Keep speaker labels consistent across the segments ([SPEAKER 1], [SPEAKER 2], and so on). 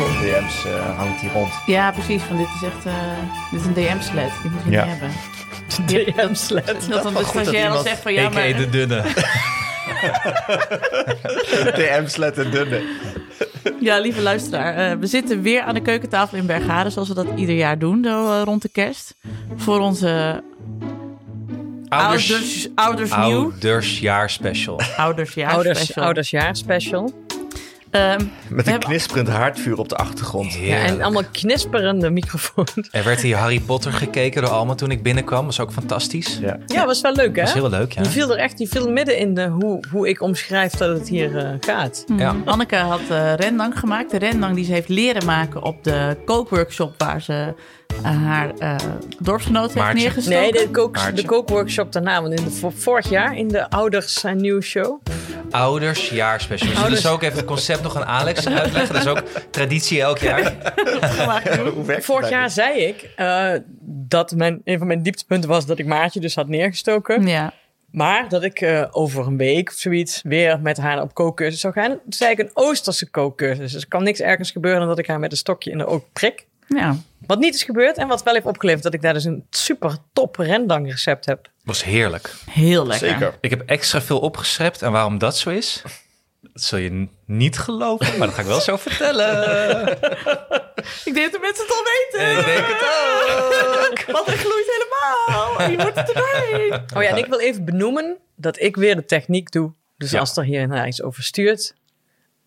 [SPEAKER 1] Oh, DM's eh, hangt hij rond.
[SPEAKER 2] Ja, precies. Van dit is echt eh, dit is een DM-sled. Die moet je
[SPEAKER 1] Ja.
[SPEAKER 2] niet hebben.
[SPEAKER 3] DM-sled.
[SPEAKER 2] Dat dan de stagiair al zegt van ja, maar...
[SPEAKER 3] de dunne.
[SPEAKER 1] DM's letten dunne.
[SPEAKER 2] Ja, lieve luisteraar. eh, we zitten weer aan de keukentafel in Bergharen, zoals we dat ieder jaar doen, zo eh, rond de kerst. Voor onze ouders, ouders, nieuw.
[SPEAKER 3] Oudersjaarspecial.
[SPEAKER 2] Oudersjaar
[SPEAKER 4] Ouders,
[SPEAKER 2] special.
[SPEAKER 4] oudersjaar special.
[SPEAKER 2] Ehm,
[SPEAKER 1] Met
[SPEAKER 2] We
[SPEAKER 1] een
[SPEAKER 2] hebben-
[SPEAKER 1] knisperend haardvuur op de achtergrond.
[SPEAKER 4] Ja,
[SPEAKER 3] Heerlijk.
[SPEAKER 4] en allemaal knisperende microfoons.
[SPEAKER 3] Er werd hier Harry Potter gekeken door Alma toen ik binnenkwam. was ook fantastisch.
[SPEAKER 1] Ja.
[SPEAKER 4] Ja, was wel leuk hè?
[SPEAKER 3] Dat is heel leuk, ja.
[SPEAKER 4] Die viel er echt die viel midden in de, hoe, hoe ik omschrijf dat het hier eh, gaat.
[SPEAKER 3] Ja.
[SPEAKER 2] Anneke had eh, rendang gemaakt. De rendang die ze heeft leren maken op de kookworkshop waar ze eh, haar eh dorpsgenoot heeft
[SPEAKER 3] Maartje.
[SPEAKER 2] neergestoken.
[SPEAKER 4] Nee, de, kook,
[SPEAKER 3] Maartje.
[SPEAKER 4] de kookworkshop daarna, want in de, vor- vorig jaar in de Ouders zijn Nieuw Show.
[SPEAKER 3] Oudersjaarspecial. We zullen
[SPEAKER 4] Ouders-
[SPEAKER 3] zo ook even het concept nog aan Alex uitleggen. Dat is ook traditie elk jaar.
[SPEAKER 1] Hoe werkt
[SPEAKER 4] Vorig
[SPEAKER 1] dat
[SPEAKER 4] jaar
[SPEAKER 1] eigenlijk?
[SPEAKER 4] zei ik eh, dat mijn, een van mijn dieptepunten was dat ik Maartje dus had neergestoken.
[SPEAKER 2] Ja.
[SPEAKER 4] Maar dat ik eh, over een week of zoiets weer met haar op kookcursus zou gaan. Toen zei ik een Oosterse kookcursus. Dus er kan niks ergens gebeuren dan dat ik haar met een stokje in de oog prik.
[SPEAKER 2] ja.
[SPEAKER 4] Wat niet is gebeurd en wat wel heeft opgeleverd dat ik daar dus een super top rendang recept heb.
[SPEAKER 3] was heerlijk.
[SPEAKER 2] Heel lekker.
[SPEAKER 1] Zeker.
[SPEAKER 3] Ik heb extra veel opgeschrept. En waarom dat zo is, dat zul je n- niet geloven. Maar dat ga ik wel zo vertellen.
[SPEAKER 2] Ik denk dat de mensen het al weten.
[SPEAKER 3] Ik denk het
[SPEAKER 2] ook. Want het gloeit helemaal. Je wordt het erbij.
[SPEAKER 4] Oh ja, en ik wil even benoemen dat ik weer de techniek doe. Dus
[SPEAKER 3] Ja.
[SPEAKER 4] als er hier en daar iets over stuurt,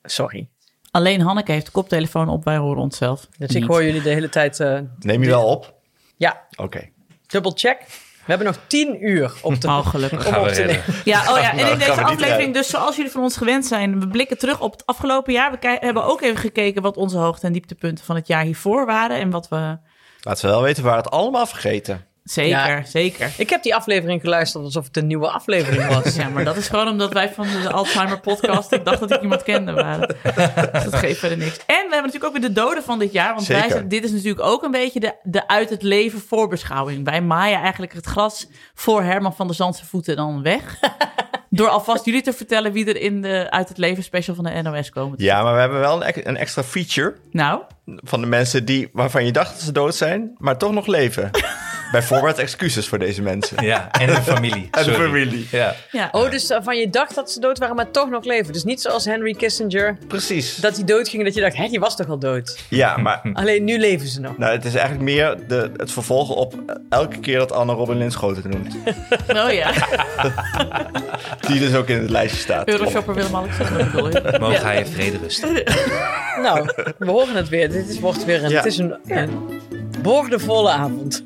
[SPEAKER 4] sorry.
[SPEAKER 2] Alleen Hanneke heeft de koptelefoon op. Wij horen onszelf.
[SPEAKER 4] Dus
[SPEAKER 2] niet.
[SPEAKER 4] ik hoor jullie de hele tijd, eh,
[SPEAKER 1] Neem je wel op?
[SPEAKER 4] ja,
[SPEAKER 1] Oké.
[SPEAKER 4] dubbel check. We hebben nog tien uur op de...
[SPEAKER 2] Oh, gelukkig.
[SPEAKER 4] om
[SPEAKER 3] Gaan
[SPEAKER 4] op
[SPEAKER 3] we
[SPEAKER 4] te
[SPEAKER 3] redden.
[SPEAKER 4] nemen.
[SPEAKER 2] Ja, oh ja,
[SPEAKER 1] Nou,
[SPEAKER 2] en in
[SPEAKER 1] dat gaan we
[SPEAKER 2] deze
[SPEAKER 1] niet
[SPEAKER 2] aflevering,
[SPEAKER 1] rijden.
[SPEAKER 2] dus zoals jullie van ons gewend zijn, we blikken terug op het afgelopen jaar. We kij- hebben ook even gekeken wat onze hoogte- en dieptepunten van het jaar hiervoor waren. En wat we.
[SPEAKER 1] Laat ze wel weten waar het allemaal vergeten.
[SPEAKER 2] Zeker,
[SPEAKER 4] Ja.
[SPEAKER 2] zeker.
[SPEAKER 4] Ik heb die aflevering geluisterd alsof het een nieuwe aflevering was.
[SPEAKER 2] Ja, maar dat is gewoon omdat wij van de Alzheimer-podcast. Ik dacht dat ik iemand kende waren. Dus dat geeft verder niks. En we hebben natuurlijk ook weer de doden van dit jaar. Want wij
[SPEAKER 1] Zeker.
[SPEAKER 2] zijn- dit is natuurlijk ook een beetje de, de uit het leven voorbeschouwing. Wij maaien eigenlijk het gras voor Herman van der Zandse voeten dan weg. Door alvast jullie te vertellen wie er in de uit het leven special van de NOS komen.
[SPEAKER 1] Ja, maar we hebben wel een, ex- een extra feature
[SPEAKER 2] Nou,
[SPEAKER 1] van de mensen die, waarvan je dacht dat ze dood zijn, maar toch nog leven. Bijvoorbeeld excuses voor deze mensen.
[SPEAKER 3] Ja, en de familie.
[SPEAKER 1] En de
[SPEAKER 3] Sorry.
[SPEAKER 1] familie.
[SPEAKER 3] Ja.
[SPEAKER 2] ja.
[SPEAKER 4] Oh, dus van je dacht dat ze dood waren, maar toch nog leven. Dus niet zoals Henry Kissinger,
[SPEAKER 1] Precies.
[SPEAKER 4] dat die dood ging en dat je dacht, hè, die was toch al dood?
[SPEAKER 1] Ja, maar
[SPEAKER 4] Alleen nu leven ze nog.
[SPEAKER 1] nou, het is eigenlijk meer de, het vervolg op elke keer dat Anne Robin Linschoten noemt.
[SPEAKER 2] oh ja.
[SPEAKER 1] Die dus ook in het lijstje staat.
[SPEAKER 2] Euroshopper Willem-Alexander bedoel je?
[SPEAKER 3] Mogen hij in vrede rusten.
[SPEAKER 4] Nou, we horen het weer. Dit is, wordt weer een,
[SPEAKER 1] Ja.
[SPEAKER 4] het is een, een woordenvolle avond.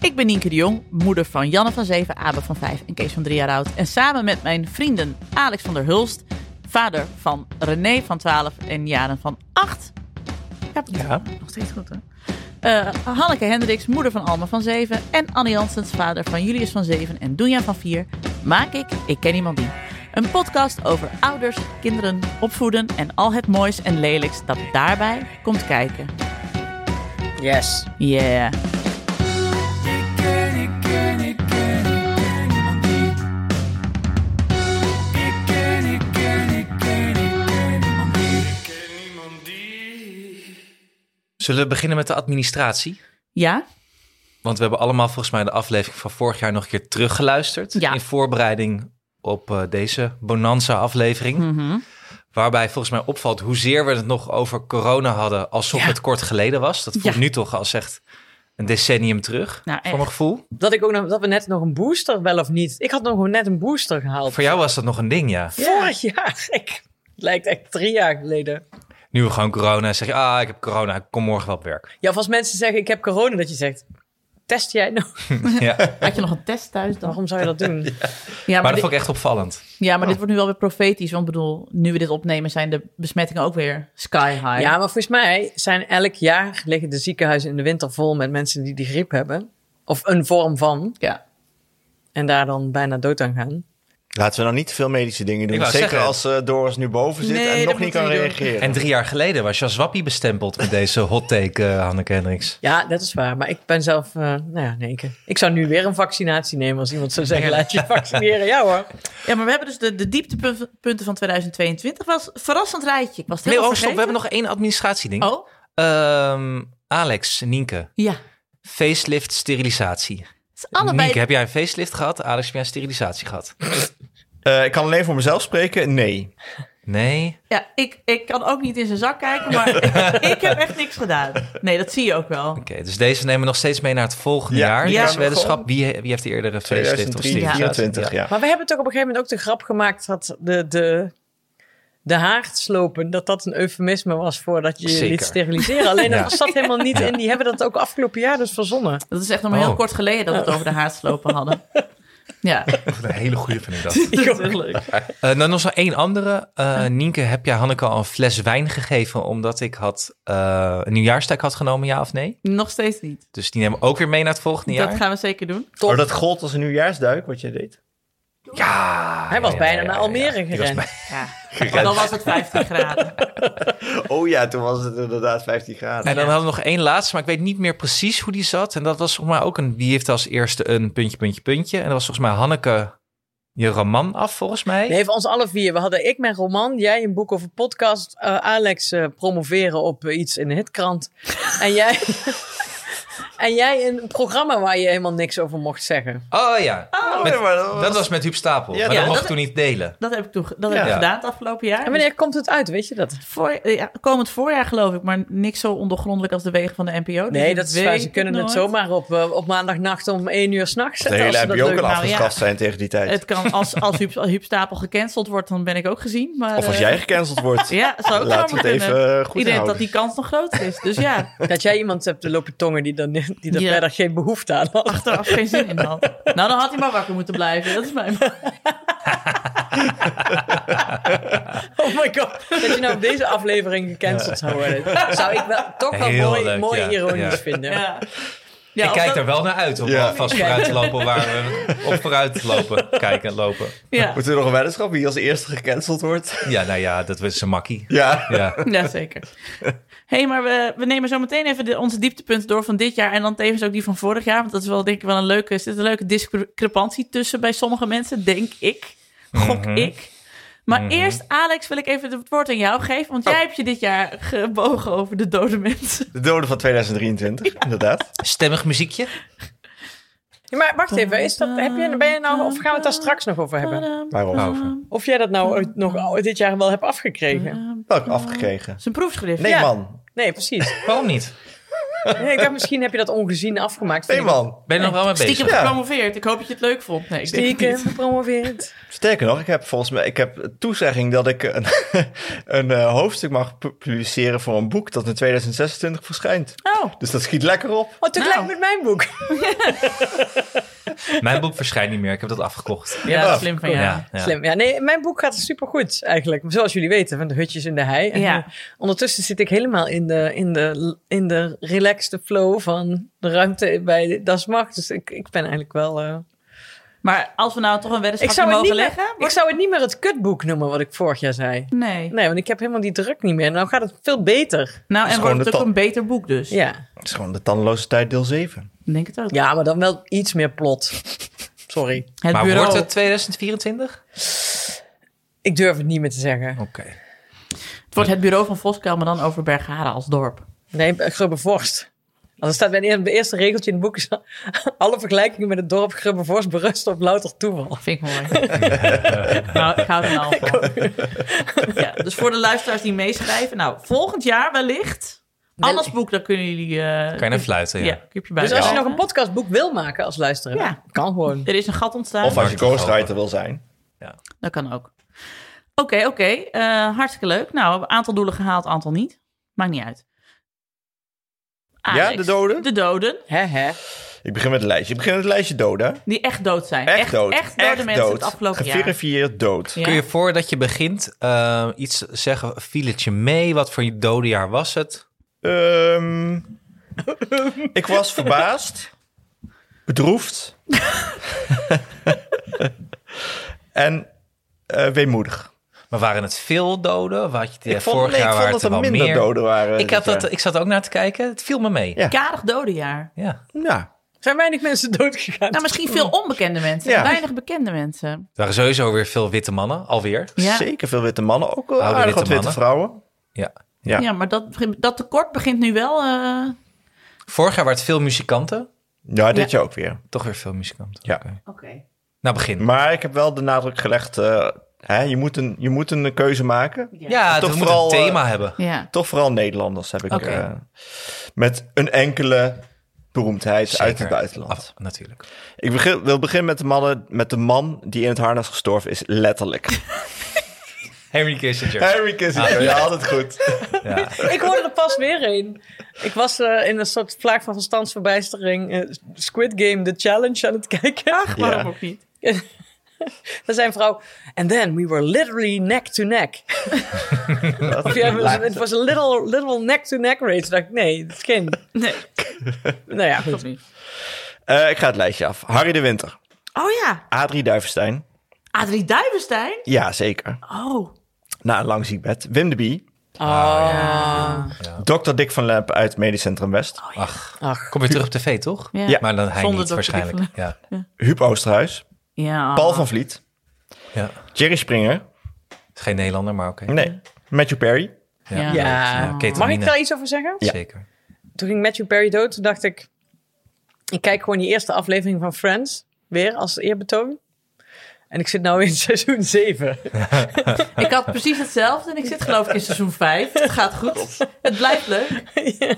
[SPEAKER 2] Ik ben Nienke de Jong, moeder van Janne van 7, Abe van 5 en Kees van 3 jaar oud. En samen met mijn vrienden Alex van der Hulst, vader van René van 12 en Jaren van 8. Ja,
[SPEAKER 3] Ja.
[SPEAKER 2] nog steeds goed hè? Eh, Hanneke Hendricks, moeder van Alma van 7. En Annie Janssens, vader van Julius van 7 en Doenja van 4. Maak ik Ik Ken Iemand Die. Een podcast over ouders, kinderen, opvoeden en al het moois en lelijks dat daarbij komt kijken.
[SPEAKER 4] Yes.
[SPEAKER 2] Yeah.
[SPEAKER 3] Zullen we beginnen met de administratie?
[SPEAKER 2] Ja?
[SPEAKER 3] Want we hebben allemaal volgens mij de aflevering van vorig jaar nog een keer teruggeluisterd.
[SPEAKER 2] Ja.
[SPEAKER 3] In voorbereiding op eh, deze Bonanza-aflevering.
[SPEAKER 2] Mhm.
[SPEAKER 3] Waarbij volgens mij opvalt hoezeer we het nog over corona hadden. Alsof
[SPEAKER 4] Ja.
[SPEAKER 3] het kort geleden was. Dat voelt
[SPEAKER 2] Ja.
[SPEAKER 3] nu toch als echt een decennium terug.
[SPEAKER 2] Nou,
[SPEAKER 3] voor
[SPEAKER 2] echt.
[SPEAKER 3] mijn gevoel.
[SPEAKER 4] Dat, ik ook nog, dat we net nog een booster, wel of niet. Ik had nog gewoon net een booster gehaald.
[SPEAKER 3] Voor jou was dat nog een ding, ja.
[SPEAKER 4] Vorig jaar. Ik, het lijkt echt drie jaar geleden.
[SPEAKER 3] Nu gewoon corona. Zeg je, ah, ik heb corona. Ik kom morgen wel op werk.
[SPEAKER 4] Ja, of als mensen zeggen, ik heb corona, dat je zegt, test jij nog?
[SPEAKER 3] ja. Maar,
[SPEAKER 2] Had je nog een test thuis dan?
[SPEAKER 4] Waarom zou je dat doen?
[SPEAKER 2] Ja, maar,
[SPEAKER 3] dat
[SPEAKER 2] dit,
[SPEAKER 3] vond ik echt opvallend.
[SPEAKER 2] ja, maar dit wordt nu wel weer profetisch. Want ik bedoel, nu we dit opnemen zijn de besmettingen ook weer sky high.
[SPEAKER 4] Ja, maar volgens mij zijn elk jaar liggen de ziekenhuizen in de winter vol met mensen die die griep hebben. Of een vorm van.
[SPEAKER 2] Ja.
[SPEAKER 4] En daar dan bijna dood aan gaan.
[SPEAKER 1] Laten we nou niet te veel medische dingen doen.
[SPEAKER 3] wou
[SPEAKER 1] Zeker
[SPEAKER 3] zeggen.
[SPEAKER 1] als eh, Doris nu boven zit
[SPEAKER 4] Nee,
[SPEAKER 1] en
[SPEAKER 4] dat
[SPEAKER 1] nog niet
[SPEAKER 4] moeten
[SPEAKER 1] kan
[SPEAKER 4] we niet doen.
[SPEAKER 1] reageren.
[SPEAKER 3] En drie jaar geleden was Jaswapi bestempeld met deze hot take, eh, Hanneke Hendricks.
[SPEAKER 4] Ja, dat is waar. Maar ik ben zelf, eh, nou ja, nee, ik, ik zou nu weer een vaccinatie nemen als iemand zou zeggen, laat je vaccineren. Ja hoor.
[SPEAKER 2] Ja, maar we hebben dus de, de dieptepunten van 2022. was een verrassend rijtje. Ik was het
[SPEAKER 3] Nee,
[SPEAKER 2] helemaal
[SPEAKER 3] oh, stop. We hebben
[SPEAKER 2] vergeten.
[SPEAKER 3] nog één administratieding.
[SPEAKER 2] Oh,
[SPEAKER 3] Ehm, Alex, Nienke.
[SPEAKER 2] ja.
[SPEAKER 3] Facelift, sterilisatie.
[SPEAKER 2] Het is allebei...
[SPEAKER 3] Nienke, heb jij een facelift gehad? Alex, heb jij een sterilisatie gehad?
[SPEAKER 1] Eh, ik kan alleen voor mezelf spreken. Nee.
[SPEAKER 3] Nee.
[SPEAKER 2] Ja, ik, ik kan ook niet in zijn zak kijken, maar ik, ik heb echt niks gedaan. Nee, dat zie je ook wel.
[SPEAKER 3] Oké, dus deze nemen we nog steeds mee naar het volgende
[SPEAKER 1] Ja,
[SPEAKER 3] jaar.
[SPEAKER 1] die
[SPEAKER 2] gaan
[SPEAKER 3] Ja,
[SPEAKER 2] we
[SPEAKER 3] weddenschap.
[SPEAKER 1] gewoon-
[SPEAKER 3] Wie, he- wie heeft de eerdere facelift of
[SPEAKER 1] 2023,
[SPEAKER 3] sterilisatie?
[SPEAKER 1] 2024, ja.
[SPEAKER 4] Maar we hebben toch op een gegeven moment ook de grap gemaakt dat de, de, de haard slopen, dat dat een eufemisme was voordat je je
[SPEAKER 3] Zeker.
[SPEAKER 4] liet steriliseren. Alleen
[SPEAKER 3] Ja.
[SPEAKER 4] dat zat helemaal niet
[SPEAKER 3] Ja.
[SPEAKER 4] in. Die hebben dat ook afgelopen jaar dus verzonnen.
[SPEAKER 2] Dat is echt nog maar heel
[SPEAKER 3] Oh.
[SPEAKER 2] kort geleden dat we het over de haarslopen hadden. Ja,
[SPEAKER 3] Wat Een hele goede vind ik dat.
[SPEAKER 2] dat is leuk.
[SPEAKER 3] Eh, dan nog zo één andere.
[SPEAKER 2] Ah.
[SPEAKER 3] Eh, Nienke, heb jij Hanneke al een fles wijn gegeven omdat ik had, eh, een nieuwjaarstuik had genomen, ja of nee?
[SPEAKER 2] Nog steeds niet.
[SPEAKER 3] Dus die nemen we ook weer mee naar het volgende
[SPEAKER 2] Dat
[SPEAKER 3] jaar.
[SPEAKER 2] gaan we zeker doen.
[SPEAKER 1] Oh, dat gold als een nieuwjaarsduik, wat jij deed.
[SPEAKER 3] Ja.
[SPEAKER 4] Hij was
[SPEAKER 3] Ah, ja, ja,
[SPEAKER 4] bijna
[SPEAKER 3] ja,
[SPEAKER 4] naar
[SPEAKER 3] ja,
[SPEAKER 4] Almere
[SPEAKER 3] ja. Die was
[SPEAKER 4] gerend.
[SPEAKER 3] bij-
[SPEAKER 2] Ja. Maar dan was het 50 graden.
[SPEAKER 1] Oh ja, toen was het inderdaad 15 graden.
[SPEAKER 3] En dan
[SPEAKER 2] Ja.
[SPEAKER 3] hadden we nog één laatste, maar ik weet niet meer precies hoe die zat. En dat was volgens mij ook een, die heeft als eerste een puntje, puntje, puntje. En dat was volgens mij Hanneke je roman af, volgens mij.
[SPEAKER 4] Nee, van ons alle vier. We hadden ik mijn roman, jij een boek of een podcast, eh, Alex eh, promoveren op eh, iets in de hitkrant. en, jij, en jij een programma waar je helemaal niks over mocht zeggen.
[SPEAKER 3] Oh ja,
[SPEAKER 1] Oh,
[SPEAKER 3] met-
[SPEAKER 1] ja, maar dat was-
[SPEAKER 3] dat was met Huub Stapel.
[SPEAKER 1] Ja,
[SPEAKER 3] maar
[SPEAKER 1] ja,
[SPEAKER 3] dat mocht
[SPEAKER 2] dat-
[SPEAKER 3] toen niet delen.
[SPEAKER 2] Dat heb ik, toen, ge- dat heb
[SPEAKER 1] Ja.
[SPEAKER 2] ik gedaan het afgelopen jaar.
[SPEAKER 4] En wanneer komt het uit, weet je dat?
[SPEAKER 2] Voor, eh, ja, komend voorjaar geloof ik, maar niks zo ondergrondelijk als de wegen van de NPO. Dus
[SPEAKER 4] Nee,
[SPEAKER 2] ik
[SPEAKER 4] dat is
[SPEAKER 2] weet
[SPEAKER 4] waar. Ze kunnen het
[SPEAKER 2] nooit.
[SPEAKER 4] zomaar op, eh, op maandagnacht om 1 uur s'nachts
[SPEAKER 1] de
[SPEAKER 4] zetten. als
[SPEAKER 1] hele
[SPEAKER 4] ze dat
[SPEAKER 1] NPO
[SPEAKER 4] leuk
[SPEAKER 1] kan
[SPEAKER 4] vinden.
[SPEAKER 2] Nou, ja.
[SPEAKER 1] afgestraft zijn tegen die tijd.
[SPEAKER 2] Het kan, als, als Huub, Huub Stapel gecanceld wordt, dan ben ik ook gezien. Maar,
[SPEAKER 1] Of als
[SPEAKER 2] eh,
[SPEAKER 1] jij gecanceld wordt.
[SPEAKER 2] Ja, zou ook
[SPEAKER 1] Laten we
[SPEAKER 2] zomaar
[SPEAKER 1] het
[SPEAKER 2] kunnen.
[SPEAKER 1] even eh, goed
[SPEAKER 2] Ik denk dat
[SPEAKER 1] houden.
[SPEAKER 2] die kans nog groter is. Dus ja,
[SPEAKER 4] Dat jij iemand hebt te lopen tongen die, dan, die daar
[SPEAKER 2] Ja.
[SPEAKER 4] verder geen behoefte aan had.
[SPEAKER 2] achteraf geen zin in had. Nou, dan had hij maar wakker moeten blijven. Dat is mijn...
[SPEAKER 4] Oh my god. Dat je nou op deze aflevering gecanceld zou worden. Zou ik wel, toch wel
[SPEAKER 3] Heel
[SPEAKER 4] mooi,
[SPEAKER 3] leuk,
[SPEAKER 4] mooi
[SPEAKER 3] ja.
[SPEAKER 4] ironisch
[SPEAKER 3] Ja.
[SPEAKER 4] vinden.
[SPEAKER 2] Ja. Ja,
[SPEAKER 3] ik
[SPEAKER 2] of
[SPEAKER 3] kijk
[SPEAKER 2] dat-
[SPEAKER 3] er wel naar uit om
[SPEAKER 1] Ja.
[SPEAKER 3] alvast vooruit te lopen waar we op vooruit lopen. Kijken, lopen.
[SPEAKER 2] Ja.
[SPEAKER 1] Moeten we nog een weddenschap wie als eerste gecanceld wordt?
[SPEAKER 3] Ja, nou ja, dat was een makkie.
[SPEAKER 1] Ja.
[SPEAKER 3] Ja.
[SPEAKER 2] ja, zeker. Hé, hey, maar we, we nemen zo meteen even de, onze dieptepunten door van dit jaar... en dan tevens ook die van vorig jaar. Want dat is wel denk ik wel een leuke... er zit een leuke discrepantie tussen bij sommige mensen, denk ik. Gok ik. Maar eerst, Alex, wil ik even het woord aan jou geven. Want jij hebt je dit jaar gebogen over de dode mensen.
[SPEAKER 1] De doden van 2023, inderdaad.
[SPEAKER 3] Stemmig muziekje.
[SPEAKER 4] Ja, maar wacht even, is dat, heb je, ben je nou, of gaan we het daar straks nog over hebben?
[SPEAKER 1] Waarom?
[SPEAKER 3] Over.
[SPEAKER 4] Of jij dat nou ooit nog dit jaar wel hebt afgekregen?
[SPEAKER 1] Welk afgekregen?
[SPEAKER 2] Zijn proefschrift.
[SPEAKER 1] Nee,
[SPEAKER 4] Ja.
[SPEAKER 1] man.
[SPEAKER 4] Nee, precies.
[SPEAKER 3] Waarom niet?
[SPEAKER 4] Nee, ik dacht, misschien heb je dat ongezien afgemaakt.
[SPEAKER 1] Nee, man.
[SPEAKER 3] Ben je er nog wel mee bezig?
[SPEAKER 2] Stiekem
[SPEAKER 1] Ja.
[SPEAKER 2] gepromoveerd. Ik hoop dat je het leuk vond. Nee, ik denk het
[SPEAKER 4] Stiekem
[SPEAKER 2] niet.
[SPEAKER 4] gepromoveerd.
[SPEAKER 1] Sterker nog, ik heb volgens mij ik heb toezegging dat ik een, een eh, hoofdstuk mag pu- publiceren voor een boek dat in 2026 verschijnt.
[SPEAKER 2] Oh,
[SPEAKER 1] Dus dat schiet lekker op.
[SPEAKER 4] Oh, tegelijk
[SPEAKER 2] Nou.
[SPEAKER 4] met mijn boek.
[SPEAKER 3] Mijn boek verschijnt niet meer. Ik heb dat afgekocht.
[SPEAKER 2] ja, dat is slim van jou.
[SPEAKER 3] Ja, ja.
[SPEAKER 4] Slim. Ja, nee, mijn boek gaat supergoed eigenlijk. Zoals jullie weten, van de hutjes in de hei. En
[SPEAKER 2] Ja.
[SPEAKER 4] eh, ondertussen zit ik helemaal in de, in, de, in de relaxte flow van de ruimte bij Das Mag. Dus ik, ik ben eigenlijk wel... eh,
[SPEAKER 2] Maar als we nou toch een
[SPEAKER 4] ik,
[SPEAKER 2] weddenschap
[SPEAKER 4] zou het
[SPEAKER 2] mogen
[SPEAKER 4] niet meer,
[SPEAKER 2] leggen?
[SPEAKER 4] ik
[SPEAKER 2] wordt-
[SPEAKER 4] zou het niet meer het kutboek noemen wat ik vorig jaar zei.
[SPEAKER 2] Nee.
[SPEAKER 4] Nee, want ik heb helemaal die druk niet meer. Nou gaat het veel beter.
[SPEAKER 2] Nou, en
[SPEAKER 1] gewoon de
[SPEAKER 2] wordt het ook
[SPEAKER 1] top.
[SPEAKER 2] een beter boek dus.
[SPEAKER 4] Ja,
[SPEAKER 1] Het is gewoon de tandeloze tijd deel 7.
[SPEAKER 2] Ik denk het ook.
[SPEAKER 4] ja maar dan wel iets meer plot. Sorry.
[SPEAKER 2] Het
[SPEAKER 3] Maar
[SPEAKER 2] bureau.
[SPEAKER 3] wordt het 2024?
[SPEAKER 4] Ik durf het niet meer te zeggen.
[SPEAKER 3] Oké.
[SPEAKER 2] Het wordt het bureau van Voskuil, maar dan over Bergharen als dorp.
[SPEAKER 4] Nee, Grubbevorst. Want er staat bij het eerste regeltje in het boek... is, alle vergelijkingen met het dorp Grubbevorst berusten op louter toeval.
[SPEAKER 2] Vind ik mooi. nou, ik hou er nou van. ja, dus voor de luisteraars die meeschrijven. Nou, volgend jaar wellicht. Anders boek, dan kunnen jullie... eh
[SPEAKER 3] Kan je naar fluiten, ja.
[SPEAKER 2] ja, kun je bij
[SPEAKER 4] Dus als je nog
[SPEAKER 2] schrijven.
[SPEAKER 4] een podcastboek wil maken als luisteraar...
[SPEAKER 2] Ja.
[SPEAKER 4] kan gewoon.
[SPEAKER 2] Er is een gat ontstaan.
[SPEAKER 1] Of als je
[SPEAKER 3] Hartelijk
[SPEAKER 1] ghostwriter wil zijn.
[SPEAKER 2] Dat kan ook. Oké, oké. Eh, hartstikke leuk. Nou, we hebben een aantal doelen gehaald, een aantal niet. Maakt niet uit. Alex,
[SPEAKER 1] Ja, de doden?
[SPEAKER 2] De doden,
[SPEAKER 4] Hè, hè.
[SPEAKER 1] Ik begin met het lijstje. Ik begin met het lijstje doden.
[SPEAKER 2] die echt dood zijn.
[SPEAKER 1] Echt, dood.
[SPEAKER 2] Echt dode mensen het afgelopen jaar.
[SPEAKER 1] Geverifieerd dood.
[SPEAKER 2] Ja.
[SPEAKER 3] Kun je voordat je begint eh, iets zeggen? Viel het je mee? Wat voor je dode jaar was het?
[SPEAKER 1] Ehm, ik was verbaasd, bedroefd en eh, weemoedig.
[SPEAKER 3] Maar waren het veel doden? Of had je het, eh,
[SPEAKER 1] ik vond,
[SPEAKER 3] vorig
[SPEAKER 1] nee, ik
[SPEAKER 3] jaar
[SPEAKER 1] vond
[SPEAKER 3] waren
[SPEAKER 1] dat
[SPEAKER 3] het
[SPEAKER 1] er
[SPEAKER 3] wel
[SPEAKER 1] minder
[SPEAKER 3] meer.
[SPEAKER 1] doden waren. dus,
[SPEAKER 3] Ik, had
[SPEAKER 1] dit
[SPEAKER 3] dat, ik zat ook naar te kijken. Het viel me mee.
[SPEAKER 1] Ja.
[SPEAKER 2] Karig dodenjaar.
[SPEAKER 3] Ja.
[SPEAKER 1] eh, Ja.
[SPEAKER 4] Er zijn weinig mensen doodgegaan.
[SPEAKER 2] Nou, misschien veel onbekende mensen.
[SPEAKER 1] Ja.
[SPEAKER 2] Weinig bekende mensen.
[SPEAKER 3] Er waren sowieso weer veel witte mannen, alweer.
[SPEAKER 2] Ja.
[SPEAKER 1] Zeker veel witte mannen, ook wel
[SPEAKER 3] Oude
[SPEAKER 1] aardig
[SPEAKER 3] witte
[SPEAKER 1] wat witte
[SPEAKER 3] mannen.
[SPEAKER 1] vrouwen.
[SPEAKER 3] Ja.
[SPEAKER 1] Ja.
[SPEAKER 2] Ja, maar dat, dat tekort begint nu wel. eh,
[SPEAKER 3] Vorig jaar waren het veel muzikanten.
[SPEAKER 1] Ja, dit
[SPEAKER 2] Ja.
[SPEAKER 1] jaar ook weer.
[SPEAKER 3] Toch weer veel muzikanten.
[SPEAKER 1] Ja.
[SPEAKER 3] Oké.
[SPEAKER 2] Oké.
[SPEAKER 3] Nou, begin.
[SPEAKER 1] Maar ik heb wel de nadruk gelegd, eh, hè, je, moet een, je moet een keuze maken.
[SPEAKER 3] ja,
[SPEAKER 1] Toch
[SPEAKER 3] toch moet
[SPEAKER 1] vooral, eh,
[SPEAKER 3] een thema hebben.
[SPEAKER 2] Ja.
[SPEAKER 1] Toch vooral Nederlanders heb ik.
[SPEAKER 2] Oké.
[SPEAKER 1] eh, met een enkele beroemdheid uit het
[SPEAKER 3] Zeker.
[SPEAKER 1] buitenland.
[SPEAKER 3] Af- natuurlijk.
[SPEAKER 1] Ik begin, wil beginnen met de, mannen, met de man die in het harnas gestorven is, letterlijk.
[SPEAKER 3] Henry Kissinger.
[SPEAKER 1] Harry Kissinger, ja, altijd goed.
[SPEAKER 3] ja.
[SPEAKER 4] Ik hoorde er pas weer een. Ik was eh, in een soort vlaag van verstandsverbijstering eh, Squid Game The Challenge aan het kijken.
[SPEAKER 1] Ja.
[SPEAKER 2] Waarom ook niet?
[SPEAKER 4] Daar zijn vrouw. And then we were literally neck to neck. Of ja, het was- het was een little, little neck to neck race. Toen dacht ik, nee, het is geen.
[SPEAKER 2] Nee,
[SPEAKER 4] Nou ja, goed.
[SPEAKER 2] klopt niet.
[SPEAKER 1] Eh, ik ga het lijstje af. Harry de Winter,
[SPEAKER 2] Oh ja,
[SPEAKER 1] Adrie Duivenstein.
[SPEAKER 2] Adrie Duivenstein.
[SPEAKER 1] Ja, zeker.
[SPEAKER 2] Oh.
[SPEAKER 1] Na een lang ziekbed. Wim de Bie.
[SPEAKER 4] Ah.
[SPEAKER 1] Dr. Dick van Lemp uit Medisch Centrum West.
[SPEAKER 3] Ach,
[SPEAKER 4] Ach.
[SPEAKER 3] kom weer terug op tv, toch?
[SPEAKER 2] Ja.
[SPEAKER 3] Maar dan hij
[SPEAKER 2] Zonder
[SPEAKER 3] niet,
[SPEAKER 2] Dr.
[SPEAKER 3] waarschijnlijk. Ja.
[SPEAKER 1] Huub Oosterhuis.
[SPEAKER 2] Ja.
[SPEAKER 1] Paul van Vliet.
[SPEAKER 3] ja.
[SPEAKER 1] Jerry Springer.
[SPEAKER 3] Geen Nederlander, maar oké.
[SPEAKER 1] Nee. Matthew Perry.
[SPEAKER 2] Ja.
[SPEAKER 4] Ja.
[SPEAKER 3] Ketamine.
[SPEAKER 4] Ah, Mag ik daar iets over zeggen?
[SPEAKER 3] Zeker.
[SPEAKER 4] Toen ging Matthew Perry dood. Toen dacht ik, ik kijk gewoon die eerste aflevering van Friends. Weer als eerbetoon. En ik zit nu in seizoen 7.
[SPEAKER 2] Ik had precies hetzelfde en ik zit geloof ik in seizoen 5. Het gaat goed. Het blijft leuk.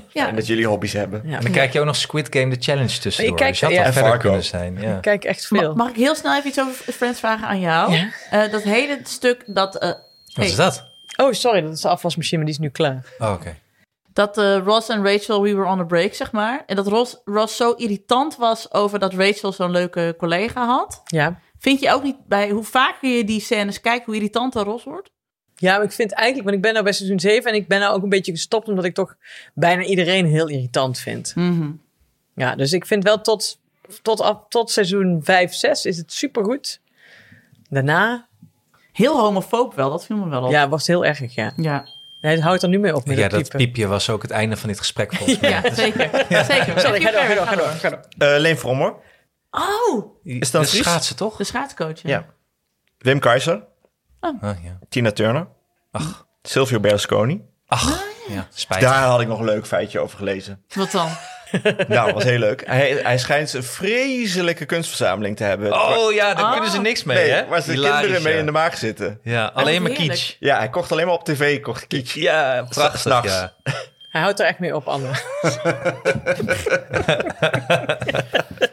[SPEAKER 2] Ja.
[SPEAKER 1] En dat jullie hobby's hebben.
[SPEAKER 3] En dan kijk je ook nog Squid Game The Challenge tussendoor.
[SPEAKER 4] Ik kijk-
[SPEAKER 3] dus je had
[SPEAKER 4] ja.
[SPEAKER 3] wel
[SPEAKER 1] En
[SPEAKER 3] verder
[SPEAKER 1] Fargo.
[SPEAKER 3] kunnen zijn. Ja.
[SPEAKER 4] Ik kijk echt
[SPEAKER 2] Ma-
[SPEAKER 4] veel.
[SPEAKER 2] Mag ik heel snel even iets over Friends vragen aan jou?
[SPEAKER 4] Ja.
[SPEAKER 2] Eh, dat hele stuk dat, eh,
[SPEAKER 3] Wat is dat?
[SPEAKER 4] Oh, sorry, dat is de afwasmachine, maar die is nu klaar.
[SPEAKER 3] Oh, oké.
[SPEAKER 2] dat eh, Ross en Rachel, we were on a break, zeg maar. En dat Ross, Ross zo irritant was over dat Rachel zo'n leuke collega had.
[SPEAKER 4] Ja.
[SPEAKER 2] Vind je ook niet bij hoe vaker je die scènes kijkt, hoe irritant dat Ross wordt?
[SPEAKER 4] Ja, maar ik vind eigenlijk, want ik ben nou bij seizoen 7 en ik ben nou ook een beetje gestopt omdat ik toch bijna iedereen heel irritant vind. Ja, dus ik vind wel tot, tot, af- tot seizoen 5, 6 is het supergoed. Daarna,
[SPEAKER 2] Heel homofoob wel, dat viel me wel op.
[SPEAKER 4] ja, was het heel erg, ja.
[SPEAKER 2] ja.
[SPEAKER 4] Hij houdt er nu mee op met
[SPEAKER 3] Ja,
[SPEAKER 4] het
[SPEAKER 3] dat
[SPEAKER 4] piepen.
[SPEAKER 3] piepje was ook het einde van dit gesprek volgens mij.
[SPEAKER 2] Ja, zeker. zeker.
[SPEAKER 4] Sorry, ga
[SPEAKER 2] Matthew
[SPEAKER 4] door, ga
[SPEAKER 2] Perry,
[SPEAKER 4] door,
[SPEAKER 2] ga
[SPEAKER 4] ga door,
[SPEAKER 2] door.
[SPEAKER 4] ga door.
[SPEAKER 1] Eh, Leen Frommer.
[SPEAKER 2] Oh,
[SPEAKER 3] Is
[SPEAKER 1] dat
[SPEAKER 3] dat
[SPEAKER 1] triest?
[SPEAKER 3] schaatsen, toch?
[SPEAKER 2] de schaatscoach. ja.
[SPEAKER 1] Ja. Wim Keizer.
[SPEAKER 3] Ah, ja.
[SPEAKER 1] Tina Turner.
[SPEAKER 3] Ach.
[SPEAKER 1] Silvio Berlusconi.
[SPEAKER 3] Ach, ja. spijtig.
[SPEAKER 1] Daar had ik nog een leuk feitje over gelezen.
[SPEAKER 2] Wat dan?
[SPEAKER 1] Nou, was heel leuk. Hij, hij schijnt een vreselijke kunstverzameling te hebben.
[SPEAKER 3] Oh ja, daar
[SPEAKER 2] Ah.
[SPEAKER 3] kunnen ze niks mee,
[SPEAKER 1] nee,
[SPEAKER 3] hè?
[SPEAKER 1] waar ze de
[SPEAKER 3] Hilarisch,
[SPEAKER 1] kinderen mee
[SPEAKER 3] ja.
[SPEAKER 1] in de maag zitten.
[SPEAKER 3] Ja, alleen maar
[SPEAKER 2] heerlijk.
[SPEAKER 3] kitsch.
[SPEAKER 1] Ja, hij kocht alleen maar op tv, kocht kitsch.
[SPEAKER 3] Ja, prachtig,
[SPEAKER 1] S'nachts.
[SPEAKER 3] ja.
[SPEAKER 4] Hij houdt er echt mee op, Anne.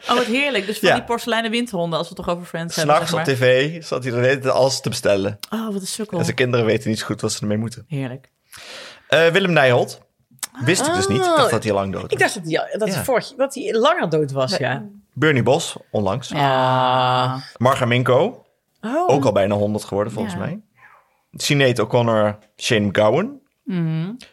[SPEAKER 2] Oh, wat heerlijk. Dus van
[SPEAKER 1] Ja.
[SPEAKER 2] die porseleinen windhonden, als we het toch over Friends hebben.
[SPEAKER 1] S'nachts
[SPEAKER 2] zeg
[SPEAKER 1] op
[SPEAKER 2] maar.
[SPEAKER 1] tv zat hij de hele tijd alles te bestellen.
[SPEAKER 2] Oh, wat een sukkel.
[SPEAKER 1] En zijn kinderen weten niet zo goed wat ze ermee moeten.
[SPEAKER 2] Heerlijk.
[SPEAKER 1] Eh, Willem Nijholt. Wist ik dus niet.
[SPEAKER 2] Oh.
[SPEAKER 1] Ik dacht dat hij lang dood was.
[SPEAKER 4] Ik dacht dat hij, dat hij,
[SPEAKER 3] Ja.
[SPEAKER 4] vorig, dat hij langer dood was, ja.
[SPEAKER 1] Bernie Bos, onlangs.
[SPEAKER 2] Ja.
[SPEAKER 1] Marga Minko,
[SPEAKER 4] Oh,
[SPEAKER 1] ook al bijna 100 geworden volgens
[SPEAKER 2] Ja.
[SPEAKER 1] mij. Sinead O'Connor, Shane McGowan.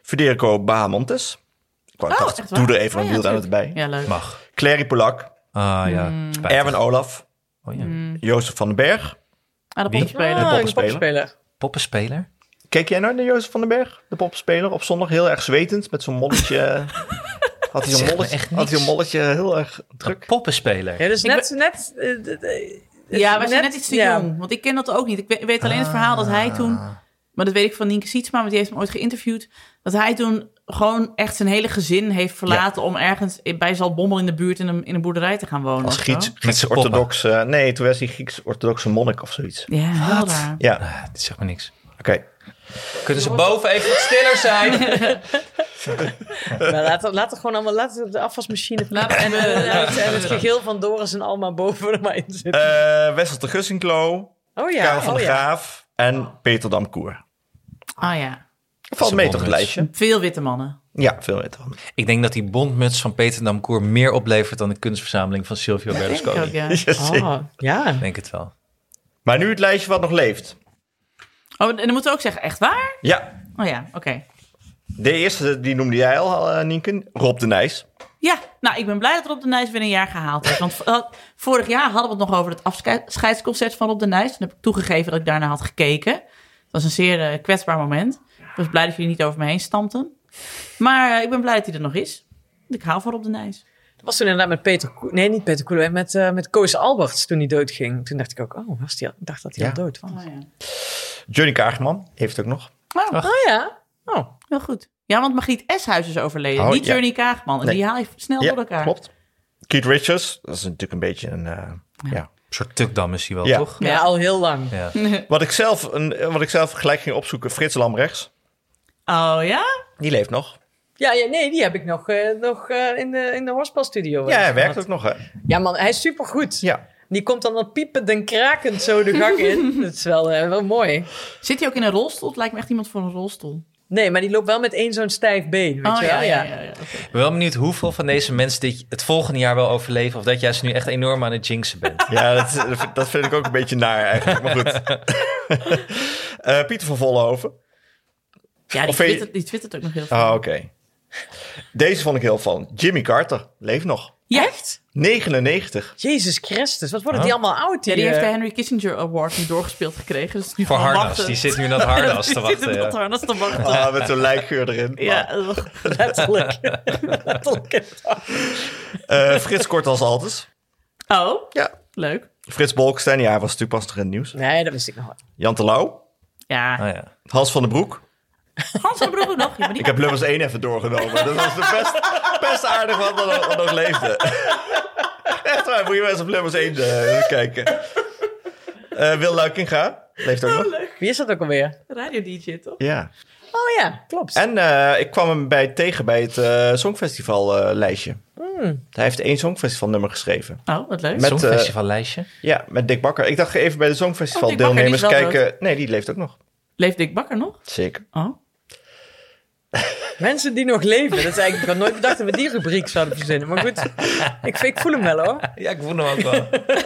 [SPEAKER 1] Federico Bahamontes. Ik wou- ik dacht,
[SPEAKER 2] echt waar?
[SPEAKER 1] doe er even
[SPEAKER 2] Mhm. Oh,
[SPEAKER 1] een
[SPEAKER 2] ja,
[SPEAKER 1] wielrenner
[SPEAKER 2] tuurlijk.
[SPEAKER 1] erbij.
[SPEAKER 2] Ja, leuk.
[SPEAKER 3] Mag.
[SPEAKER 1] Clary Polak,
[SPEAKER 3] Ah, ja. Spijtig.
[SPEAKER 1] Erwin Olaf,
[SPEAKER 3] Oh, ja.
[SPEAKER 1] Jozef van den Berg.
[SPEAKER 2] Ah, de
[SPEAKER 3] Wie?
[SPEAKER 2] poppenspeler.
[SPEAKER 4] Ah,
[SPEAKER 1] poppenspeler.
[SPEAKER 4] een poppenspeler.
[SPEAKER 3] Poppenspeler?
[SPEAKER 1] Keek jij nooit naar Jozef van den Berg, de popspeler? Op zondag heel erg zwetend, met zo'n molletje. had hij
[SPEAKER 3] Zegt
[SPEAKER 1] zo'n
[SPEAKER 3] me
[SPEAKER 1] molletje,
[SPEAKER 3] echt
[SPEAKER 1] had hij
[SPEAKER 3] niks.
[SPEAKER 1] een molletje heel erg druk.
[SPEAKER 3] Een poppenspeler.
[SPEAKER 4] Ja, dus
[SPEAKER 2] Ik
[SPEAKER 4] net... net eh, d- d-
[SPEAKER 2] Ja, wij zijn net
[SPEAKER 4] net-
[SPEAKER 2] iets te
[SPEAKER 4] ja.
[SPEAKER 2] jong. Want ik ken dat ook niet. Ik we- weet alleen het verhaal dat hij toen... Maar dat weet ik van Nienke Sietsma, want die heeft hem ooit geïnterviewd. Dat hij toen gewoon echt zijn hele gezin heeft verlaten... om ergens in- bij Zaltbommel in de buurt in een, in een boerderij te gaan wonen.
[SPEAKER 1] Als
[SPEAKER 2] of
[SPEAKER 1] Grieks,
[SPEAKER 2] zo.
[SPEAKER 1] Grieks-orthodox. eh, nou? nee, toen was hij Grieks-orthodoxe monnik of zoiets.
[SPEAKER 2] Ja, heel raar.
[SPEAKER 1] Ja,
[SPEAKER 3] Ah, dit zegt me niks.
[SPEAKER 1] oké.
[SPEAKER 3] Kunnen ze boven even wat stiller zijn?
[SPEAKER 4] Maar laat, het- laat het gewoon allemaal, laat het de afwasmachine
[SPEAKER 2] Laat het-
[SPEAKER 4] en, eh, en het, en het gegil van Doris en Alma boven er maar in zitten.
[SPEAKER 1] Eh, Wessel de Gussinklo,
[SPEAKER 4] oh ja,
[SPEAKER 1] Karel van
[SPEAKER 4] oh
[SPEAKER 1] de
[SPEAKER 4] ja.
[SPEAKER 1] Graaf en Peter Damkoer.
[SPEAKER 2] Ah ja,
[SPEAKER 1] Valt mee toch het
[SPEAKER 3] Bonus.
[SPEAKER 1] lijstje?
[SPEAKER 2] veel witte mannen.
[SPEAKER 1] Ja, veel meer dan.
[SPEAKER 3] ik denk dat die bondmuts van Peter Damcourt meer oplevert dan de kunstverzameling van Silvio Berlusconi.
[SPEAKER 2] Ook,
[SPEAKER 3] Ik
[SPEAKER 2] ja.
[SPEAKER 4] Oh, ja.
[SPEAKER 3] denk het wel.
[SPEAKER 1] Maar nu het lijstje wat nog leeft.
[SPEAKER 2] Oh, en dan moeten we ook zeggen, echt waar?
[SPEAKER 1] Ja,
[SPEAKER 2] Oh ja, oké.
[SPEAKER 1] de eerste die noemde jij al, eh, Nienken. Rob de Nijs.
[SPEAKER 2] Ja, nou, ik ben blij dat Rob de Nijs weer een jaar gehaald heeft. Want eh, vorig jaar hadden we het nog over het afscheidsconcert van Rob de Nijs. Toen heb ik toegegeven dat ik daarna had gekeken. Het was een zeer eh, kwetsbaar moment. Ik was blij dat jullie niet over me heen stampten. Maar eh, ik ben blij dat hij er nog is. Ik hou van Rob de Nijs.
[SPEAKER 4] Dat was toen inderdaad met Peter... Ko- Nee, niet Peter Koelewijn. Met, eh, met Koos Alberts toen hij doodging. Toen dacht ik ook, oh, was die al- ik dacht dat hij
[SPEAKER 1] Ja.
[SPEAKER 4] al dood was.
[SPEAKER 2] Oh ja.
[SPEAKER 1] Johnny Kaagman heeft het ook nog.
[SPEAKER 4] Oh ja? Oh,
[SPEAKER 2] heel goed. Ja, want Margriet Eshuis is overleden.
[SPEAKER 1] Oh,
[SPEAKER 2] niet
[SPEAKER 1] ja.
[SPEAKER 2] Journey Kaagman. En
[SPEAKER 1] Nee.
[SPEAKER 2] die haal je snel
[SPEAKER 1] ja,
[SPEAKER 2] door elkaar.
[SPEAKER 1] klopt. Keith Richards, dat is natuurlijk een beetje een... eh, ja.
[SPEAKER 3] Een soort tukdam is hij wel,
[SPEAKER 1] Ja.
[SPEAKER 3] toch?
[SPEAKER 4] ja, al heel lang.
[SPEAKER 3] Ja.
[SPEAKER 1] Wat, ik zelf een, eh, wat ik zelf gelijk ging opzoeken, Frits Lamrechts,
[SPEAKER 2] Oh ja?
[SPEAKER 1] die leeft nog.
[SPEAKER 4] Ja, ja nee, die heb ik nog, eh, nog eh, in de, in de hoorspelstudio.
[SPEAKER 1] Ja, hij
[SPEAKER 4] gehad.
[SPEAKER 1] werkt ook nog, hè?
[SPEAKER 4] Ja, man, hij is supergoed.
[SPEAKER 1] Ja.
[SPEAKER 4] Die komt dan al piepend en krakend zo de gang in. Dat is wel, eh, wel mooi.
[SPEAKER 2] Zit hij ook in een rolstoel? Het lijkt me echt iemand voor een rolstoel.
[SPEAKER 4] Nee, maar die loopt wel met één zo'n stijf been, weet
[SPEAKER 2] oh
[SPEAKER 4] je wel? Ja,
[SPEAKER 2] ja.
[SPEAKER 3] Ik ben wel benieuwd hoeveel van deze mensen dit het volgende jaar wel overleven. Of dat jij ze nu echt enorm aan het jinxen bent.
[SPEAKER 1] Ja, dat, dat vind ik ook een beetje naar eigenlijk, maar goed. Eh, Pieter van Vollenhoven.
[SPEAKER 2] Ja, die
[SPEAKER 1] Of vind je-
[SPEAKER 2] twittert, die twittert ook nog heel veel.
[SPEAKER 1] Ah, oké. Deze vond ik heel van. Jimmy Carter leeft nog.
[SPEAKER 2] Ja.
[SPEAKER 4] Echt?
[SPEAKER 1] 99.
[SPEAKER 4] Jezus Christus, wat worden die allemaal oud?
[SPEAKER 2] Ja, die
[SPEAKER 4] eh,
[SPEAKER 2] heeft de Henry Kissinger Award nu doorgespeeld gekregen. Dus nu
[SPEAKER 3] Voor
[SPEAKER 2] gewoon
[SPEAKER 3] harnas.
[SPEAKER 2] wachten.
[SPEAKER 3] Die zit nu in dat harnas te
[SPEAKER 2] Die zit
[SPEAKER 3] wachten.
[SPEAKER 2] op dat
[SPEAKER 3] ja. Oh,
[SPEAKER 2] harnas te wachten.
[SPEAKER 1] Ah, met zo'n lijkgeur erin.
[SPEAKER 2] Ja,
[SPEAKER 1] Ja.
[SPEAKER 2] ugh.
[SPEAKER 4] Letterlijk. Letterlijk.
[SPEAKER 1] Eh, Frits Kort als altijd.
[SPEAKER 2] Oh,
[SPEAKER 1] Ja.
[SPEAKER 2] leuk.
[SPEAKER 1] Frits Bolkestein, ja, hij was natuurlijk pas nog in het nieuws.
[SPEAKER 4] Nee, dat wist ik nog wel.
[SPEAKER 1] Jan de Lauw.
[SPEAKER 2] Ja.
[SPEAKER 3] Oh, ja.
[SPEAKER 1] Hans van den Broek.
[SPEAKER 2] Hans van Broek ook nog. Ja, maar die-
[SPEAKER 1] Ik heb Lubbers 1 even doorgenomen. Dat was de best, best aardig wat nog, wat nog leefde. Echt waar, moet je wel eens op Lubbers 1 eh, kijken. Eh, Wil Luikinga leeft
[SPEAKER 2] Oh,
[SPEAKER 1] ook nog.
[SPEAKER 4] Wie is dat ook alweer?
[SPEAKER 2] Radio DJ, toch?
[SPEAKER 1] Ja.
[SPEAKER 4] Oh ja, klopt.
[SPEAKER 1] En eh, ik kwam hem bij, tegen bij het eh, Songfestival eh, lijstje.
[SPEAKER 2] Hmm.
[SPEAKER 1] Hij heeft één Songfestival nummer geschreven.
[SPEAKER 2] Oh, wat leuk.
[SPEAKER 1] Met,
[SPEAKER 3] Zo'n
[SPEAKER 1] eh,
[SPEAKER 3] festivallijstje.
[SPEAKER 1] Ja, met Dick Bakker. Ik dacht even bij de Songfestival
[SPEAKER 2] Oh, Dick Bakker, die is
[SPEAKER 1] deelnemers
[SPEAKER 2] wel
[SPEAKER 1] kijken. Nee, die leeft ook nog.
[SPEAKER 2] Leeft Dick Bakker nog?
[SPEAKER 1] Zeker.
[SPEAKER 2] Oh.
[SPEAKER 4] Mensen die nog leven. Dat is eigenlijk, ik had nooit bedacht dat we die rubriek zouden verzinnen. Maar goed, ik, ik voel hem wel hoor.
[SPEAKER 3] Ja, ik voel hem ook wel.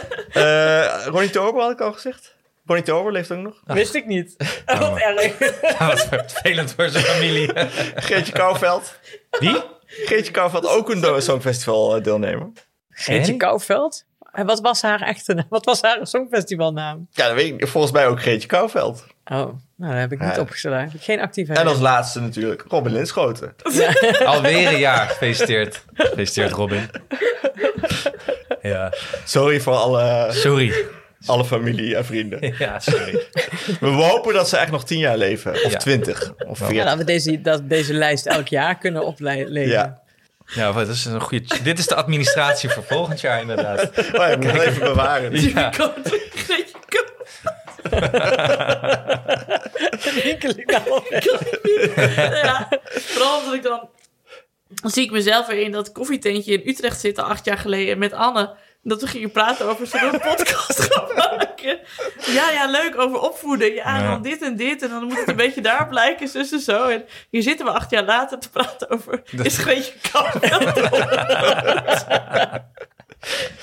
[SPEAKER 1] Eh Ronnie Tober had ik al gezegd. Ronnie Tober leeft ook nog.
[SPEAKER 4] Wist ik niet. Wat erg.
[SPEAKER 3] Wat vervelend voor zijn familie.
[SPEAKER 1] Geertje Kouwveld.
[SPEAKER 3] Wie?
[SPEAKER 1] Geertje Kouwveld, ook een do- Songfestival eh, deelnemer.
[SPEAKER 4] Geertje
[SPEAKER 3] Hè?
[SPEAKER 4] Kouwveld? En wat was haar echte naam? Wat was haar songfestivalnaam?
[SPEAKER 1] Ja, dat weet ik niet. Volgens mij ook Geertje Kouwveld.
[SPEAKER 4] Oh, nou, dat heb ik niet
[SPEAKER 1] Ja.
[SPEAKER 4] opgeslagen. Heb ik geen actief
[SPEAKER 1] En als
[SPEAKER 4] herinnering.
[SPEAKER 1] laatste natuurlijk Robin Linschoten.
[SPEAKER 3] Alweer een jaar. Gefeliciteerd. Gefeliciteerd, Robin. Ja,
[SPEAKER 1] Sorry voor alle,
[SPEAKER 3] sorry.
[SPEAKER 1] alle familie en vrienden.
[SPEAKER 3] Ja, sorry.
[SPEAKER 1] We hopen dat ze echt nog tien jaar leven. Of
[SPEAKER 3] Ja.
[SPEAKER 1] twintig. Of
[SPEAKER 4] Ja,
[SPEAKER 1] veertig.
[SPEAKER 4] Nou, dat we deze, dat deze lijst elk jaar kunnen oplezen.
[SPEAKER 1] Ja.
[SPEAKER 3] Ja, wat, dat is een goede... Dit is de administratie voor volgend jaar, inderdaad.
[SPEAKER 1] Oh, ja, ik moet het even bewaren.
[SPEAKER 3] Ja.
[SPEAKER 4] Rinkelijk nou.
[SPEAKER 2] ja, vooral omdat ik dan... Dan zie ik mezelf weer in dat koffietentje in Utrecht zitten acht jaar geleden met Anne. Dat we gingen praten over zo'n podcast gaan maken. Ja, ja, leuk, over opvoeden. Ja, en
[SPEAKER 3] Ja.
[SPEAKER 2] dan dit en dit. En dan moet het een beetje daarop lijken, zus en zo. En hier zitten we acht jaar later te praten over... Is Greetje Kouwveld opgevoed?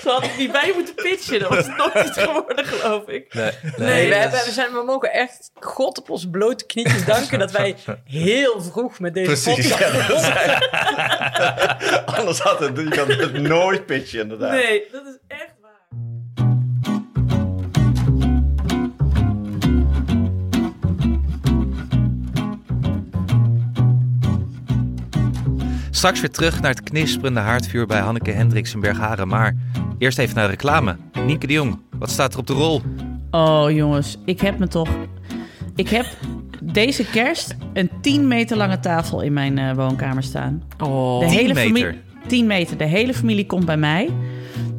[SPEAKER 2] Ze had ik niet bij moeten pitchen. Dat was nooit iets geworden, geloof ik.
[SPEAKER 3] Nee,
[SPEAKER 2] Nee,
[SPEAKER 4] we,
[SPEAKER 3] dat
[SPEAKER 4] hebben,
[SPEAKER 3] is-
[SPEAKER 4] we, zijn, we mogen echt God op onze blote knietjes danken dat wij heel vroeg met deze
[SPEAKER 1] Precies.
[SPEAKER 4] podcast...
[SPEAKER 1] ja, dat zijn- Anders had het, je kan het nooit pitchen, inderdaad.
[SPEAKER 2] Nee, dat is echt waar.
[SPEAKER 3] Straks weer terug naar het knisperende haardvuur bij Hanneke Hendricks in Bergharen. Maar eerst even naar de reclame. Nienke de Jong, wat staat er op de rol?
[SPEAKER 2] Oh jongens, ik heb me toch. Ik heb deze kerst een 10 meter lange tafel in mijn eh, woonkamer staan.
[SPEAKER 4] Oh.
[SPEAKER 2] De
[SPEAKER 3] 10
[SPEAKER 2] hele
[SPEAKER 3] meter?
[SPEAKER 2] familie. 10 meter. De hele familie komt bij mij.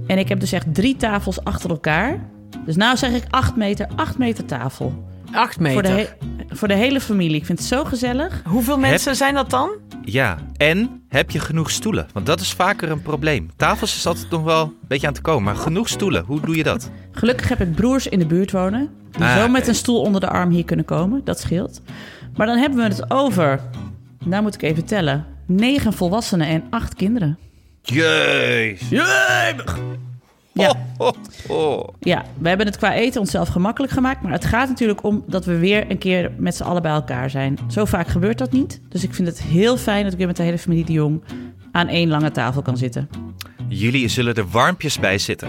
[SPEAKER 2] En ik heb dus echt drie tafels achter elkaar. Dus nou zeg ik 8 meter, 8 meter tafel.
[SPEAKER 4] Acht
[SPEAKER 2] Voor,
[SPEAKER 4] meter.
[SPEAKER 2] de he- voor de hele familie. Ik vind het zo gezellig.
[SPEAKER 4] Hoeveel mensen zijn dat dan?
[SPEAKER 3] Ja, en heb je genoeg stoelen? Want dat is vaker een probleem. Tafels is altijd nog wel een beetje aan te komen, maar genoeg stoelen, hoe doe je dat?
[SPEAKER 2] Gelukkig heb ik broers in de buurt wonen. Die
[SPEAKER 3] Ah,
[SPEAKER 2] zo met
[SPEAKER 3] oké.
[SPEAKER 2] een stoel onder de arm hier kunnen komen. Dat scheelt. Maar dan hebben we het over. Nou moet ik even tellen. 9 volwassenen en 8 kinderen.
[SPEAKER 3] Jeus!
[SPEAKER 2] Ja.
[SPEAKER 3] Ho, ho, ho.
[SPEAKER 2] Ja, we hebben het qua eten onszelf gemakkelijk gemaakt. Maar het gaat natuurlijk om dat we weer een keer met z'n allen bij elkaar zijn. Zo vaak gebeurt dat niet. Dus ik vind het heel fijn dat ik weer met de hele familie de Jong aan één lange tafel kan zitten.
[SPEAKER 5] Jullie zullen er warmpjes bij zitten.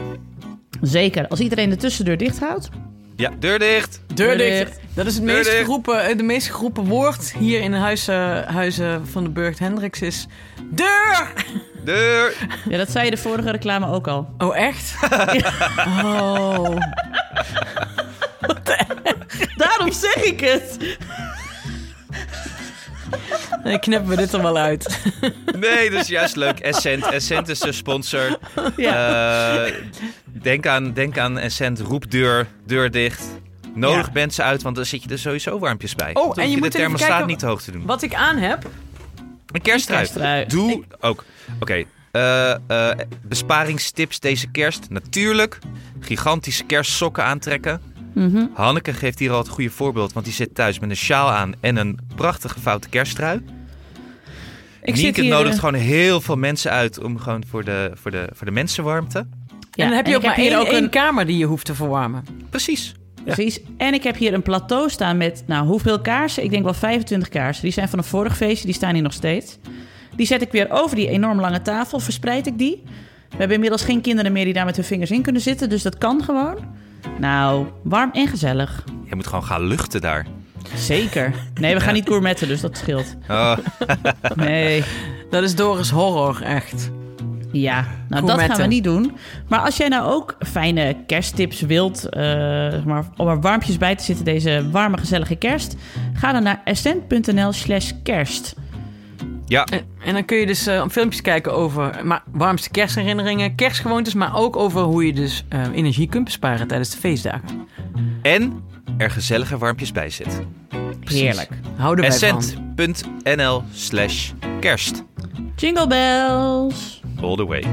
[SPEAKER 2] Zeker, als iedereen de tussendeur dicht houdt.
[SPEAKER 5] Ja, deur dicht.
[SPEAKER 6] Deur
[SPEAKER 2] Deur dicht.
[SPEAKER 6] dicht. Dat is het
[SPEAKER 5] Deur
[SPEAKER 6] meest
[SPEAKER 5] dicht.
[SPEAKER 6] geroepen, eh, de meest geroepen woord hier in huizen, huizen van de Burgt Hendricks is... Deur!
[SPEAKER 5] Deur.
[SPEAKER 2] Ja, dat zei je de vorige reclame ook al.
[SPEAKER 6] Oh, echt? Oh.
[SPEAKER 2] Daarom zeg ik het.
[SPEAKER 6] Dan knippen we dit er wel uit.
[SPEAKER 5] Nee, dat is juist leuk. Essent. Essent is de sponsor.
[SPEAKER 2] Ja.
[SPEAKER 5] Eh, denk, aan, denk aan Essent. Roep deur. Deur dicht. Nodig mensen uit, want dan zit je er sowieso warmpjes bij.
[SPEAKER 6] Oh,
[SPEAKER 5] Dan
[SPEAKER 6] en
[SPEAKER 5] hoef
[SPEAKER 6] je moet
[SPEAKER 5] de
[SPEAKER 6] even
[SPEAKER 5] thermostaat
[SPEAKER 6] kijken-
[SPEAKER 5] niet te hoog te doen.
[SPEAKER 6] Wat ik aan heb...
[SPEAKER 5] Een kersttrui.
[SPEAKER 2] kersttrui.
[SPEAKER 5] Doe ook. Oké. eh, eh, besparingstips deze kerst. Natuurlijk. Gigantische kerstsokken aantrekken.
[SPEAKER 2] Mhm.
[SPEAKER 5] Hanneke geeft hier al het goede voorbeeld. Want die zit thuis met een sjaal aan en een prachtige foute kersttrui.
[SPEAKER 2] Ik
[SPEAKER 5] Nienke
[SPEAKER 2] eh,
[SPEAKER 5] nodigt gewoon heel veel mensen uit om gewoon voor de, voor de, voor de mensen warmte.
[SPEAKER 2] ja,
[SPEAKER 6] en dan heb je ook
[SPEAKER 2] ik
[SPEAKER 6] maar
[SPEAKER 2] hier
[SPEAKER 6] één,
[SPEAKER 2] ook
[SPEAKER 6] één kamer die je hoeft te verwarmen.
[SPEAKER 5] Precies.
[SPEAKER 2] Precies. En ik heb hier een plateau staan met, nou, hoeveel kaarsen? Ik denk wel 25 kaarsen. Die zijn van een vorig feestje, die staan hier nog steeds. Die zet ik weer over die enorm lange tafel, verspreid ik die. We hebben inmiddels geen kinderen meer die daar met hun vingers in kunnen zitten, dus dat kan gewoon. Nou, warm en gezellig.
[SPEAKER 5] Je moet gewoon gaan luchten daar.
[SPEAKER 2] Zeker. Nee, we gaan niet gourmetten, dus dat scheelt.
[SPEAKER 5] Oh,
[SPEAKER 2] Nee.
[SPEAKER 6] Dat is Doris horror, echt.
[SPEAKER 2] Ja, nou dat gaan we
[SPEAKER 6] Gourmetten.
[SPEAKER 2] niet doen. Maar als jij nou ook fijne kersttips wilt, eh, zeg maar, om er warmpjes bij te zitten deze warme, gezellige kerst, ga dan naar essent.nl slash kerst.
[SPEAKER 5] ja.
[SPEAKER 4] Eh.
[SPEAKER 6] En, en dan kun je dus eh, filmpjes kijken over maar, warmste kerstherinneringen, kerstgewoontes, maar ook over hoe je dus eh, energie kunt besparen tijdens de feestdagen.
[SPEAKER 5] En er gezellige warmpjes bij zit.
[SPEAKER 2] Heerlijk.
[SPEAKER 6] Houden wij van.
[SPEAKER 5] Essent.nl slash kerst.
[SPEAKER 2] Jingle bells.
[SPEAKER 5] All the way.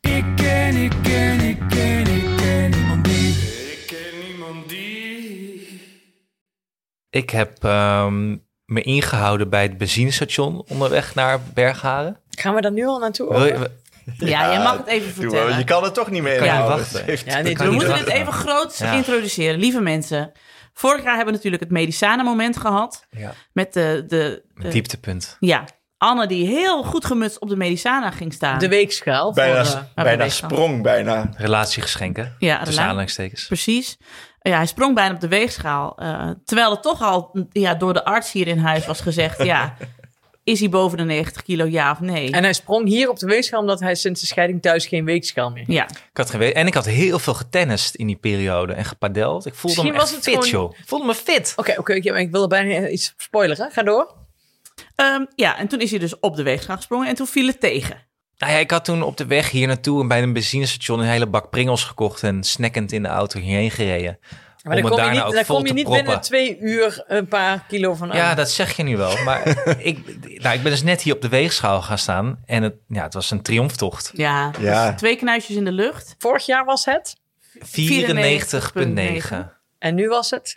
[SPEAKER 7] Ik ken, ik ken, ik ken, ik ken niemand die.
[SPEAKER 3] Ik heb ehm, me ingehouden bij het benzinestation onderweg naar Bergharen.
[SPEAKER 4] Gaan we daar nu al naartoe?
[SPEAKER 3] Wil je-
[SPEAKER 4] Orne?
[SPEAKER 2] Ja, jij mag het
[SPEAKER 1] Doe
[SPEAKER 2] even
[SPEAKER 1] maar, want
[SPEAKER 2] vertellen.
[SPEAKER 1] je kan het toch niet meer
[SPEAKER 3] Kan je
[SPEAKER 1] inhouden.
[SPEAKER 3] wachten?
[SPEAKER 1] Het heeft-
[SPEAKER 4] Ja, dit
[SPEAKER 3] kan
[SPEAKER 2] We
[SPEAKER 3] niet
[SPEAKER 2] moeten
[SPEAKER 3] wachten.
[SPEAKER 2] dit even groot
[SPEAKER 3] Ja.
[SPEAKER 2] introduceren. Lieve mensen, vorig jaar hebben we natuurlijk het Medicijnen-moment gehad.
[SPEAKER 3] Ja.
[SPEAKER 2] Met de, de,
[SPEAKER 4] Eh.
[SPEAKER 2] de-
[SPEAKER 3] Dieptepunt.
[SPEAKER 2] ja, Anne die heel goed gemutst op de Medicijnen ging staan.
[SPEAKER 4] De weegschaal.
[SPEAKER 1] Bijna,
[SPEAKER 4] voor, eh,
[SPEAKER 1] bijna
[SPEAKER 2] weegschaal.
[SPEAKER 1] sprong, bijna.
[SPEAKER 3] Relatiegeschenken.
[SPEAKER 2] ja,
[SPEAKER 3] Tussen
[SPEAKER 2] Rela-
[SPEAKER 3] aanhalingstekens.
[SPEAKER 2] Precies. Ja, hij sprong bijna op de weegschaal. eh, terwijl het toch al ja, door de arts hier in huis was gezegd... ja, is hij boven de 90 kilo, ja of nee?
[SPEAKER 4] eh, En hij sprong hier op de weegschaal omdat hij sinds de scheiding thuis geen weegschaal meer
[SPEAKER 2] ja,
[SPEAKER 3] Ik had geen weet. En ik had heel veel getennist in die periode en gepadeld. Ik voelde
[SPEAKER 4] Misschien
[SPEAKER 3] me echt
[SPEAKER 4] was het
[SPEAKER 3] fit,
[SPEAKER 4] gewoon-
[SPEAKER 3] joh. Ik voelde me fit.
[SPEAKER 4] Oké, oké, ja, maar ik wilde bijna iets spoileren. Ga door.
[SPEAKER 2] Ehm, ja, en toen is hij dus op de weegschaal gesprongen en toen viel het tegen.
[SPEAKER 3] Nou ja, ik had toen op de weg hier naartoe en bij een benzinestation een hele bak pringels gekocht en snackend in de auto hierheen gereden.
[SPEAKER 4] Maar
[SPEAKER 3] om het
[SPEAKER 4] dan kom je
[SPEAKER 3] daarna
[SPEAKER 4] niet,
[SPEAKER 3] ook
[SPEAKER 4] dan
[SPEAKER 3] vol
[SPEAKER 4] kom je
[SPEAKER 3] te
[SPEAKER 4] niet
[SPEAKER 3] proppen.
[SPEAKER 4] binnen twee uur een paar kilo van aan.
[SPEAKER 3] Ja, dat zeg je nu wel. Maar ik, nou, ik ben dus net hier op de weegschaal gaan staan en het, ja, het was een triomftocht. 94,9.
[SPEAKER 2] Ja,
[SPEAKER 1] Ja.
[SPEAKER 2] dus twee knuisjes in de lucht.
[SPEAKER 4] Vorig jaar was het.
[SPEAKER 3] 91,2.
[SPEAKER 4] En nu was het.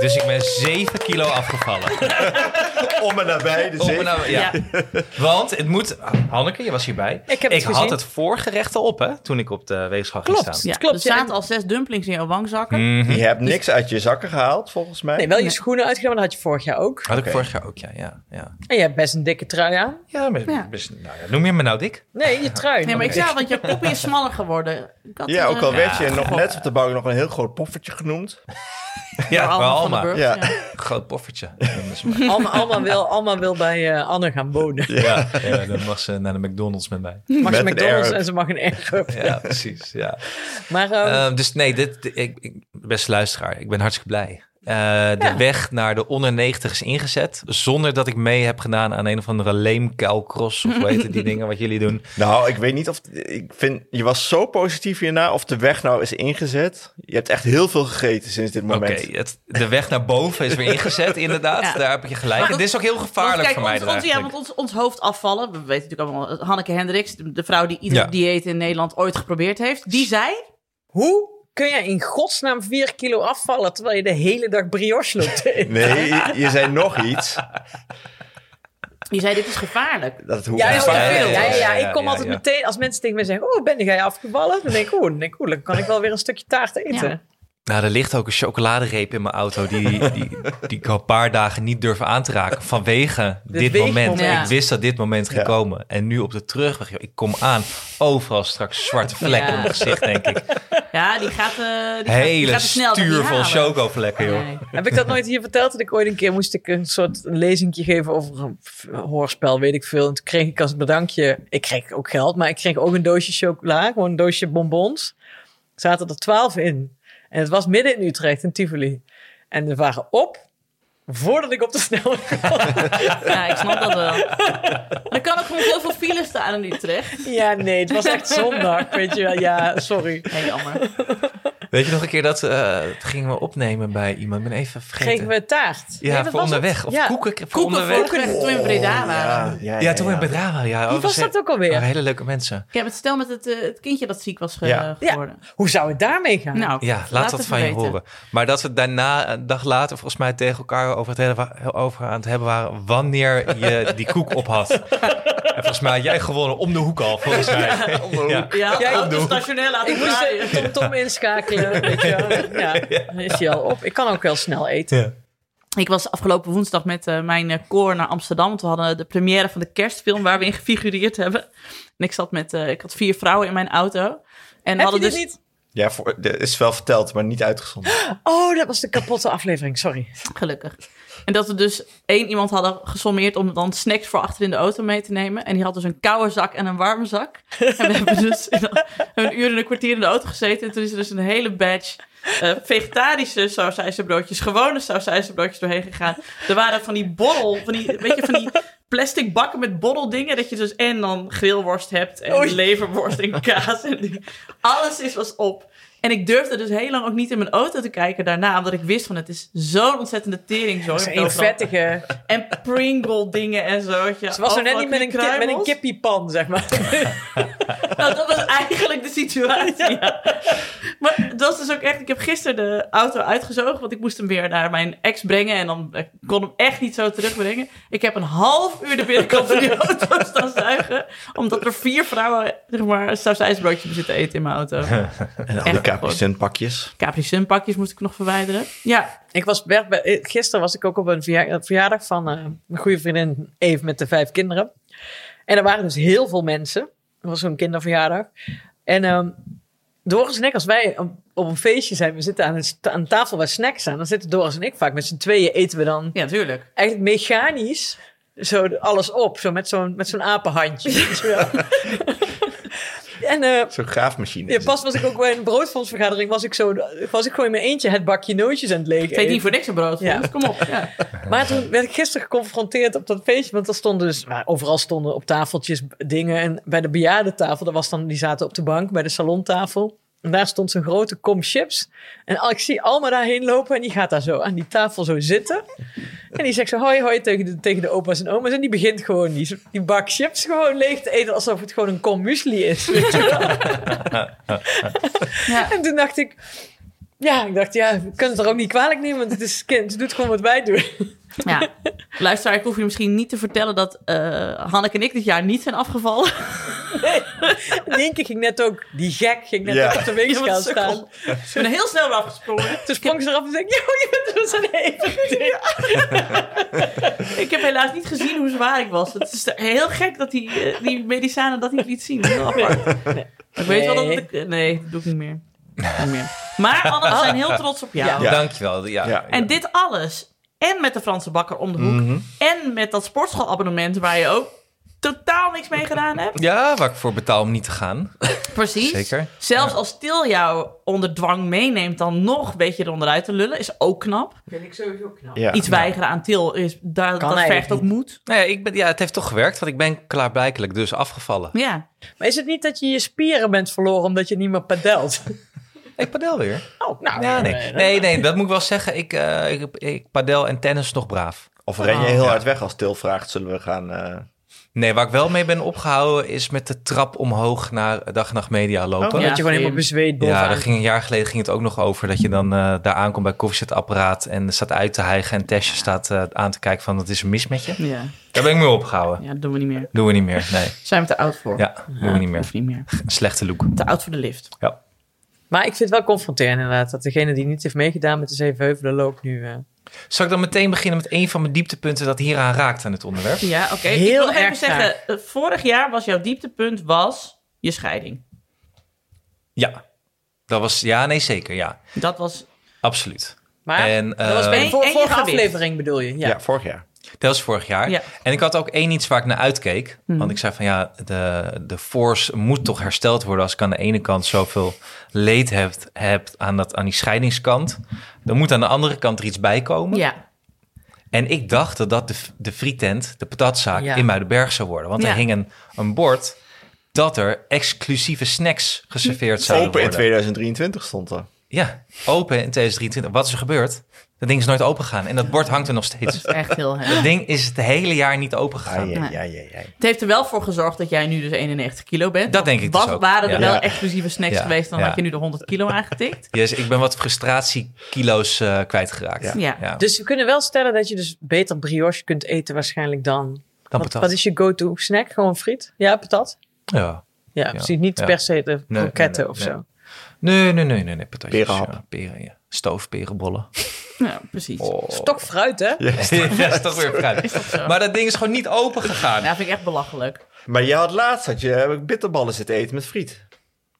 [SPEAKER 3] Dus ik ben 7 kilo afgevallen.
[SPEAKER 1] Om en nabij, de
[SPEAKER 3] Op
[SPEAKER 1] zee.
[SPEAKER 3] en aan- ja. Want het moet... Hanneke, je was hierbij.
[SPEAKER 4] Ik heb het gezien.
[SPEAKER 3] had het voorgerecht al op, hè, toen ik op de weegschaal ging
[SPEAKER 4] Klopt.
[SPEAKER 3] staan.
[SPEAKER 2] Ja,
[SPEAKER 4] klopt,
[SPEAKER 2] er
[SPEAKER 4] ja.
[SPEAKER 2] zaten al zes dumplings in jouw wangzakken.
[SPEAKER 3] Mhm.
[SPEAKER 1] Je hebt niks uit je zakken gehaald, volgens mij.
[SPEAKER 4] Nee, wel je schoenen uitgedaan, maar dat had je vorig jaar ook.
[SPEAKER 3] Had ik
[SPEAKER 1] Oké.
[SPEAKER 3] vorig jaar ook, ja. Ja, ja.
[SPEAKER 4] En je hebt best een dikke trui aan.
[SPEAKER 3] ja, maar,
[SPEAKER 2] Ja.
[SPEAKER 3] best- nou ja, noem je me nou dik?
[SPEAKER 4] Nee, je trui.
[SPEAKER 2] Nee, maar ik
[SPEAKER 4] Oké.
[SPEAKER 2] zei, want je poppie is smaller geworden. Ik had,
[SPEAKER 1] Ja,
[SPEAKER 2] eh,
[SPEAKER 1] ook al werd je
[SPEAKER 3] Ja.
[SPEAKER 1] nog net op de bank nog een heel groot poffertje genoemd.
[SPEAKER 3] Ja,
[SPEAKER 2] Alma
[SPEAKER 3] wel
[SPEAKER 2] van den
[SPEAKER 3] Alma.
[SPEAKER 2] Burg,
[SPEAKER 1] Ja.
[SPEAKER 2] ja.
[SPEAKER 3] Groot poffertje. Dat is maar-
[SPEAKER 4] Alma, Alma wil, Alma wil bij eh, Anne gaan wonen.
[SPEAKER 3] ja, ja, dan mag ze naar de McDonald's met mij.
[SPEAKER 4] Mag ze
[SPEAKER 1] Met een
[SPEAKER 4] McDonald's
[SPEAKER 1] Arab.
[SPEAKER 4] en ze mag een Arab.
[SPEAKER 3] Ja, precies. Ja.
[SPEAKER 4] Maar eh,
[SPEAKER 3] Eh, dus nee, dit, dit- ik, ik, beste luisteraar, ik ben hartstikke blij. Eh, de weg naar de onder 90 is ingezet. Zonder dat ik mee heb gedaan aan een of andere leemkuilcross. Of weet het, die dingen wat jullie doen.
[SPEAKER 1] Nou, ik weet niet of... Ik vind, je was zo positief hierna of de weg nou is ingezet. Je hebt echt heel veel gegeten sinds dit
[SPEAKER 3] Oké,
[SPEAKER 1] moment.
[SPEAKER 3] het- de weg naar boven is weer ingezet, inderdaad.
[SPEAKER 2] Ja.
[SPEAKER 3] Daar heb je gelijk.
[SPEAKER 2] Maar
[SPEAKER 3] En
[SPEAKER 2] dat-
[SPEAKER 3] dit is ook heel
[SPEAKER 2] Want
[SPEAKER 3] gevaarlijk
[SPEAKER 2] kijk,
[SPEAKER 3] voor mij.
[SPEAKER 2] ons,
[SPEAKER 3] dan
[SPEAKER 2] ons, ja,
[SPEAKER 3] eigenlijk.
[SPEAKER 2] want ons, ons hoofd afvallen. We weten natuurlijk allemaal, Hanneke Hendricks, de, de vrouw die ieder
[SPEAKER 3] Ja.
[SPEAKER 2] dieet in Nederland ooit geprobeerd heeft, die zei.
[SPEAKER 4] hoe kun jij in godsnaam vier kilo afvallen terwijl je de hele dag brioche loopt? te eten?
[SPEAKER 1] Nee, je, je zei nog iets.
[SPEAKER 2] Je zei, dit is gevaarlijk.
[SPEAKER 1] Dat hoe
[SPEAKER 4] Ja,
[SPEAKER 1] ja,
[SPEAKER 4] ja,
[SPEAKER 3] ja,
[SPEAKER 4] ja,
[SPEAKER 3] ja, ja,
[SPEAKER 4] ja, ja.
[SPEAKER 3] ja,
[SPEAKER 4] ik kom
[SPEAKER 3] ja,
[SPEAKER 4] altijd
[SPEAKER 3] ja.
[SPEAKER 4] meteen, als mensen tegen mij zeggen, oh, ben jij afgevallen? Dan denk ik, oeh, dan denk ik, oeh, dan kan ik wel weer een stukje taart eten.
[SPEAKER 2] Ja.
[SPEAKER 3] Nou, er ligt ook een chocoladereep in mijn auto die, die, die ik al een paar dagen niet durf aan te raken vanwege dit
[SPEAKER 4] weegmoment.
[SPEAKER 3] moment.
[SPEAKER 2] Ja.
[SPEAKER 3] Ik wist dat dit moment ging
[SPEAKER 1] Ja.
[SPEAKER 3] komen. En nu op de terugweg, joh, ik kom aan, overal straks zwarte vlekken
[SPEAKER 2] Ja.
[SPEAKER 3] op mijn gezicht, denk ik.
[SPEAKER 2] Ja, die gaat, eh die gaat, die
[SPEAKER 3] Hele
[SPEAKER 2] gaat er snel dan
[SPEAKER 3] stuur
[SPEAKER 2] die
[SPEAKER 3] vol
[SPEAKER 2] halen.
[SPEAKER 3] chocovlekken, joh.
[SPEAKER 2] Nee.
[SPEAKER 4] Heb ik dat nooit hier verteld? Dat ik ooit een keer moest ik een soort lezingje geven over een f- hoorspel, weet ik veel. En toen kreeg ik als bedankje, ik kreeg ook geld, maar ik kreeg ook een doosje chocola, gewoon een doosje bonbons. Er zaten er twaalf in. En het was midden in Utrecht, in Tivoli. En we waren op, voordat ik op de snelweg
[SPEAKER 2] Ja, ik snap dat wel. Er kan ook gewoon heel veel file staan in Utrecht.
[SPEAKER 4] Ja, nee, het was echt zondag, weet je wel. Ja, sorry.
[SPEAKER 2] Nee, jammer.
[SPEAKER 3] Weet je nog een keer dat eh, het gingen we opnemen bij iemand? Ik ben even vergeten.
[SPEAKER 4] Kregen we taart.
[SPEAKER 3] Ja,
[SPEAKER 4] Nee, dat
[SPEAKER 3] voor
[SPEAKER 4] was
[SPEAKER 3] onderweg.
[SPEAKER 4] het.
[SPEAKER 3] Of
[SPEAKER 4] Ja.
[SPEAKER 3] koeken, voor
[SPEAKER 2] Koeken
[SPEAKER 3] onderweg.
[SPEAKER 2] voor toen we in Breda
[SPEAKER 1] Ah,
[SPEAKER 2] waren.
[SPEAKER 3] Ja, toen we in Breda waren. Ja, oh,
[SPEAKER 4] Wie was dat ook alweer?
[SPEAKER 3] hele leuke mensen.
[SPEAKER 2] Ik heb het stel met het, eh, het kindje dat ziek was ge-
[SPEAKER 1] Ja.
[SPEAKER 2] geworden.
[SPEAKER 4] Hoe zou het daarmee gaan?
[SPEAKER 2] Nou,
[SPEAKER 3] Ja, laat, dat
[SPEAKER 2] het
[SPEAKER 3] van je
[SPEAKER 2] weten.
[SPEAKER 3] horen. Maar dat we daarna, een dag later, volgens mij tegen elkaar over het hele wa- over aan het hebben waren. wanneer je die koek op had. En volgens mij had jij gewonnen om de hoek al, volgens mij. Ja.
[SPEAKER 2] Ja,
[SPEAKER 4] Jij
[SPEAKER 2] ja
[SPEAKER 4] doet.
[SPEAKER 2] stationeel laten
[SPEAKER 4] ik moest
[SPEAKER 2] draaien.
[SPEAKER 4] even Tom Tom inschakelen. Weet je wel. Ja, dan is hij al op. Ik kan ook wel snel eten.
[SPEAKER 2] Ik was afgelopen woensdag met eh, mijn eh, koor naar Amsterdam. Want we hadden de première van de kerstfilm waar we in gefigureerd hebben. En ik zat met, eh, ik had vier vrouwen in mijn auto. En we
[SPEAKER 4] Heb je
[SPEAKER 2] hadden
[SPEAKER 4] dit
[SPEAKER 2] dus,
[SPEAKER 4] niet?
[SPEAKER 1] Ja, voor, dit is wel verteld, maar niet uitgezonden.
[SPEAKER 4] Oh, dat was de kapotte aflevering. Sorry.
[SPEAKER 2] Gelukkig. En dat we dus één iemand hadden gesommeerd om dan snacks voor achter in de auto mee te nemen. En die had dus een koude zak en een warme zak. En we hebben dus in een- een uur en een kwartier in de auto gezeten. En toen is er dus een hele badge eh, vegetarische sausijzenbroodjes, gewone sausijzenbroodjes doorheen gegaan. Er waren van die borrel, van die, weet je, van die plastic bakken met borreldingen. Dat je dus en dan grillworst hebt en
[SPEAKER 4] Oei.
[SPEAKER 2] leverworst en kaas. En die- alles is, was op. En ik durfde dus heel lang ook niet in mijn auto te kijken daarna. Omdat ik wist van het is zo'n ontzettende tering. Zo.
[SPEAKER 4] Dat is een vettige.
[SPEAKER 2] En Pringle dingen en zo. weet je.
[SPEAKER 4] Ze was er net
[SPEAKER 2] Overal
[SPEAKER 4] niet met een, kip, met een
[SPEAKER 2] kruimels.
[SPEAKER 4] kippiepan, zeg maar.
[SPEAKER 2] Nou, dat was eigenlijk de situatie. ja. Maar dat is dus ook echt. Ik heb gisteren de auto uitgezogen, want ik moest hem weer naar mijn ex brengen. En dan ik kon hem echt niet zo terugbrengen. Ik heb een half uur de binnenkant van die auto staan zuigen. Omdat er vier vrouwen, zeg maar, een sausijsbroodje zitten eten in mijn auto.
[SPEAKER 1] En al
[SPEAKER 2] Echt
[SPEAKER 1] die
[SPEAKER 2] goed.
[SPEAKER 1] Capri Sun pakjes.
[SPEAKER 2] Capri Sun pakjes moest ik nog verwijderen. Ja,
[SPEAKER 4] Ik was, werd bij- eh, gisteren was ik ook op een verja- een verjaardag van eh, mijn goede vriendin Eve met de vijf kinderen. En er waren dus heel veel mensen. Dat was zo'n kinderverjaardag. En ehm Doris en ik, als wij op, op een feestje zijn, we zitten aan een, sta- aan een tafel waar snacks aan. Dan zitten Doris en ik vaak met z'n tweeën eten we dan
[SPEAKER 2] ja, tuurlijk.
[SPEAKER 4] eigenlijk mechanisch zo alles op. Zo met zo'n, met zo'n apenhandje. weet je wel. en eh,
[SPEAKER 1] Zo'n graafmachine.
[SPEAKER 4] ja, pas was ik ook bij een broodfondsvergadering, was ik, zo, was ik gewoon in mijn eentje het bakje nootjes aan het leeg.
[SPEAKER 2] Ik weet niet voor niks een brood. dus
[SPEAKER 4] Ja.
[SPEAKER 2] Kom op. Ja.
[SPEAKER 4] Maar toen werd ik gisteren geconfronteerd op dat feestje. Want er stonden dus, nou, overal stonden op tafeltjes dingen. En bij de bejaardentafel, daar was dan, die zaten op de bank bij de salontafel. En daar stond zo'n grote kom chips. En al- ik zie Alma daarheen lopen en die gaat daar zo aan die tafel zo zitten. En die zegt zo hoi hoi tegen de, tegen de opa's en oma's. En die begint gewoon die, die bak chips gewoon leeg te eten alsof het gewoon een kom muesli is. weet je wel.
[SPEAKER 2] Ja.
[SPEAKER 4] En toen dacht ik, ja, ik dacht ja, we kunnen het er ook niet kwalijk nemen. Want het is kind, ze doet gewoon wat wij doen.
[SPEAKER 2] Ja. Luisteraar, ik hoef je misschien niet te vertellen dat eh Hanneke en ik dit jaar niet zijn afgevallen.
[SPEAKER 4] Nienke ging net ook, die gek ging net
[SPEAKER 1] Ja.
[SPEAKER 4] ook op de weegschaal
[SPEAKER 2] Ja, wat een
[SPEAKER 4] staan.
[SPEAKER 2] sukkel. Ik ben er heel snel weer afgesprongen.
[SPEAKER 4] Toen sprong ze eraf en zei: ik, Yo, je bent dus een even
[SPEAKER 2] Ik heb helaas niet gezien hoe zwaar ik was. Het is heel gek dat die, eh, die medicijnen dat niet liet zien. Heel apart. Ik weet wel dat het... Nee, dat doe ik niet meer. Niet meer. Maar Anne, we zijn heel trots op jou.
[SPEAKER 4] Ja.
[SPEAKER 1] Ja.
[SPEAKER 3] Oh, Dankjewel. Ja.
[SPEAKER 1] Ja.
[SPEAKER 2] En dit alles. En met de Franse bakker om de hoek.
[SPEAKER 1] Mhm.
[SPEAKER 2] En met dat sportschoolabonnement waar je ook totaal niks mee gedaan hebt.
[SPEAKER 3] Ja, waar ik voor betaal om niet te gaan.
[SPEAKER 2] Precies.
[SPEAKER 3] Zeker.
[SPEAKER 2] Zelfs als Til jou onder dwang meeneemt, dan nog een beetje eronderuit te lullen, is ook knap.
[SPEAKER 6] Vind ik sowieso knap.
[SPEAKER 1] Ja.
[SPEAKER 2] Iets weigeren aan Til, is, daar, dat
[SPEAKER 4] eigenlijk
[SPEAKER 2] vergt ook moed.
[SPEAKER 3] Nou ja, ik ben, ja, het heeft toch gewerkt, want ik ben klaarblijkelijk dus afgevallen.
[SPEAKER 2] Ja.
[SPEAKER 4] Maar is het niet dat je je spieren bent verloren omdat je niet meer padelt?
[SPEAKER 3] Ik padel weer.
[SPEAKER 4] Oh, nou.
[SPEAKER 3] Ja, Ah, nee. nee, nee, dat moet ik wel zeggen. Ik, eh, ik, ik padel en tennis nog braaf.
[SPEAKER 1] Of ren je heel
[SPEAKER 3] Ja.
[SPEAKER 1] hard weg als Til vraagt, zullen we gaan... eh,
[SPEAKER 3] Nee, waar ik wel mee ben opgehouden is met de trap omhoog naar dag en nacht media lopen.
[SPEAKER 4] Omdat
[SPEAKER 6] Ja,
[SPEAKER 4] je gewoon helemaal
[SPEAKER 6] slim.
[SPEAKER 4] bezweet
[SPEAKER 3] Ja,
[SPEAKER 4] bovenaan.
[SPEAKER 3] daar ging, een jaar geleden ging het ook nog over. Dat je dan eh, daar aankomt bij het koffiezetapparaat en staat uit te hijgen. En Tasje staat eh, aan te kijken van, wat is er mis met je?
[SPEAKER 2] Ja.
[SPEAKER 3] Daar ben ik mee opgehouden.
[SPEAKER 2] ja, dat doen we niet meer.
[SPEAKER 3] Doen we niet meer, nee.
[SPEAKER 2] Zijn we te oud voor?
[SPEAKER 3] Ja, doen we niet meer.
[SPEAKER 2] Hoeft niet meer.
[SPEAKER 3] Een slechte look.
[SPEAKER 2] Te oud voor de lift.
[SPEAKER 3] Ja.
[SPEAKER 4] Maar ik vind het wel confronterend inderdaad. Dat degene die niet heeft meegedaan met de Zevenheuvelen loopt nu... eh,
[SPEAKER 3] Zal ik dan meteen beginnen met een van mijn dieptepunten dat hieraan raakt aan het onderwerp?
[SPEAKER 2] Ja, oké. Ik
[SPEAKER 4] Heel
[SPEAKER 2] wil nog even
[SPEAKER 4] erg graag.
[SPEAKER 2] zeggen, eh, vorig jaar was jouw dieptepunt was je scheiding.
[SPEAKER 3] Ja. Dat was, ja, nee, zeker, ja.
[SPEAKER 2] Dat was
[SPEAKER 3] Absoluut.
[SPEAKER 4] maar
[SPEAKER 3] En,
[SPEAKER 4] dat was bij
[SPEAKER 2] eh,
[SPEAKER 4] de vor-
[SPEAKER 2] en je
[SPEAKER 4] vorige
[SPEAKER 2] gewicht.
[SPEAKER 4] aflevering bedoel je. Ja.
[SPEAKER 1] Ja, vorig jaar.
[SPEAKER 3] Dat was vorig jaar.
[SPEAKER 2] Ja. Mhm.
[SPEAKER 3] En ik had ook één iets waar ik naar uitkeek. Want ik zei van ja, de, de force moet toch hersteld worden. Als ik aan de ene kant zoveel leed heb, heb aan, dat, aan die scheidingskant. Dan moet aan de andere kant er iets bij komen.
[SPEAKER 2] ja.
[SPEAKER 3] En ik dacht dat dat de, de frietent, de patatzaak
[SPEAKER 4] Ja.
[SPEAKER 3] in Muidenberg zou worden. Want
[SPEAKER 2] Ja.
[SPEAKER 3] er hing een, een bord dat er exclusieve snacks geserveerd zouden
[SPEAKER 1] Open in
[SPEAKER 3] worden.
[SPEAKER 1] 2023 stond dat.
[SPEAKER 3] Ja, open in 2023. Wat is er gebeurd? Dat ding is nooit open gegaan. En dat bord hangt er nog steeds.
[SPEAKER 2] Echt heel
[SPEAKER 3] Dat
[SPEAKER 2] heftig.
[SPEAKER 3] ding is het hele jaar niet open gegaan.
[SPEAKER 1] Ai, ai,
[SPEAKER 2] Nee.
[SPEAKER 1] ai, ai, ai.
[SPEAKER 2] Het heeft er wel voor gezorgd dat jij nu dus 91 kilo bent.
[SPEAKER 3] Dat denk ik
[SPEAKER 2] was,
[SPEAKER 3] dus ook.
[SPEAKER 2] Waren er
[SPEAKER 3] Ja.
[SPEAKER 2] wel
[SPEAKER 1] Ja.
[SPEAKER 2] exclusieve snacks
[SPEAKER 3] Ja.
[SPEAKER 2] geweest, dan
[SPEAKER 3] Ja.
[SPEAKER 2] had je nu de 100 kilo aangetikt.
[SPEAKER 3] Yes, ik ben wat frustratiekilo's eh, kwijtgeraakt.
[SPEAKER 1] Ja.
[SPEAKER 2] Ja.
[SPEAKER 4] Dus we kunnen wel stellen dat je dus beter brioche kunt eten waarschijnlijk dan...
[SPEAKER 3] dan
[SPEAKER 4] Wat,
[SPEAKER 3] patat.
[SPEAKER 4] wat is je go-to snack? Gewoon friet? Ja, patat?
[SPEAKER 3] Ja.
[SPEAKER 4] Ja, precies. Niet
[SPEAKER 3] ja.
[SPEAKER 4] per se de
[SPEAKER 3] nee,
[SPEAKER 4] kroketten
[SPEAKER 3] nee,
[SPEAKER 4] of
[SPEAKER 3] nee.
[SPEAKER 4] zo.
[SPEAKER 3] Nee, nee, nee, nee, nee. Patatjes,
[SPEAKER 1] Perenhap.
[SPEAKER 3] ja, peren, ja. Stoofperenbollen.
[SPEAKER 2] Ja, precies.
[SPEAKER 3] Oh.
[SPEAKER 4] Is toch fruit, hè?
[SPEAKER 3] dat is toch weer fruit.
[SPEAKER 2] zo?
[SPEAKER 3] Maar dat ding is gewoon niet open gegaan.
[SPEAKER 2] Ja, vind ik echt belachelijk.
[SPEAKER 1] Maar je had laatst had je eh, bitterballen zitten eten met friet.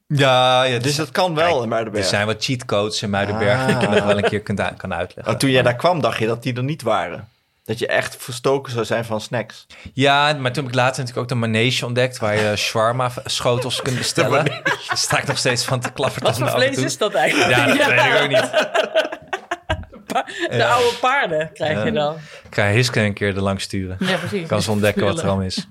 [SPEAKER 3] Ja, ja
[SPEAKER 1] Dus
[SPEAKER 3] dus
[SPEAKER 1] dat kan wel in
[SPEAKER 3] er
[SPEAKER 1] Muidenberg.
[SPEAKER 3] zijn wat cheatcodes in Muidenberg
[SPEAKER 1] Ah.
[SPEAKER 3] die ik je nog wel een keer kunt u- kan
[SPEAKER 1] Oh,
[SPEAKER 3] uitleggen.
[SPEAKER 1] toen jij daar kwam, dacht je dat die er niet waren. Dat je echt verstoken zou zijn van snacks.
[SPEAKER 3] Ja, maar toen heb ik later natuurlijk ook de manege ontdekt... waar je shawarma schotels kunt bestellen. Daar sta ik nog steeds van te klappen.
[SPEAKER 4] Wat voor vlees is dat eigenlijk?
[SPEAKER 3] Ja, dat weet ik ook niet.
[SPEAKER 4] De oude paarden krijg
[SPEAKER 3] Ja.
[SPEAKER 4] je dan.
[SPEAKER 3] Ik ga Hiske een keer er langs sturen.
[SPEAKER 2] Ja, precies.
[SPEAKER 3] kan ze ontdekken wat er allemaal is.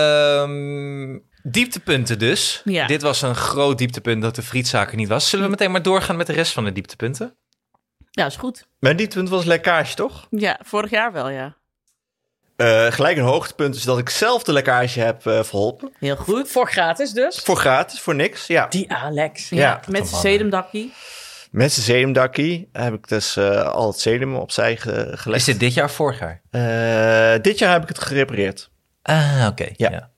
[SPEAKER 3] Ehm, dieptepunten dus.
[SPEAKER 2] Ja.
[SPEAKER 3] Dit was een groot dieptepunt dat de frietzaak er niet was. Zullen we meteen maar doorgaan met de rest van de dieptepunten?
[SPEAKER 2] Ja, is goed.
[SPEAKER 1] Mijn dieptepunt was lekkage, toch?
[SPEAKER 2] Ja, vorig jaar wel, ja.
[SPEAKER 1] Eh, gelijk een hoogtepunt is dat ik zelf de lekkage heb eh, verholpen.
[SPEAKER 2] Heel goed.
[SPEAKER 4] Voor gratis dus.
[SPEAKER 1] Voor gratis, voor niks. Ja.
[SPEAKER 4] Die Alex.
[SPEAKER 2] Ja,
[SPEAKER 1] Ja.
[SPEAKER 2] met
[SPEAKER 3] man.
[SPEAKER 2] zijn sedumdakkie.
[SPEAKER 1] Met zijn sedumdakkie heb ik dus eh, al het sedum opzij ge-
[SPEAKER 3] Is
[SPEAKER 1] gelegd.
[SPEAKER 3] dit dit jaar of vorig jaar?
[SPEAKER 1] Eh, dit jaar heb ik het gerepareerd.
[SPEAKER 3] Ah, oké.
[SPEAKER 1] Ja.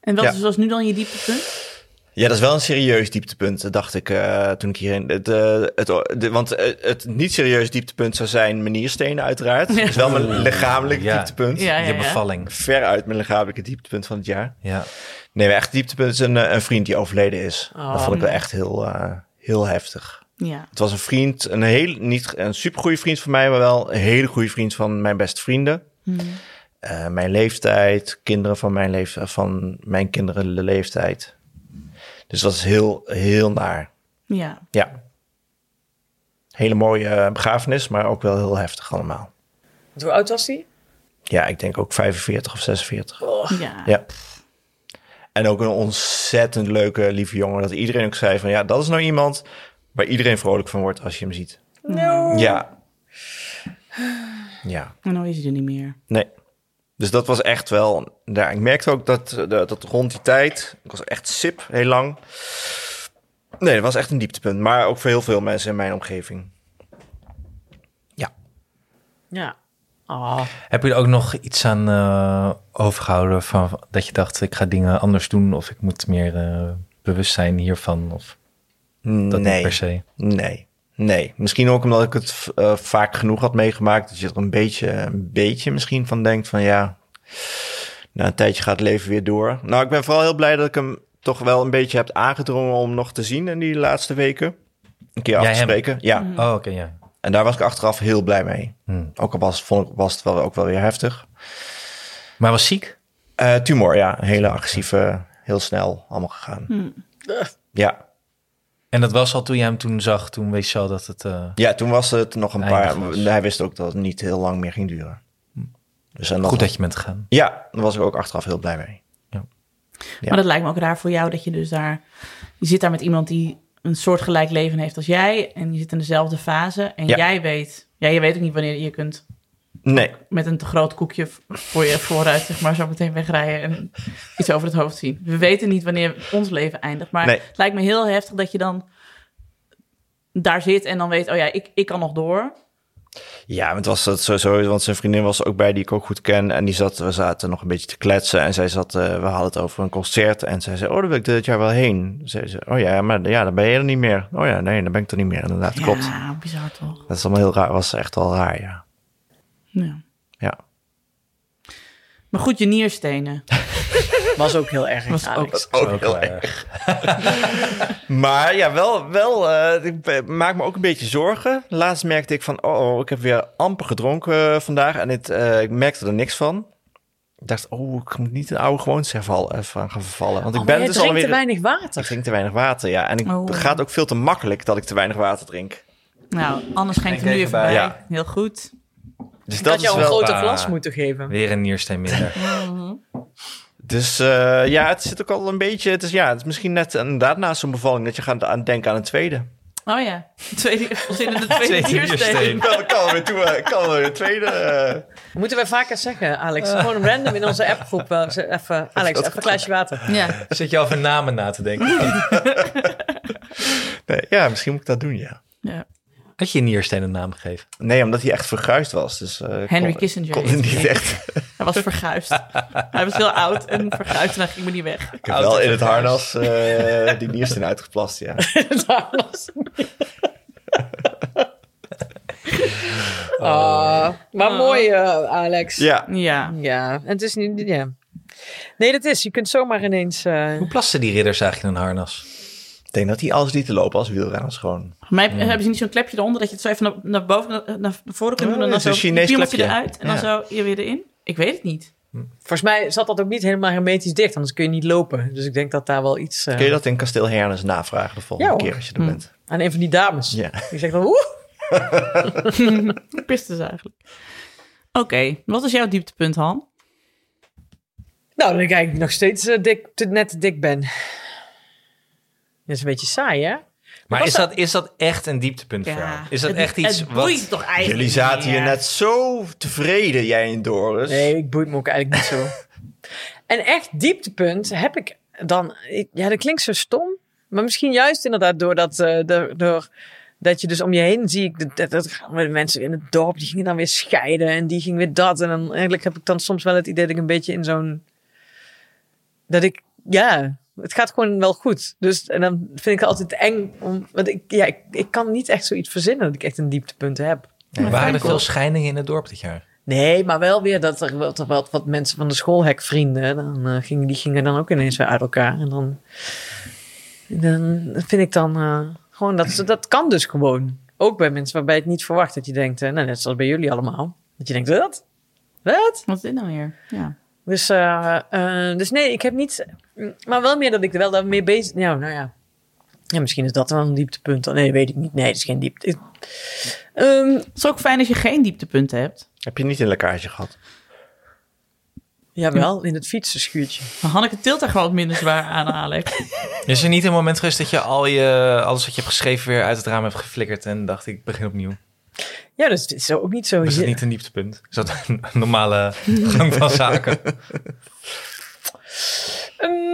[SPEAKER 2] En wat
[SPEAKER 1] Ja.
[SPEAKER 2] is was nu dan je dieptepunt?
[SPEAKER 1] Ja, dat is wel een serieus dieptepunt, dacht ik eh, toen ik hierheen... Het, eh, het, de- want eh, het niet serieus dieptepunt zou zijn manierstenen uiteraard. Het is wel mijn lichamelijk
[SPEAKER 3] Ja.
[SPEAKER 1] dieptepunt.
[SPEAKER 2] Ja, ja,
[SPEAKER 3] Je
[SPEAKER 2] Ah, ja.
[SPEAKER 3] bevalling.
[SPEAKER 1] Veruit mijn lichamelijke dieptepunt van het jaar.
[SPEAKER 3] Ja.
[SPEAKER 1] Nee, maar echt dieptepunt is een, eh, een vriend die overleden is.
[SPEAKER 4] Oh.
[SPEAKER 1] Dat vond ik wel echt heel, eh, heel heftig.
[SPEAKER 2] Ja.
[SPEAKER 1] Het was een vriend, een heel, niet een supergoeie vriend van mij, maar wel een hele goede vriend van mijn beste vrienden. Eh, mijn leeftijd, kinderen van mijn, leef, van mijn kinderen de leeftijd. Dus dat is heel, heel naar.
[SPEAKER 2] Ja.
[SPEAKER 1] Ja. Hele mooie eh, begrafenis, maar ook wel heel heftig allemaal.
[SPEAKER 4] Want Hoe oud was hij?
[SPEAKER 1] Ja, ik denk ook 45 of 46.
[SPEAKER 2] Ja.
[SPEAKER 1] Ja. En ook een ontzettend leuke, lieve jongen. Dat iedereen ook zei van ja, dat is nou iemand waar iedereen vrolijk van wordt als je hem ziet. Ja. Ja,
[SPEAKER 2] En nou is hij er niet meer.
[SPEAKER 1] nee. Dus dat was echt wel... Ja, ik merkte ook dat, eh, dat, dat rond die tijd... Ik was echt sip heel lang. Nee, dat was echt een dieptepunt. Maar ook voor heel veel mensen in mijn omgeving.
[SPEAKER 4] Ja. Oh.
[SPEAKER 3] Heb je er ook nog iets aan eh, overgehouden van van- dat je dacht ik ga dingen anders doen of ik moet meer eh, bewust zijn hiervan of dat niet
[SPEAKER 1] nee,
[SPEAKER 3] per se?
[SPEAKER 1] nee, nee. Misschien ook omdat ik het eh, vaak genoeg had meegemaakt... dat je er een beetje, een beetje misschien van denkt van ja... Na een tijdje gaat het leven weer door. Nou, ik ben vooral heel blij dat ik hem toch wel een beetje heb aangedrongen... om hem nog te zien in die laatste weken. Een keer af
[SPEAKER 3] Jij
[SPEAKER 1] te
[SPEAKER 3] hem?
[SPEAKER 1] spreken. Ja,
[SPEAKER 3] Oh, oké, ja.
[SPEAKER 1] en daar was ik achteraf heel blij mee.
[SPEAKER 3] Hmm.
[SPEAKER 1] Ook al was, vond ik, was het wel, ook wel weer heftig.
[SPEAKER 3] Maar was ziek?
[SPEAKER 1] Eh, tumor, ja. Een hele agressieve, heel snel allemaal gegaan. Ja.
[SPEAKER 3] En dat was al toen je hem toen zag, toen wist je al dat het... eh,
[SPEAKER 1] ja, toen was het nog een
[SPEAKER 3] Eindig
[SPEAKER 1] paar...
[SPEAKER 3] was. Hm.
[SPEAKER 1] Hij wist ook dat het niet heel lang meer ging duren. Dus en dat
[SPEAKER 3] Goed dat je bent gegaan.
[SPEAKER 1] Ja, daar was ik ook achteraf heel blij mee. Ja.
[SPEAKER 2] Maar dat lijkt me ook raar voor jou dat je dus daar... Je zit daar met iemand die een soortgelijk leven heeft als jij. En je zit in dezelfde fase. En
[SPEAKER 1] Ja.
[SPEAKER 2] jij weet... Ja, je weet ook niet wanneer je kunt
[SPEAKER 1] Nee.
[SPEAKER 2] met een te groot koekje voor je vooruit, zeg maar, zo meteen wegrijden en iets over het hoofd zien. We weten niet wanneer ons leven eindigt, maar
[SPEAKER 1] Nee.
[SPEAKER 2] het lijkt me heel heftig dat je dan daar zit en dan weet, oh ja, ik, ik kan nog door.
[SPEAKER 1] Ja, maar het was dat sowieso, want zijn vriendin was er ook bij die ik ook goed ken. En die zat, we zaten nog een beetje te kletsen. En zij zat, eh, we hadden het over een concert. En zij zei, oh, daar wil ik dit jaar wel heen. Zei ze, oh ja, maar ja, dan ben je er niet meer. Oh ja, nee, dan ben ik er niet meer. Inderdaad, klopt.
[SPEAKER 2] Ja, bizar toch?
[SPEAKER 1] Dat is allemaal heel raar. was echt wel raar, ja.
[SPEAKER 2] Ja.
[SPEAKER 1] Ja.
[SPEAKER 2] Maar goed, je nierstenen.
[SPEAKER 4] Was ook heel erg.
[SPEAKER 2] Was ook-
[SPEAKER 1] Dat is ook heel erg. Maar ja, wel, wel eh, ik be- maak me ook een beetje zorgen. Laatst merkte ik van, oh, oh, ik heb weer amper gedronken eh, vandaag. En het, eh, ik merkte er niks van. Ik dacht, oh, ik moet niet een oude gewoontes herval, even aan gaan vervallen. Want ik
[SPEAKER 4] ik
[SPEAKER 1] ben
[SPEAKER 4] Oh, je
[SPEAKER 1] dus
[SPEAKER 4] drinkt te
[SPEAKER 1] alweer...
[SPEAKER 4] weinig water.
[SPEAKER 1] Ik drink te weinig water, ja. En ik
[SPEAKER 2] Oh.
[SPEAKER 1] het gaat ook veel te makkelijk dat ik te weinig water drink.
[SPEAKER 2] Nou, anders schenkt
[SPEAKER 3] Denk
[SPEAKER 2] er nu
[SPEAKER 3] even
[SPEAKER 2] even bij.
[SPEAKER 3] bij.
[SPEAKER 1] Ja.
[SPEAKER 2] Heel goed.
[SPEAKER 1] Dus
[SPEAKER 4] Dat
[SPEAKER 1] dat
[SPEAKER 4] had
[SPEAKER 1] is
[SPEAKER 4] jou een
[SPEAKER 1] wel...
[SPEAKER 4] grote
[SPEAKER 3] Ah.
[SPEAKER 4] glas moeten geven.
[SPEAKER 3] Weer een niersteen minder.
[SPEAKER 1] Dus eh, ja, het zit ook al een beetje... Het is, ja, het is misschien net inderdaad na zo'n bevalling... dat je gaat aan, denken aan een tweede.
[SPEAKER 2] Oh ja, tweede, de tweede
[SPEAKER 3] Tweede
[SPEAKER 2] niersteen.
[SPEAKER 3] niersteen.
[SPEAKER 1] Dat kan weer toe, eh, kan weer een tweede... eh,
[SPEAKER 4] Moeten wij vaker zeggen, Alex. Gewoon random in onze appgroep. eh, ze- even, Alex, even een glaasje water.
[SPEAKER 2] Ja,
[SPEAKER 3] Zit je over namen na te denken?
[SPEAKER 1] nee, ja, misschien moet ik dat doen, ja.
[SPEAKER 2] ja.
[SPEAKER 3] Had je een niersteen een naam gegeven?
[SPEAKER 1] Nee, omdat hij echt verguisd was. Dus, eh,
[SPEAKER 2] Henry
[SPEAKER 1] kon-
[SPEAKER 2] Kissinger
[SPEAKER 1] Kon
[SPEAKER 2] heette
[SPEAKER 1] niet
[SPEAKER 2] hij.
[SPEAKER 1] echt.
[SPEAKER 2] Hij was verguisd. hij was heel oud en verguisd en hij ging me niet weg.
[SPEAKER 1] Ik heb wel in het harnas eh, die niersteen uitgeplast, ja.
[SPEAKER 4] Ah, maar mooi, eh, Alex.
[SPEAKER 1] Ja,
[SPEAKER 2] Ja.
[SPEAKER 4] Ja, en het is niet... Ja. Nee, dat is. Je kunt zomaar ineens... eh,
[SPEAKER 3] Hoe plasten die ridders eigenlijk in een harnas?
[SPEAKER 1] ik denk dat hij alles niet te lopen als wielrenners gewoon.
[SPEAKER 2] Maar heb- hebben ze niet zo'n klepje eronder dat je het zo even naar, naar boven, naar, naar voren kunt doen en
[SPEAKER 1] Oh,
[SPEAKER 2] dan
[SPEAKER 1] het is
[SPEAKER 2] zo
[SPEAKER 1] een Chinees
[SPEAKER 2] piemelt je
[SPEAKER 1] klepje.
[SPEAKER 2] eruit en dan
[SPEAKER 1] Ja.
[SPEAKER 2] zo hier weer erin? Ik weet het niet.
[SPEAKER 4] Volgens mij zat dat ook niet helemaal hermetisch dicht. Anders kun je niet lopen. Dus ik denk dat daar wel iets... eh,
[SPEAKER 1] Kun je dat in Kasteel Hernes navragen de volgende
[SPEAKER 4] Ja, hoor.
[SPEAKER 1] keer als
[SPEAKER 2] Hm.
[SPEAKER 1] je er bent?
[SPEAKER 4] Aan een van die dames.
[SPEAKER 1] Ja.
[SPEAKER 4] Die zegt dan... Oeh!
[SPEAKER 2] Pistes eigenlijk. Oké, wat is jouw dieptepunt, Han?
[SPEAKER 4] Nou, dan kijk ik nog steeds eh, dik, te, net te dik ben. Dat is een beetje saai, hè?
[SPEAKER 3] Maar
[SPEAKER 4] Was
[SPEAKER 3] is dat, is dat echt een dieptepunt voor jou? Is dat
[SPEAKER 2] Het-
[SPEAKER 3] echt iets
[SPEAKER 2] het
[SPEAKER 3] wat...
[SPEAKER 2] boeit toch eigenlijk
[SPEAKER 1] Jullie zaten hier
[SPEAKER 2] niet?
[SPEAKER 1] net zo tevreden, jij en Doris.
[SPEAKER 4] Nee, ik boeit me ook eigenlijk niet zo. en echt dieptepunt heb ik dan... ik- ja, dat klinkt zo stom. Maar misschien juist inderdaad doordat... eh door, door dat je dus om je heen zie ik dat, dat, dat gaan weer mensen in het dorp die gingen dan weer scheiden en die ging weer dat en dan eigenlijk heb ik dan soms wel het idee dat ik een beetje in zo'n dat ik ja het gaat gewoon wel goed dus en dan vind ik het altijd eng om want ik ja ik, ik kan niet echt zoiets verzinnen dat ik echt een dieptepunt heb
[SPEAKER 3] Waren er veel scheidingen in het dorp dit jaar?
[SPEAKER 4] Nee, maar wel weer dat er wat, wat, wat mensen van de schoolhek vrienden. Dan, eh, gingen, die gingen dan ook ineens weer uit elkaar. En dan, dan vind ik dan eh, gewoon dat dat kan dus gewoon. Ook bij mensen waarbij je het niet verwacht dat je denkt, eh, nou, net zoals bij jullie allemaal. Dat je denkt, wat? Wat?
[SPEAKER 2] Wat is dit nou weer? Ja.
[SPEAKER 4] Dus, eh, eh, dus nee, ik heb niet. Maar wel meer dat ik er wel daarmee bezig. Nou, nou ja. ja. Misschien is dat wel een dieptepunt. Oh, Nee, weet ik niet. Nee, dat is geen diepte. Ehm,
[SPEAKER 2] Het is ook fijn als je geen dieptepunten hebt.
[SPEAKER 1] Heb je niet een lekkage gehad?
[SPEAKER 4] jawel, in het fietsenschuurtje.
[SPEAKER 2] Maar Hanneke tilt er gewoon wat minder zwaar aan, Alex.
[SPEAKER 3] Is er niet een moment geweest dat je, al je alles wat je hebt geschreven weer uit het raam hebt geflikkerd en dacht ik begin opnieuw?
[SPEAKER 4] Ja, dus het is ook niet zo.
[SPEAKER 3] Is dat niet een dieptepunt? Is dat een normale gang van zaken?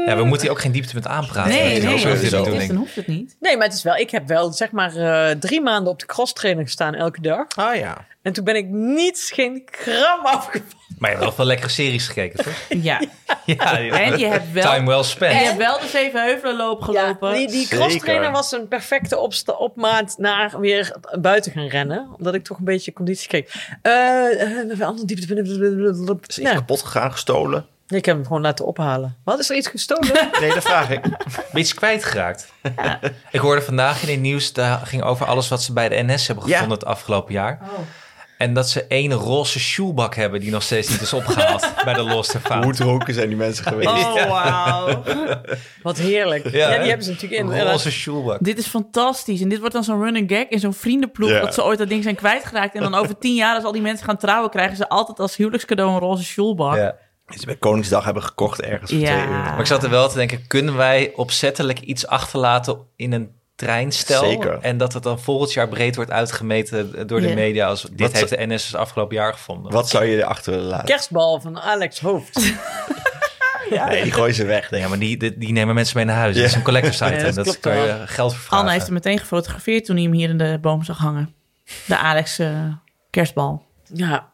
[SPEAKER 3] Ja, we moeten hier ook geen dieptepunt aanpraten.
[SPEAKER 2] Ehm, Nee, nee,
[SPEAKER 3] Dat is
[SPEAKER 2] nee
[SPEAKER 3] ook
[SPEAKER 2] als
[SPEAKER 3] weer
[SPEAKER 2] je
[SPEAKER 3] zo'n
[SPEAKER 2] het is,
[SPEAKER 3] ding.
[SPEAKER 2] dan hoeft het niet.
[SPEAKER 4] Nee, maar het is wel. Ik heb wel zeg maar eh, drie maanden op de cross trainer gestaan elke dag.
[SPEAKER 1] Ah ja.
[SPEAKER 4] En toen ben ik niets, geen gram afgevallen.
[SPEAKER 3] Maar je hebt wel veel lekkere series gekeken, toch?
[SPEAKER 2] Ja.
[SPEAKER 3] Ja,
[SPEAKER 2] En je hebt wel,
[SPEAKER 3] Time well
[SPEAKER 2] en je
[SPEAKER 3] spent.
[SPEAKER 2] hebt wel de zeven heuvelenloop gelopen.
[SPEAKER 4] die die
[SPEAKER 1] Zeker.
[SPEAKER 4] cross trainer was een perfecte opsta- opmaat naar weer buiten gaan rennen. Omdat ik toch een beetje conditie kreeg. Eh eh, ander dieptepunt.
[SPEAKER 1] Is iets
[SPEAKER 4] Ja,
[SPEAKER 1] kapot gegaan, gestolen?
[SPEAKER 4] nee, Nou, ik heb hem gewoon laten ophalen. Wat is er iets gestolen?
[SPEAKER 1] Nee, dat vraag ik.
[SPEAKER 3] Beetje kwijtgeraakt. Ik hoorde vandaag in het nieuws, daar ging over alles wat ze bij de NS hebben
[SPEAKER 1] Ja.
[SPEAKER 3] gevonden het afgelopen jaar.
[SPEAKER 2] Oh.
[SPEAKER 3] En dat ze één roze shoelbak hebben die nog steeds niet is opgehaald bij de Lost and Found.
[SPEAKER 1] Hoe dronken zijn die mensen geweest?
[SPEAKER 2] Oh, wauw.
[SPEAKER 4] Wat heerlijk. Ja,
[SPEAKER 3] hè?
[SPEAKER 4] die hebben ze natuurlijk in. eh, En dat-
[SPEAKER 3] Roze shoelbak.
[SPEAKER 2] Dit is fantastisch. En dit wordt dan zo'n running gag in zo'n vriendenploeg.
[SPEAKER 1] Ja.
[SPEAKER 2] Dat ze ooit dat ding zijn kwijtgeraakt. En dan over tien jaar, als al die mensen gaan trouwen, krijgen ze altijd als huwelijkscadeau een roze sjoelbak.
[SPEAKER 3] Ja.
[SPEAKER 1] Die ze bij Koningsdag hebben gekocht ergens voor
[SPEAKER 2] Ja.
[SPEAKER 1] twee euro.
[SPEAKER 3] Maar ik zat er wel te denken, kunnen wij opzettelijk iets achterlaten in een treinstel.
[SPEAKER 1] Zeker.
[SPEAKER 3] En dat het dan volgend jaar breed wordt uitgemeten door de
[SPEAKER 2] Ja.
[SPEAKER 3] media als dit
[SPEAKER 1] Wat
[SPEAKER 3] heeft
[SPEAKER 1] ze-
[SPEAKER 3] de NS het afgelopen jaar gevonden.
[SPEAKER 1] Wat zou je erachter willen laten?
[SPEAKER 4] Kerstbal van Alex Hoofd.
[SPEAKER 1] Nee, die gooi ze weg, denk ik.
[SPEAKER 3] Ja, maar die, die, die nemen mensen mee naar huis.
[SPEAKER 1] Ja.
[SPEAKER 3] Dat is een collector's item.
[SPEAKER 2] dat
[SPEAKER 3] dat
[SPEAKER 2] klopt
[SPEAKER 3] kan
[SPEAKER 2] wel.
[SPEAKER 3] je geld voor vragen.
[SPEAKER 2] Anna heeft hem meteen gefotografeerd toen hij hem hier in de boom zag hangen. De Alex eh, kerstbal.
[SPEAKER 4] Ja.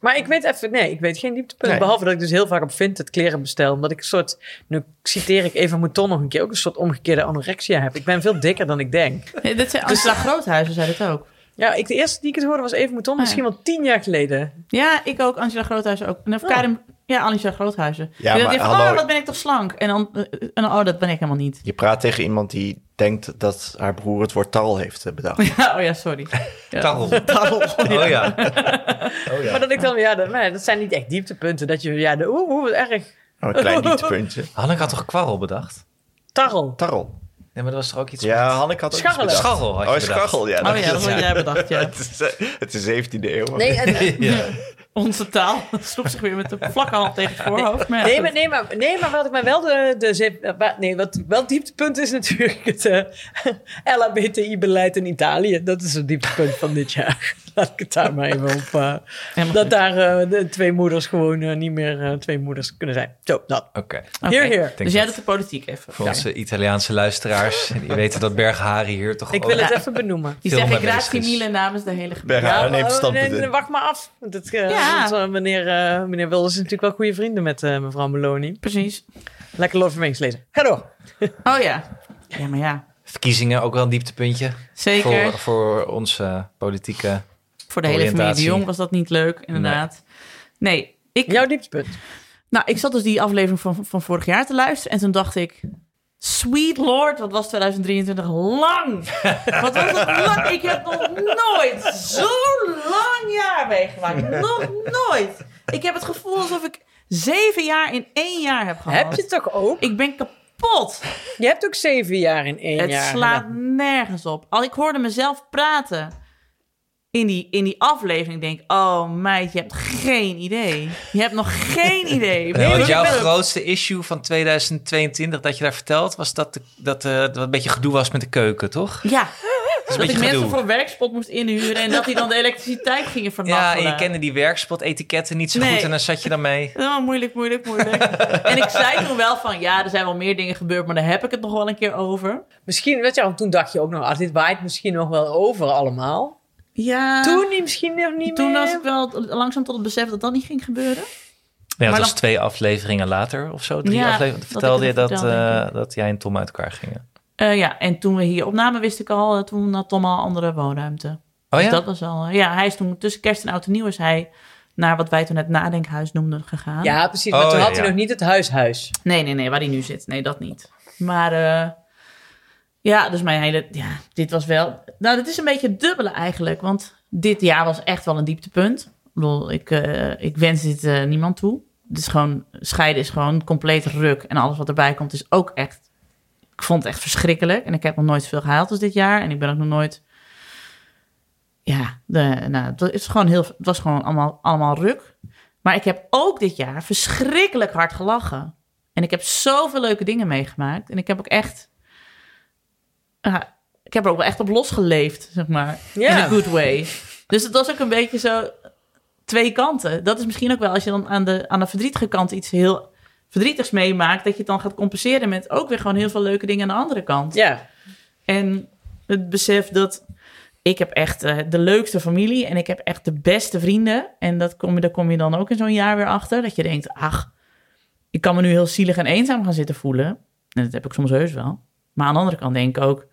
[SPEAKER 4] Maar ik weet even, nee, ik weet geen dieptepunt.
[SPEAKER 1] Nee.
[SPEAKER 4] Behalve dat ik dus heel vaak op Vinted kleren bestel. Omdat ik een soort, nu citeer ik even Mouton nog een keer, ook een soort omgekeerde anorexia heb. Ik ben veel dikker dan ik denk.
[SPEAKER 2] Nee, dit zijn Angela Groothuizen zei dat ook.
[SPEAKER 4] Ja, ik, de eerste die ik het hoorde was even Mouton,
[SPEAKER 2] ja.
[SPEAKER 4] misschien wel tien jaar geleden.
[SPEAKER 2] Ja, ik ook. Angela Groothuizen ook. En of
[SPEAKER 4] Oh.
[SPEAKER 2] Karim... Ja, Angela Groothuizen.
[SPEAKER 1] Ja,
[SPEAKER 2] Ja, die
[SPEAKER 1] maar
[SPEAKER 2] dacht,
[SPEAKER 1] hallo.
[SPEAKER 2] oh, wat ben ik toch slank. En dan, eh, en dan, oh, dat ben ik helemaal niet.
[SPEAKER 1] Je praat tegen iemand die denkt dat haar broer het woord tal heeft eh, bedacht.
[SPEAKER 2] Ja, oh ja, sorry. Ja.
[SPEAKER 3] Tarrel.
[SPEAKER 2] Tarrel.
[SPEAKER 3] Oh ja.
[SPEAKER 1] Oh
[SPEAKER 4] Maar dat ik dan, ja, dat, maar dat zijn niet echt dieptepunten. Dat je, ja, de, oeh, oeh, wat erg.
[SPEAKER 1] Oh, een klein dieptepuntje.
[SPEAKER 3] Hanneke had toch kwarrel bedacht?
[SPEAKER 4] Tarrel.
[SPEAKER 1] Tarrel.
[SPEAKER 3] Nee, maar dat was toch ook iets
[SPEAKER 1] Ja,
[SPEAKER 3] met-
[SPEAKER 1] Hanneke had ook
[SPEAKER 4] Scharrel.
[SPEAKER 1] iets bedacht.
[SPEAKER 3] Scharrel had je
[SPEAKER 1] Oh,
[SPEAKER 3] bedacht.
[SPEAKER 1] scharrel, ja.
[SPEAKER 2] Oh ja, dat had jij bedacht, ja.
[SPEAKER 1] Het is, eh, het is 17e eeuw.
[SPEAKER 4] Nee, en-
[SPEAKER 3] Ja.
[SPEAKER 2] Onze taal sloeg zich weer met de vlakke hand tegen het voorhoofd. Maar ja,
[SPEAKER 4] Nee,
[SPEAKER 2] goed.
[SPEAKER 4] maar, nee, maar, nee, maar wat ik mij wel de, de zeep- wa- nee, wat wel het dieptepunt is natuurlijk het eh, LHBTI-beleid in Italië. Dat is het dieptepunt van dit jaar. Laat ik het daar maar even op. eh,
[SPEAKER 2] Helemaal
[SPEAKER 4] dat
[SPEAKER 2] goed.
[SPEAKER 4] daar eh, de twee moeders gewoon eh, niet meer eh, twee moeders kunnen zijn. Zo, dat.
[SPEAKER 3] Oké.
[SPEAKER 2] Oké.
[SPEAKER 4] Hier, hier.
[SPEAKER 3] denk
[SPEAKER 2] Dus jij
[SPEAKER 3] dat-
[SPEAKER 2] doet de politiek even.
[SPEAKER 3] Voor eh,
[SPEAKER 2] Ja.
[SPEAKER 3] onze Italiaanse luisteraars. Die weten dat Berghari hier toch
[SPEAKER 4] Ik wil
[SPEAKER 3] ook-
[SPEAKER 4] het even benoemen.
[SPEAKER 2] Die
[SPEAKER 3] Veel
[SPEAKER 2] zeggen
[SPEAKER 3] meer
[SPEAKER 2] gratie
[SPEAKER 3] mensen is.
[SPEAKER 2] Miele namens de hele gemeente.
[SPEAKER 1] Berg haar neemt
[SPEAKER 4] maar-
[SPEAKER 1] standpunt
[SPEAKER 4] oh, nee, nee,
[SPEAKER 1] in.
[SPEAKER 4] wacht maar af. Want het, eh,
[SPEAKER 2] Ja.
[SPEAKER 4] want, eh, meneer, eh, meneer Wilders is natuurlijk wel goede vrienden met eh, mevrouw Meloni.
[SPEAKER 2] Precies.
[SPEAKER 4] Lekker Love Mengs lezen. Ga door.
[SPEAKER 2] Oh ja. Ja, maar ja.
[SPEAKER 3] Verkiezingen ook wel een dieptepuntje.
[SPEAKER 2] Zeker.
[SPEAKER 3] Voor,
[SPEAKER 2] Voor,
[SPEAKER 3] voor onze politieke...
[SPEAKER 2] de hele familie de
[SPEAKER 3] oriëntatie.
[SPEAKER 2] Jong was dat niet leuk, inderdaad. Nee. ik,
[SPEAKER 4] Jouw dieptepunt.
[SPEAKER 2] nou, ik zat dus die aflevering van, van vorig jaar te luisteren. En toen dacht ik... Sweet lord, wat was 2023 lang? Wat was dat lang? Ik heb nog nooit zo'n lang jaar meegemaakt. Nog nooit. Ik heb het gevoel alsof ik zeven jaar in één jaar heb gehad.
[SPEAKER 4] Heb je het toch ook?
[SPEAKER 2] Ik ben kapot.
[SPEAKER 4] Je hebt ook zeven jaar in één
[SPEAKER 2] Het
[SPEAKER 4] jaar.
[SPEAKER 2] slaat
[SPEAKER 4] gedaan.
[SPEAKER 2] nergens op. Al ik hoorde mezelf praten in die, in die aflevering, denk ik, oh meid, je hebt geen idee. Je hebt nog geen idee.
[SPEAKER 3] Nee, want
[SPEAKER 4] ik
[SPEAKER 3] jouw
[SPEAKER 4] ben-
[SPEAKER 3] grootste issue van 2022 dat je daar vertelt... was dat, de, dat, eh, dat een beetje gedoe was met de keuken, toch?
[SPEAKER 2] Ja,
[SPEAKER 3] Dat is een
[SPEAKER 2] dat ik
[SPEAKER 3] beetje
[SPEAKER 2] mensen
[SPEAKER 3] gedoe.
[SPEAKER 2] voor werkspot moest inhuren en dat die dan de elektriciteit gingen
[SPEAKER 3] Ja, en
[SPEAKER 2] vernachtelen.
[SPEAKER 3] je kende die werkspot-etiketten niet zo
[SPEAKER 2] eh. Nee.
[SPEAKER 3] goed... en dan zat je dan mee.
[SPEAKER 2] Oh, moeilijk, moeilijk, moeilijk. en ik zei toen wel van, ja, er zijn wel meer dingen gebeurd, maar daar heb ik het nog wel een keer over.
[SPEAKER 4] Misschien, weet je, wel, toen dacht je ook nog, ah, dit waait misschien nog wel over allemaal.
[SPEAKER 2] Ja,
[SPEAKER 4] toen niet, misschien nog niet
[SPEAKER 2] Ah. toen
[SPEAKER 4] meer.
[SPEAKER 2] was ik wel langzaam tot het besef dat dat niet ging gebeuren.
[SPEAKER 3] Ja,
[SPEAKER 2] Maar
[SPEAKER 3] dat was
[SPEAKER 2] dan-
[SPEAKER 3] twee afleveringen later of zo. Drie
[SPEAKER 2] Ja,
[SPEAKER 3] afleveringen.
[SPEAKER 2] dat ik
[SPEAKER 3] vertelde je
[SPEAKER 2] het
[SPEAKER 3] dat,
[SPEAKER 2] vertelde,
[SPEAKER 3] eh,
[SPEAKER 2] denk
[SPEAKER 3] dat jij en Tom uit elkaar gingen.
[SPEAKER 2] Eh, ja, en toen we hier opnamen, wist ik al, eh, toen had Tom al een andere woonruimte.
[SPEAKER 3] Oh ja?
[SPEAKER 2] Dus dat was al. Ja, hij is toen tussen kerst en oud en nieuw is hij naar wat wij toen het nadenkhuis noemden gegaan.
[SPEAKER 4] Ja, precies. Maar
[SPEAKER 3] Oh,
[SPEAKER 4] toen
[SPEAKER 3] ja,
[SPEAKER 4] had hij
[SPEAKER 3] ja.
[SPEAKER 4] nog niet het huishuis.
[SPEAKER 2] Nee, nee, nee, waar hij nu zit. Nee, dat niet. Maar eh, ja, dus mijn hele. Ja, dit was wel. Nou, dat is een beetje het dubbele eigenlijk. Want dit jaar was echt wel een dieptepunt. Ik bedoel, ik, eh, ik wens dit eh, niemand toe. Het is gewoon, scheiden is gewoon compleet ruk. En alles wat erbij komt is ook echt. Ik vond het echt verschrikkelijk. En ik heb nog nooit zoveel gehaald als dit jaar. En ik ben ook nog nooit. Ja, de, nou, het, is gewoon heel, het was gewoon allemaal, allemaal ruk. Maar ik heb ook dit jaar verschrikkelijk hard gelachen. En ik heb zoveel leuke dingen meegemaakt. En ik heb ook echt. ja, ik heb er ook wel echt op losgeleefd, zeg maar.
[SPEAKER 4] Ja.
[SPEAKER 2] In a good way. Dus het was ook een beetje zo. Twee kanten. Dat is misschien ook wel als je dan aan de, aan de verdrietige kant iets heel verdrietigs meemaakt. Dat je het dan gaat compenseren met ook weer gewoon heel veel leuke dingen aan de andere kant.
[SPEAKER 4] Ja.
[SPEAKER 2] En het besef dat ik heb echt eh, de leukste familie en ik heb echt de beste vrienden. En dat kom je, daar kom je dan ook in zo'n jaar weer achter. Dat je denkt, ach, ik kan me nu heel zielig en eenzaam gaan zitten voelen. En dat heb ik soms heus wel. Maar aan de andere kant denk ik ook, moet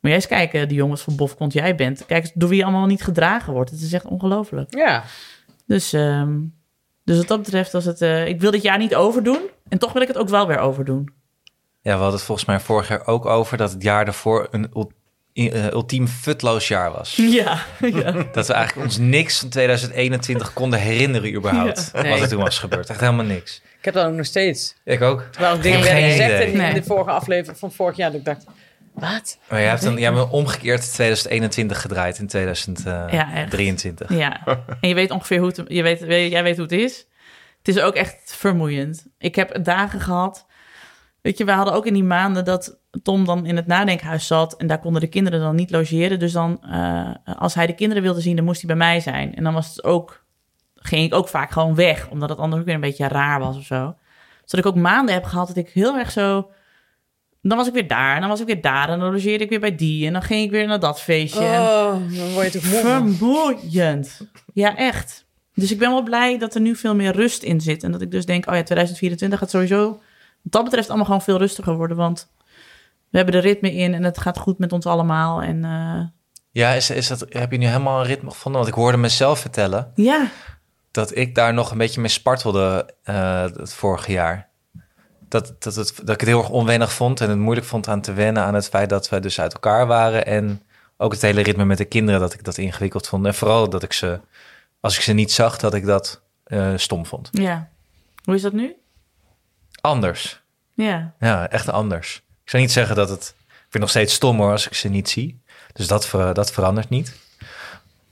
[SPEAKER 2] jij eens kijken, die jongens van Bofkont jij bent. Kijk eens door wie je allemaal niet gedragen wordt. Het is echt ongelooflijk.
[SPEAKER 4] Ja.
[SPEAKER 2] Dus, ehm, dus wat dat betreft was het, eh, ik wil dit jaar niet overdoen. En toch wil ik het ook wel weer overdoen.
[SPEAKER 3] Ja, we hadden het volgens mij vorig jaar ook over dat het jaar daarvoor een ul- i- eh, ultiem futloos jaar was.
[SPEAKER 2] Ja, ja.
[SPEAKER 3] Dat we eigenlijk ons niks van 2021 konden herinneren überhaupt.
[SPEAKER 4] Ja. Nee.
[SPEAKER 3] Wat er toen was gebeurd. Echt helemaal niks.
[SPEAKER 4] Ik heb dat ook nog steeds.
[SPEAKER 3] Ik ook.
[SPEAKER 4] Terwijl ik dingen
[SPEAKER 3] Geen
[SPEAKER 4] werden gezegd
[SPEAKER 3] idee.
[SPEAKER 4] in, in
[SPEAKER 2] Nee.
[SPEAKER 4] de vorige aflevering van vorig jaar. Dat ik dacht, wat?
[SPEAKER 3] Maar jij hebt een, jij hebt een omgekeerd 2021 gedraaid in eh, 2023.
[SPEAKER 2] Ja, en je weet ongeveer hoe het... Je weet, weet- jij weet hoe het is. Het is ook echt vermoeiend. Ik heb dagen gehad Weet je, we hadden ook in die maanden dat Tom dan in het nadenkhuis zat. En daar konden de kinderen dan niet logeren. Dus dan, eh, als hij de kinderen wilde zien, dan moest hij bij mij zijn. En dan was het ook, ging ik ook vaak gewoon weg. Omdat het anders ook weer een beetje raar was of zo. Dus dat ik ook maanden heb gehad dat ik heel erg zo... Dan was ik weer daar en dan was ik weer daar. En dan logeerde ik weer bij die. En dan ging ik weer naar dat feestje. En-
[SPEAKER 4] Oh, dan word je toch moe. man.
[SPEAKER 2] Vermoeiend. Ja, echt. Dus ik ben wel blij dat er nu veel meer rust in zit. En dat ik dus denk, oh ja, 2024 gaat sowieso wat dat betreft allemaal gewoon veel rustiger worden. Want we hebben de ritme in en het gaat goed met ons allemaal. En eh,
[SPEAKER 3] Ja, is, is dat, heb je nu helemaal een ritme gevonden? Want ik hoorde mezelf vertellen
[SPEAKER 2] ja,
[SPEAKER 3] dat ik daar nog een beetje mee spartelde eh, het vorige jaar. Dat, dat, het, dat ik het heel erg onwennig vond en het moeilijk vond aan te wennen aan het feit dat we dus uit elkaar waren. En ook het hele ritme met de kinderen, dat ik dat ingewikkeld vond. En vooral dat ik ze, als ik ze niet zag, dat ik dat eh, stom vond.
[SPEAKER 2] ja. Hoe is dat nu?
[SPEAKER 3] Anders.
[SPEAKER 2] Ja.
[SPEAKER 3] Ja, echt anders. Ik zou niet zeggen dat het... Ik vind het nog steeds stom hoor, als ik ze niet zie. Dus dat, ver- dat verandert niet.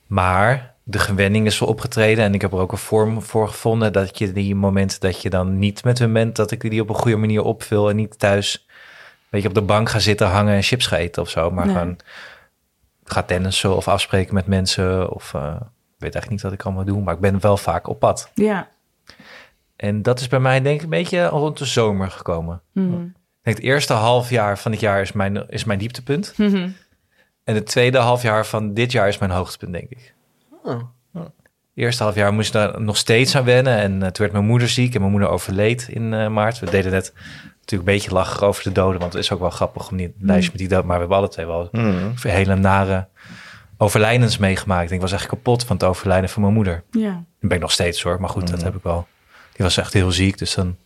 [SPEAKER 3] Maar de gewenning is wel opgetreden. En ik heb er ook een vorm voor gevonden... dat je die momenten dat je dan niet met hun bent... dat ik die op een goede manier opvul... en niet thuis weet je, op de bank ga zitten hangen... en chips ga eten of zo. Maar
[SPEAKER 2] Nee.
[SPEAKER 3] gewoon ga tennissen of afspreken met mensen... of eh, ik weet eigenlijk niet wat ik allemaal doe... maar ik ben wel vaak op pad.
[SPEAKER 2] Ja.
[SPEAKER 3] En dat is bij mij denk ik een beetje rond de zomer gekomen.
[SPEAKER 2] Mhm.
[SPEAKER 3] Ik denk het eerste half jaar van dit jaar is mijn, is mijn dieptepunt.
[SPEAKER 2] Mhm.
[SPEAKER 3] En het tweede half jaar van dit jaar is mijn hoogtepunt, denk ik.
[SPEAKER 4] Oh.
[SPEAKER 3] Eerste half jaar moest ik daar nog steeds aan wennen. En eh, toen werd mijn moeder ziek en mijn moeder overleed in eh, maart. We deden net natuurlijk een beetje lachen over de doden. Want het is ook wel grappig
[SPEAKER 2] Mhm.
[SPEAKER 3] om die lijstje met die dood. Maar we hebben alle twee wel hele nare overlijdens meegemaakt. Ik was echt kapot van het overlijden van mijn moeder.
[SPEAKER 2] Ja.
[SPEAKER 3] Dat ben ik nog steeds hoor. Maar goed, dat heb ik wel. Die was echt heel ziek. Dus dan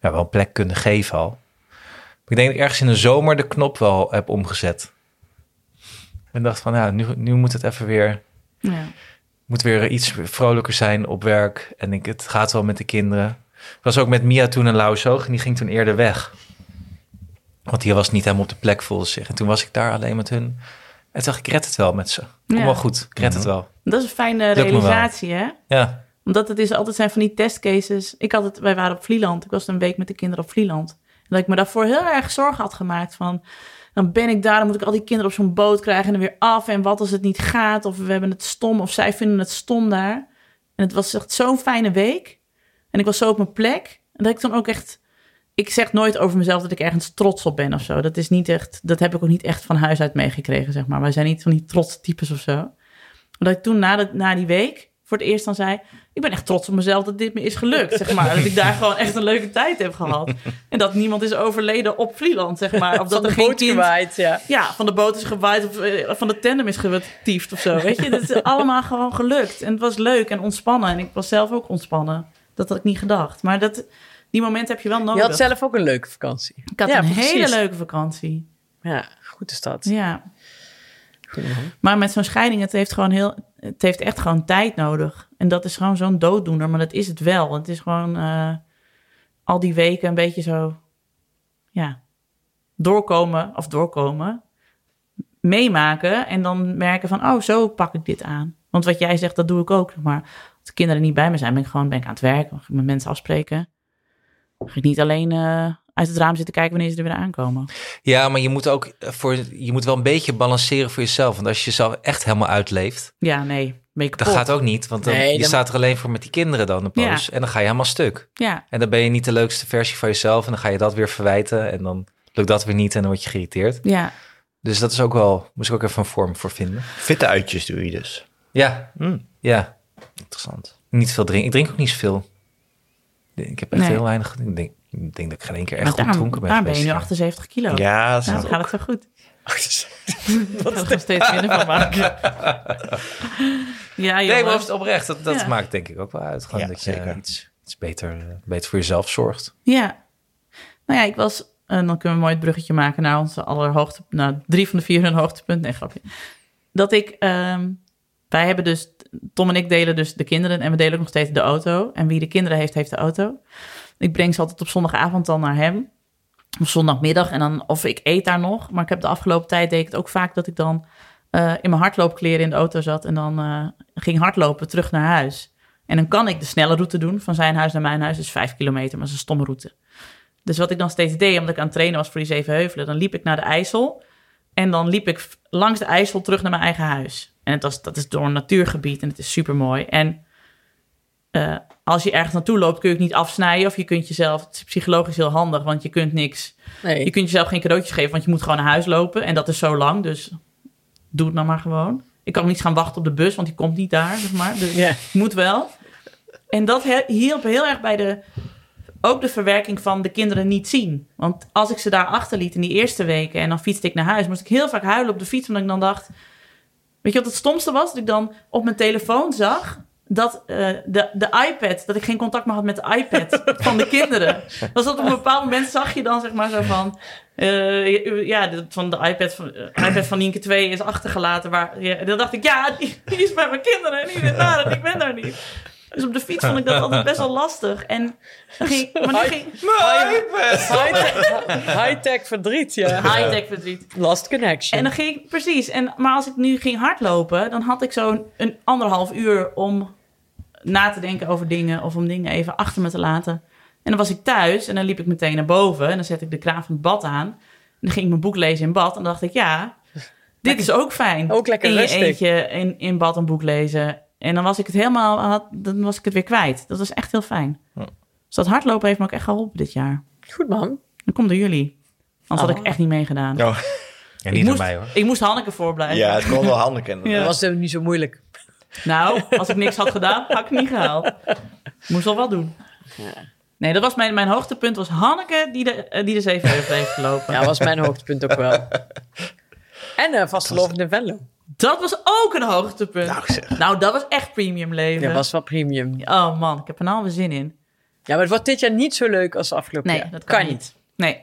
[SPEAKER 3] ja, wel een plek kunnen geven al. Maar ik denk dat ik ergens in de zomer de knop wel heb omgezet. En dacht van, ja, nu, nu moet het even weer...
[SPEAKER 2] Ja.
[SPEAKER 3] Moet weer iets vrolijker zijn op werk. En ik, het gaat wel met de kinderen. Ik was ook met Mia toen een lauwzoog. En die ging toen eerder weg. Want die was niet helemaal op de plek, voelde zich. En toen was ik daar alleen met hun. En toen dacht ik, ik red het wel met ze. Kom
[SPEAKER 2] Ja.
[SPEAKER 3] wel goed, ik red het wel.
[SPEAKER 2] Dat is een fijne
[SPEAKER 3] Lukt me wel.
[SPEAKER 2] realisatie, hè?
[SPEAKER 3] Ja.
[SPEAKER 2] Omdat het is altijd zijn van die testcases. Ik had het, wij waren op Vlieland. Ik was een week met de kinderen op Vlieland. En dat ik me daarvoor heel erg zorgen had gemaakt van... dan ben ik daar, dan moet ik al die kinderen op zo'n boot krijgen... en dan weer af. En wat als het niet gaat? Of we hebben het stom, of zij vinden het stom daar. En het was echt zo'n fijne week. En ik was zo op mijn plek. En dat ik dan ook echt... Ik zeg nooit over mezelf dat ik ergens trots op ben of zo. Dat is niet echt... Dat heb ik ook niet echt van huis uit meegekregen, zeg maar. Wij zijn niet van die trots types of zo. Dat ik toen na, dat- na die week voor het eerst dan zei... ik ben echt trots op mezelf dat dit me is gelukt, zeg maar. Dat ik daar gewoon echt een leuke tijd heb gehad. En dat niemand is overleden op Vlieland, zeg maar. Of dat
[SPEAKER 4] Van
[SPEAKER 2] er
[SPEAKER 4] de
[SPEAKER 2] geen
[SPEAKER 4] boot
[SPEAKER 2] kind
[SPEAKER 4] gewaaid, ja.
[SPEAKER 2] ja, van de boot is gewaaid of eh, van de tandem is getiefd of zo. Weet je, dat is allemaal gewoon gelukt. En het was leuk en ontspannen. En ik was zelf ook ontspannen. Dat had ik niet gedacht. Maar dat, die momenten heb je wel nodig.
[SPEAKER 4] Je had zelf ook een leuke vakantie.
[SPEAKER 2] Oh, ik had
[SPEAKER 4] Ja,
[SPEAKER 2] een
[SPEAKER 4] precies.
[SPEAKER 2] hele leuke vakantie.
[SPEAKER 4] Ja, goed is dat.
[SPEAKER 2] Ja. Maar met zo'n scheiding, het heeft, gewoon heel, het heeft echt gewoon tijd nodig. En dat is gewoon zo'n dooddoener, maar dat is het wel. Het is gewoon eh, al die weken een beetje zo, ja, doorkomen of doorkomen, meemaken en dan merken van, oh, zo pak ik dit aan. Want wat jij zegt, dat doe ik ook. zeg Maar als de kinderen niet bij me zijn, ben ik gewoon ben ik aan het werk, mag ik met mensen afspreken. Mag ik niet alleen eh, uit het raam zitten kijken wanneer ze er weer aankomen.
[SPEAKER 3] Ja, maar je moet ook eh, voor je moet wel een beetje balanceren voor jezelf. Want als je jezelf echt helemaal uitleeft,
[SPEAKER 2] Ja, nee, ben ik
[SPEAKER 3] dat
[SPEAKER 2] kapot.
[SPEAKER 3] gaat ook niet. Want dan,
[SPEAKER 4] Nee,
[SPEAKER 3] je
[SPEAKER 4] dan-
[SPEAKER 3] staat er alleen voor met die kinderen dan een poos. En dan ga je helemaal stuk.
[SPEAKER 2] Ja,
[SPEAKER 3] En dan ben je niet de leukste versie van jezelf. En dan ga je dat weer verwijten. En dan lukt dat weer niet. En dan word je geïrriteerd.
[SPEAKER 2] ja.
[SPEAKER 3] Dus dat is ook wel, moest ik ook even een vorm voor vinden.
[SPEAKER 1] Fitte uitjes doe je dus.
[SPEAKER 3] Ja,
[SPEAKER 1] Hmm.
[SPEAKER 3] ja.
[SPEAKER 1] Interessant.
[SPEAKER 3] Niet veel drinken. Ik drink ook niet zoveel. Ik heb echt
[SPEAKER 2] Nee.
[SPEAKER 3] heel weinig. Ik denk, ik denk dat ik geen één keer echt
[SPEAKER 2] Maar
[SPEAKER 3] goed dronken ben
[SPEAKER 2] Daar ben je
[SPEAKER 3] geweest,
[SPEAKER 2] nu
[SPEAKER 3] ja.
[SPEAKER 2] 78 kilo. Nou,
[SPEAKER 1] Ja, dat is
[SPEAKER 2] dan gaat het wel goed. Ik ga er nog steeds minder van maken. ja,
[SPEAKER 3] Nee,
[SPEAKER 2] jongen.
[SPEAKER 3] maar het oprecht. Dat, dat
[SPEAKER 2] Ja.
[SPEAKER 3] maakt denk ik ook wel uit. Gewoon
[SPEAKER 1] Ja,
[SPEAKER 3] dat je
[SPEAKER 1] zeker.
[SPEAKER 3] iets, iets beter, eh, beter voor jezelf zorgt.
[SPEAKER 2] Ja. Nou ja, ik was... En dan kunnen we mooi het bruggetje maken naar onze allerhoogte... Nou, drie van de vier hun hoogtepunt. Nee, grapje. Dat ik... ehm, wij hebben dus... Tom en ik delen dus de kinderen. En we delen ook nog steeds de auto. En wie de kinderen heeft, heeft de auto. Ik breng ze altijd op zondagavond dan naar hem. Of zondagmiddag. En dan... Of ik eet daar nog. Maar ik heb de afgelopen tijd... deed ik het ook vaak dat ik dan... eh, in mijn hardloopkleren in de auto zat. En dan eh, ging hardlopen terug naar huis. En dan kan ik de snelle route doen. Van zijn huis naar mijn huis is vijf kilometer. Maar dat is een stomme route. Dus wat ik dan steeds deed, omdat ik aan het trainen was voor die zeven heuvelen, dan liep ik naar de IJssel. En dan liep ik f- langs de IJssel terug naar mijn eigen huis. En het was, dat is door een natuurgebied en het is super mooi. En eh, als je ergens naartoe loopt, kun je het niet afsnijden. Of je kunt jezelf, het is psychologisch heel handig, want je kunt niks.
[SPEAKER 4] Nee.
[SPEAKER 2] Je kunt jezelf geen cadeautjes geven, want je moet gewoon naar huis lopen. En dat is zo lang, dus doe het nou maar gewoon. Ik kan ook niet gaan wachten op de bus, want die komt niet daar, zeg maar. Dus
[SPEAKER 4] Ja.
[SPEAKER 2] moet wel. En dat he- hielp heel erg bij de, ook de verwerking van de kinderen niet zien. Want als ik ze daar achterliet in die eerste weken en dan fietste ik naar huis, moest ik heel vaak huilen op de fiets. Omdat ik dan dacht, weet je wat het stomste was? Dat ik dan op mijn telefoon zag dat eh, de, de iPad, dat ik geen contact meer had met de iPad van de kinderen. Dus dat op een bepaald moment zag je dan zeg maar zo van, eh, ja, de- van de iPad van, eh, iPad van Nienke 2 is achtergelaten. Waar, ja, en dan dacht ik, ja, die, die is bij mijn kinderen en die is daar en ik ben daar niet. Dus op de fiets vond ik dat altijd best wel lastig. En dan ging, maar nu ging
[SPEAKER 4] High- High-tech verdriet, ja.
[SPEAKER 2] high-tech verdriet.
[SPEAKER 4] Last connection.
[SPEAKER 2] En dan ging ik, precies. En, maar als ik nu ging hardlopen, dan had ik zo'n een anderhalf uur om na te denken over dingen of om dingen even achter me te laten. En dan was ik thuis en dan liep ik meteen naar boven en dan zette ik de kraan van het bad aan. En dan ging ik mijn boek lezen in bad en dan dacht ik, ja, dit is ook fijn.
[SPEAKER 4] Ook lekker
[SPEAKER 2] in je
[SPEAKER 4] rustig.
[SPEAKER 2] eentje in, in bad een boek lezen. En dan was ik het helemaal, had- dan was ik het weer kwijt. Dat was echt heel fijn. Dus dat hardlopen heeft me ook echt geholpen dit jaar.
[SPEAKER 4] Goed, man.
[SPEAKER 2] Dan komt door jullie. Anders had
[SPEAKER 4] Oh.
[SPEAKER 2] ik echt niet meegedaan.
[SPEAKER 1] Oh,
[SPEAKER 3] Ja,
[SPEAKER 2] ik,
[SPEAKER 3] niet door
[SPEAKER 2] moest,
[SPEAKER 3] mij hoor.
[SPEAKER 2] ik moest Hanneke voorblijven.
[SPEAKER 1] ja, het kon wel handig en
[SPEAKER 4] Dat
[SPEAKER 2] Ja.
[SPEAKER 4] was hem niet zo moeilijk.
[SPEAKER 2] Nou, als ik niks had gedaan, had ik het niet gehaald. Moest al wat doen. Nee, dat was mijn, mijn hoogtepunt was Hanneke die de, eh, die de zeven heuvel heeft gelopen.
[SPEAKER 4] Ja, was mijn hoogtepunt ook wel. En eh vastelovende Venlo.
[SPEAKER 2] Dat was ook een hoogtepunt. Nou, dat was echt premium leven.
[SPEAKER 4] Ja, was wel premium.
[SPEAKER 2] Oh man, ik heb er nou alweer zin in.
[SPEAKER 4] Ja, maar het wordt dit jaar niet zo leuk als afgelopen
[SPEAKER 2] Nee,
[SPEAKER 4] jaar.
[SPEAKER 2] dat kan, niet. Nee.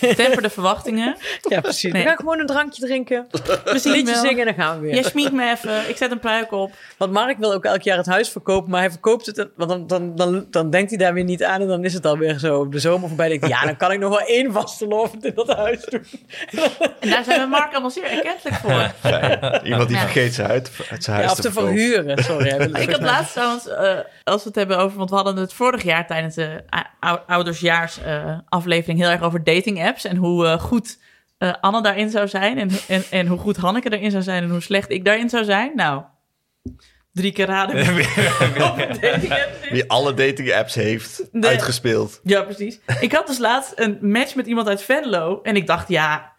[SPEAKER 2] Temper de verwachtingen.
[SPEAKER 4] Ja, precies.
[SPEAKER 2] Nee.
[SPEAKER 4] We gaan gewoon een drankje drinken,
[SPEAKER 2] We
[SPEAKER 4] een
[SPEAKER 2] zien
[SPEAKER 4] liedje
[SPEAKER 2] wel.
[SPEAKER 4] zingen en dan gaan we weer.
[SPEAKER 2] Jij smiekt me even. Ik zet een pruik op.
[SPEAKER 4] Want Mark wil ook elk jaar het huis verkopen, maar hij verkoopt het. Want dan, dan, dan, dan denkt hij daar weer niet aan en dan is het alweer zo. Op de zomer voorbij denkt hij, ja, dan kan ik nog wel één vastelovend in dat huis doen.
[SPEAKER 2] En daar zijn we Mark allemaal zeer erkentelijk voor.
[SPEAKER 1] Ja, iemand die
[SPEAKER 2] Ja.
[SPEAKER 1] vergeet zijn huid, uit zijn
[SPEAKER 4] Ja,
[SPEAKER 1] huis
[SPEAKER 4] of te verhuren, sorry. hij wil het
[SPEAKER 2] Ik had laatst trouwens, eh, als we het hebben over, want we hadden het vorig jaar tijdens de ou- oudersjaars eh, aflevering heel erg over dating apps en hoe eh, goed eh, Anne daarin zou zijn en, en, en hoe goed Hanneke erin zou zijn en hoe slecht ik daarin zou zijn. Nou, drie keer raden wie de dating apps is.
[SPEAKER 1] Die alle dating apps heeft
[SPEAKER 2] Nee.
[SPEAKER 1] uitgespeeld.
[SPEAKER 2] Ja, precies. Ik had dus laatst een match met iemand uit Venlo en ik dacht, ja,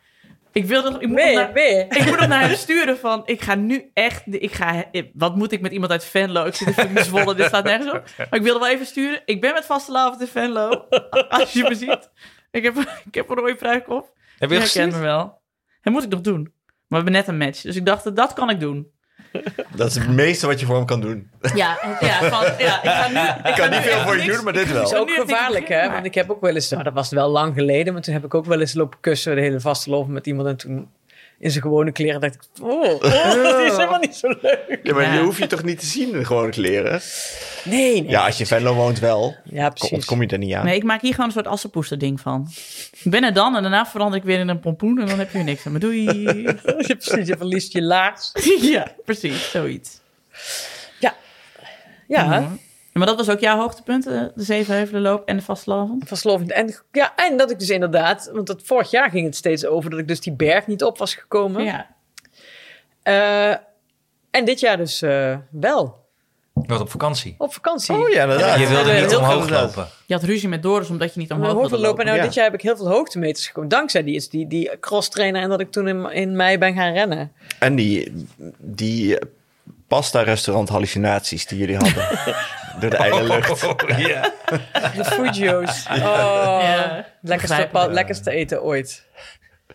[SPEAKER 2] ik wilde, ik moet nog
[SPEAKER 4] Weer,
[SPEAKER 2] naar-
[SPEAKER 4] weer.
[SPEAKER 2] ik moet hem naar hem sturen van... Ik ga nu echt... Ik ga, wat moet ik met iemand uit Venlo? Ik zit in fucking Zwolle, dit staat nergens op. Maar ik wilde wel even sturen. Ik ben met vastelavond in Venlo. Als je me ziet. Ik heb, ik heb een rode pruik op.
[SPEAKER 3] Heb je
[SPEAKER 2] Je
[SPEAKER 3] hem
[SPEAKER 2] herkent
[SPEAKER 3] gezien?
[SPEAKER 2] me wel. Dat moet ik nog doen. Maar we hebben net een match. Dus ik dacht, dat kan ik doen.
[SPEAKER 1] Dat is het meeste wat je voor hem kan doen.
[SPEAKER 2] Ja, ja, van, ja ik ga nu... Ik
[SPEAKER 1] kan niet veel voor je doen, maar dit wel.
[SPEAKER 4] is ook
[SPEAKER 2] Oh, nu heb ik
[SPEAKER 4] gevaarlijk,
[SPEAKER 2] begrepen,
[SPEAKER 4] hè?
[SPEAKER 2] maar-
[SPEAKER 4] Want ik heb ook wel eens, nou, dat was wel lang geleden, maar toen heb ik ook wel eens lopen kussen, de hele vaste lopen met iemand. En toen in zijn gewone kleren dacht ik, oh, oh, dat is helemaal niet zo leuk.
[SPEAKER 1] Ja, maar
[SPEAKER 2] Ja.
[SPEAKER 1] je hoeft je toch niet te zien in gewone kleren?
[SPEAKER 4] Nee, nee.
[SPEAKER 1] Ja, als je in Venlo woont wel.
[SPEAKER 4] Ja,
[SPEAKER 1] Kom-
[SPEAKER 4] precies.
[SPEAKER 1] Ontkom je er niet aan.
[SPEAKER 2] Nee, ik maak hier gewoon een soort assenpoester ding van. Ik ben er dan en daarna verander ik weer in een pompoen en dan heb je weer niks aan me. Doei.
[SPEAKER 4] Je, precies, je verliest je laars.
[SPEAKER 2] Ja, precies. Zoiets.
[SPEAKER 4] Ja,
[SPEAKER 2] Ja. Mhm. Maar dat was ook jouw hoogtepunt, eh, de Zevenheuvelenloop en de vastelavond.
[SPEAKER 4] vastelovend. En, ja, en dat ik dus inderdaad, want dat, vorig jaar ging het steeds over dat ik dus die berg niet op was gekomen.
[SPEAKER 2] Ja.
[SPEAKER 4] Eh, en dit jaar dus eh, wel,
[SPEAKER 3] Je was op vakantie.
[SPEAKER 4] op vakantie.
[SPEAKER 1] Oh ja, inderdaad.
[SPEAKER 3] je wilde
[SPEAKER 4] heel
[SPEAKER 3] niet
[SPEAKER 4] veel
[SPEAKER 3] omhoog
[SPEAKER 1] inderdaad.
[SPEAKER 3] lopen.
[SPEAKER 2] Je had ruzie met Doris omdat je niet
[SPEAKER 4] Mijn
[SPEAKER 2] omhoog
[SPEAKER 4] hoofd
[SPEAKER 2] wilde
[SPEAKER 4] wil lopen.
[SPEAKER 2] lopen.
[SPEAKER 4] En nou,
[SPEAKER 1] ja.
[SPEAKER 4] dit jaar heb ik heel veel hoogtemeters gekomen. Dankzij die, is die, die crosstrainer en dat ik toen in, in mei ben gaan rennen.
[SPEAKER 1] En die, die pasta-restaurant hallucinaties die jullie hadden. Door de eigen lucht.
[SPEAKER 3] Oh, ja.
[SPEAKER 4] De Fujio's. Oh,
[SPEAKER 2] Ja.
[SPEAKER 4] lekkerste,
[SPEAKER 2] Begrijpelijk.
[SPEAKER 4] pa- lekkerste eten ooit.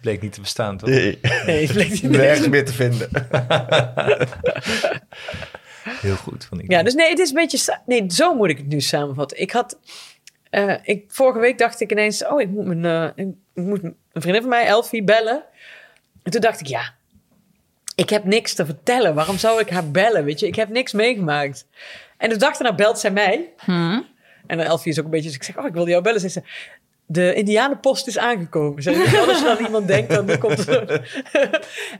[SPEAKER 3] Bleek niet te bestaan, toch?
[SPEAKER 1] Nee,
[SPEAKER 4] Nee, het bleek niet
[SPEAKER 1] nergens meer te vinden.
[SPEAKER 3] Heel goed. Van
[SPEAKER 4] Ja, dus nee, het is een beetje... sa- Nee, zo moet ik het nu samenvatten. Ik had... eh, ik, vorige week dacht ik ineens... Oh, ik moet, mijn, eh, ik moet een vriendin van mij, Elfie, bellen. En toen dacht ik, ja... Ik heb niks te vertellen. Waarom zou ik haar bellen, weet je? Ik heb niks meegemaakt. En de dag daarna belt zij mij. En dan Elfie is ook een beetje... Dus ik zeg, oh, ik wil jou bellen. Ze zegt, de Indianenpost is aangekomen. Zei, ze, als je aan iemand denkt, dan komt het.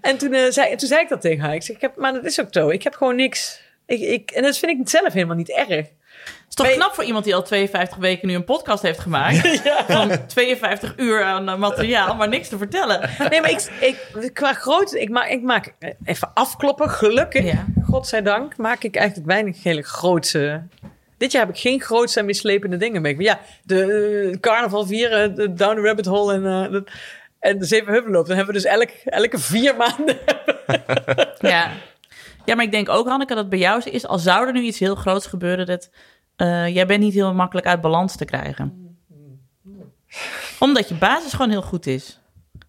[SPEAKER 4] en toen, eh, zei, toen zei ik dat tegen haar. Ik zeg, ik heb, maar dat is ook zo. Ik heb gewoon niks. Ik, ik, en dat vind ik zelf helemaal niet erg.
[SPEAKER 2] is toch
[SPEAKER 4] Ben-
[SPEAKER 2] knap voor iemand die al 52 weken nu een podcast heeft gemaakt. Van 52 uur aan eh, materiaal, maar niks te vertellen.
[SPEAKER 4] Nee, maar ik, ik, qua grootte, ik maak, ik maak eh, even afkloppen, gelukkig.
[SPEAKER 2] Ja.
[SPEAKER 4] Godzijdank maak ik eigenlijk weinig hele grootse... Dit jaar heb ik geen grootse en mislepende dingen mee. Maar ja, de eh, carnaval vieren, de Down the Rabbit Hole en, eh, dat- en de Zevenheuvelloop. Dan hebben we dus elk, elke vier maanden...
[SPEAKER 2] Ja. ja, maar ik denk ook, Hanneke, dat bij jou zo is... al zou er nu iets heel groots gebeuren... dat eh, jij bent niet heel makkelijk uit balans te krijgen. Omdat je basis gewoon heel goed is.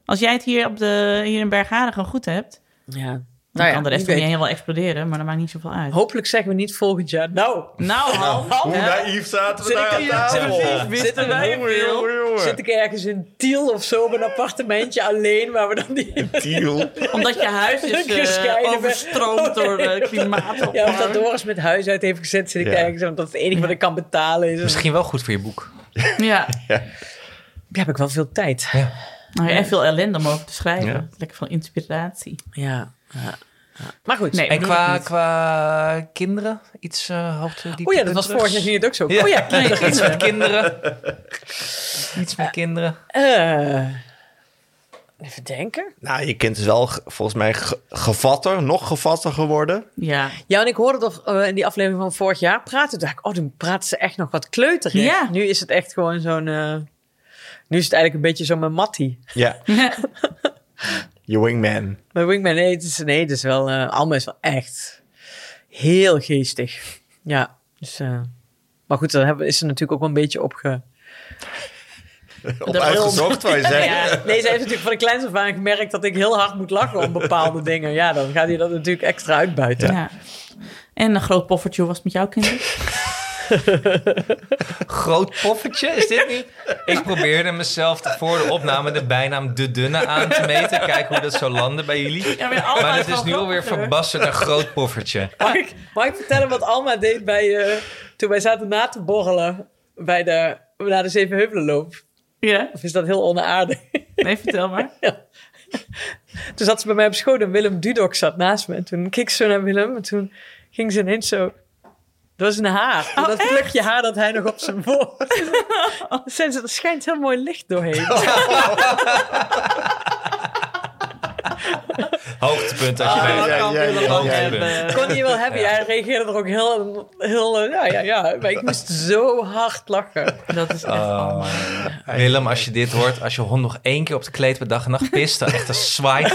[SPEAKER 2] Als jij het hier, op de, hier in Bergharen gewoon goed hebt...
[SPEAKER 4] Ja, nou
[SPEAKER 2] dan kan de rest van
[SPEAKER 4] wie
[SPEAKER 2] je
[SPEAKER 4] weet.
[SPEAKER 2] heen wel exploderen... maar dat maakt niet zoveel uit.
[SPEAKER 4] Hopelijk zeggen we niet volgend jaar. Nou,
[SPEAKER 2] Nou, Hans,
[SPEAKER 1] Hoe
[SPEAKER 2] hè?
[SPEAKER 1] naïef zaten we
[SPEAKER 4] Zit
[SPEAKER 1] daar
[SPEAKER 4] ik
[SPEAKER 1] aan
[SPEAKER 4] hier?
[SPEAKER 1] tafel?
[SPEAKER 4] Precies, zitten wij in
[SPEAKER 1] Jongen,
[SPEAKER 4] Tiel?
[SPEAKER 1] jongen, jongen.
[SPEAKER 4] Zit ik ergens in Tiel of zo op een appartementje alleen waar we dan die...
[SPEAKER 1] Tiel.
[SPEAKER 2] omdat je huis is eh,
[SPEAKER 4] Gescheiden ben.
[SPEAKER 2] overstroomd door eh, de klimaat.
[SPEAKER 4] Ja, of dat Doris met huis uit heeft gezet zit ik
[SPEAKER 1] Ja.
[SPEAKER 4] ergens. Want dat is het enige wat ik kan betalen. Is
[SPEAKER 3] Misschien wel goed voor je boek.
[SPEAKER 2] Ja.
[SPEAKER 4] Ja, heb ik wel veel tijd.
[SPEAKER 2] Nou, en veel ellende om over te schrijven.
[SPEAKER 1] Ja.
[SPEAKER 2] Lekker van inspiratie.
[SPEAKER 4] Ja. ja. Maar goed.
[SPEAKER 2] Nee,
[SPEAKER 3] En
[SPEAKER 2] bedoel ik
[SPEAKER 3] qua,
[SPEAKER 2] niet.
[SPEAKER 3] qua kinderen? Iets eh hoogte,
[SPEAKER 4] Oh ja,
[SPEAKER 3] dieptepunten
[SPEAKER 4] dat was
[SPEAKER 3] terug?
[SPEAKER 4] vorig jaar ging het ook zo.
[SPEAKER 3] Ja.
[SPEAKER 4] Oh ja,
[SPEAKER 3] Nee,
[SPEAKER 4] kinderen.
[SPEAKER 3] iets met kinderen. Iets met kinderen.
[SPEAKER 4] Eh, even denken.
[SPEAKER 1] Nou, je kind is wel ge- volgens mij ge- gevatter, nog gevatter geworden.
[SPEAKER 2] Ja.
[SPEAKER 4] Ja, en ik hoorde toch eh, in die aflevering van vorig jaar praten. Toen dacht ik, oh, toen praten ze echt nog wat kleuterig.
[SPEAKER 2] Ja.
[SPEAKER 4] Nu is het echt gewoon zo'n... eh, nu is het eigenlijk een beetje zo mijn mattie.
[SPEAKER 1] Ja. Je wingman.
[SPEAKER 4] Mijn wingman, nee, het is, nee, het is wel... eh Alma is wel echt heel geestig. Ja, dus... eh, maar goed, daar hebben, is ze natuurlijk ook wel een beetje opge...
[SPEAKER 1] Op
[SPEAKER 2] bril.
[SPEAKER 1] uitgezocht, waar je zegt.
[SPEAKER 4] Ja, nee, ze heeft natuurlijk van de kleinste af aan gemerkt dat ik heel hard moet lachen om bepaalde dingen. Ja, dan gaat hij dat natuurlijk extra uitbuiten.
[SPEAKER 2] Ja. En een groot poffertje, hoe was het met jouw kinderen?
[SPEAKER 3] Groot poffertje, is dit niet? Ik probeerde mezelf te- voor de opname de bijnaam De Dunne aan te meten. Kijken hoe dat zou landen bij jullie.
[SPEAKER 2] Ja, maar Alma
[SPEAKER 3] Maar
[SPEAKER 2] is
[SPEAKER 3] dat
[SPEAKER 2] wel
[SPEAKER 3] is nu alweer
[SPEAKER 2] groter.
[SPEAKER 3] verbassen naar Groot Poffertje.
[SPEAKER 4] Mag, ik, mag ik vertellen wat Alma deed bij, eh, toen wij zaten na te borrelen bij de, na de Zevenheuvelenloop?
[SPEAKER 2] Ja,
[SPEAKER 4] Of is dat heel onaardig?
[SPEAKER 2] nee, vertel maar.
[SPEAKER 4] Toen zat ze bij mij op schoot en Willem Dudok zat naast me. En toen keek ze zo naar Willem en toen ging ze ineens zo... Dat was een haar. dat plukje haar dat hij nog op zijn voorhoofd... Zijn ze- Er schijnt heel mooi licht doorheen.
[SPEAKER 3] Hoogtepunt als je
[SPEAKER 1] Ah,
[SPEAKER 3] bij
[SPEAKER 1] ja, ja, ja, ja, ja.
[SPEAKER 3] Hoogtepunt.
[SPEAKER 4] Ik kon niet wel hebben. Ja, hij reageerde er ook heel, heel eh, ja, ja, ja. Maar ik moest zo hard lachen.
[SPEAKER 2] eh, Dat is echt
[SPEAKER 1] Ah.
[SPEAKER 2] allemaal.
[SPEAKER 3] Willem, als je dit hoort, als je hond nog één keer op de kleed per dag en nacht pist, dan echt een zwaai.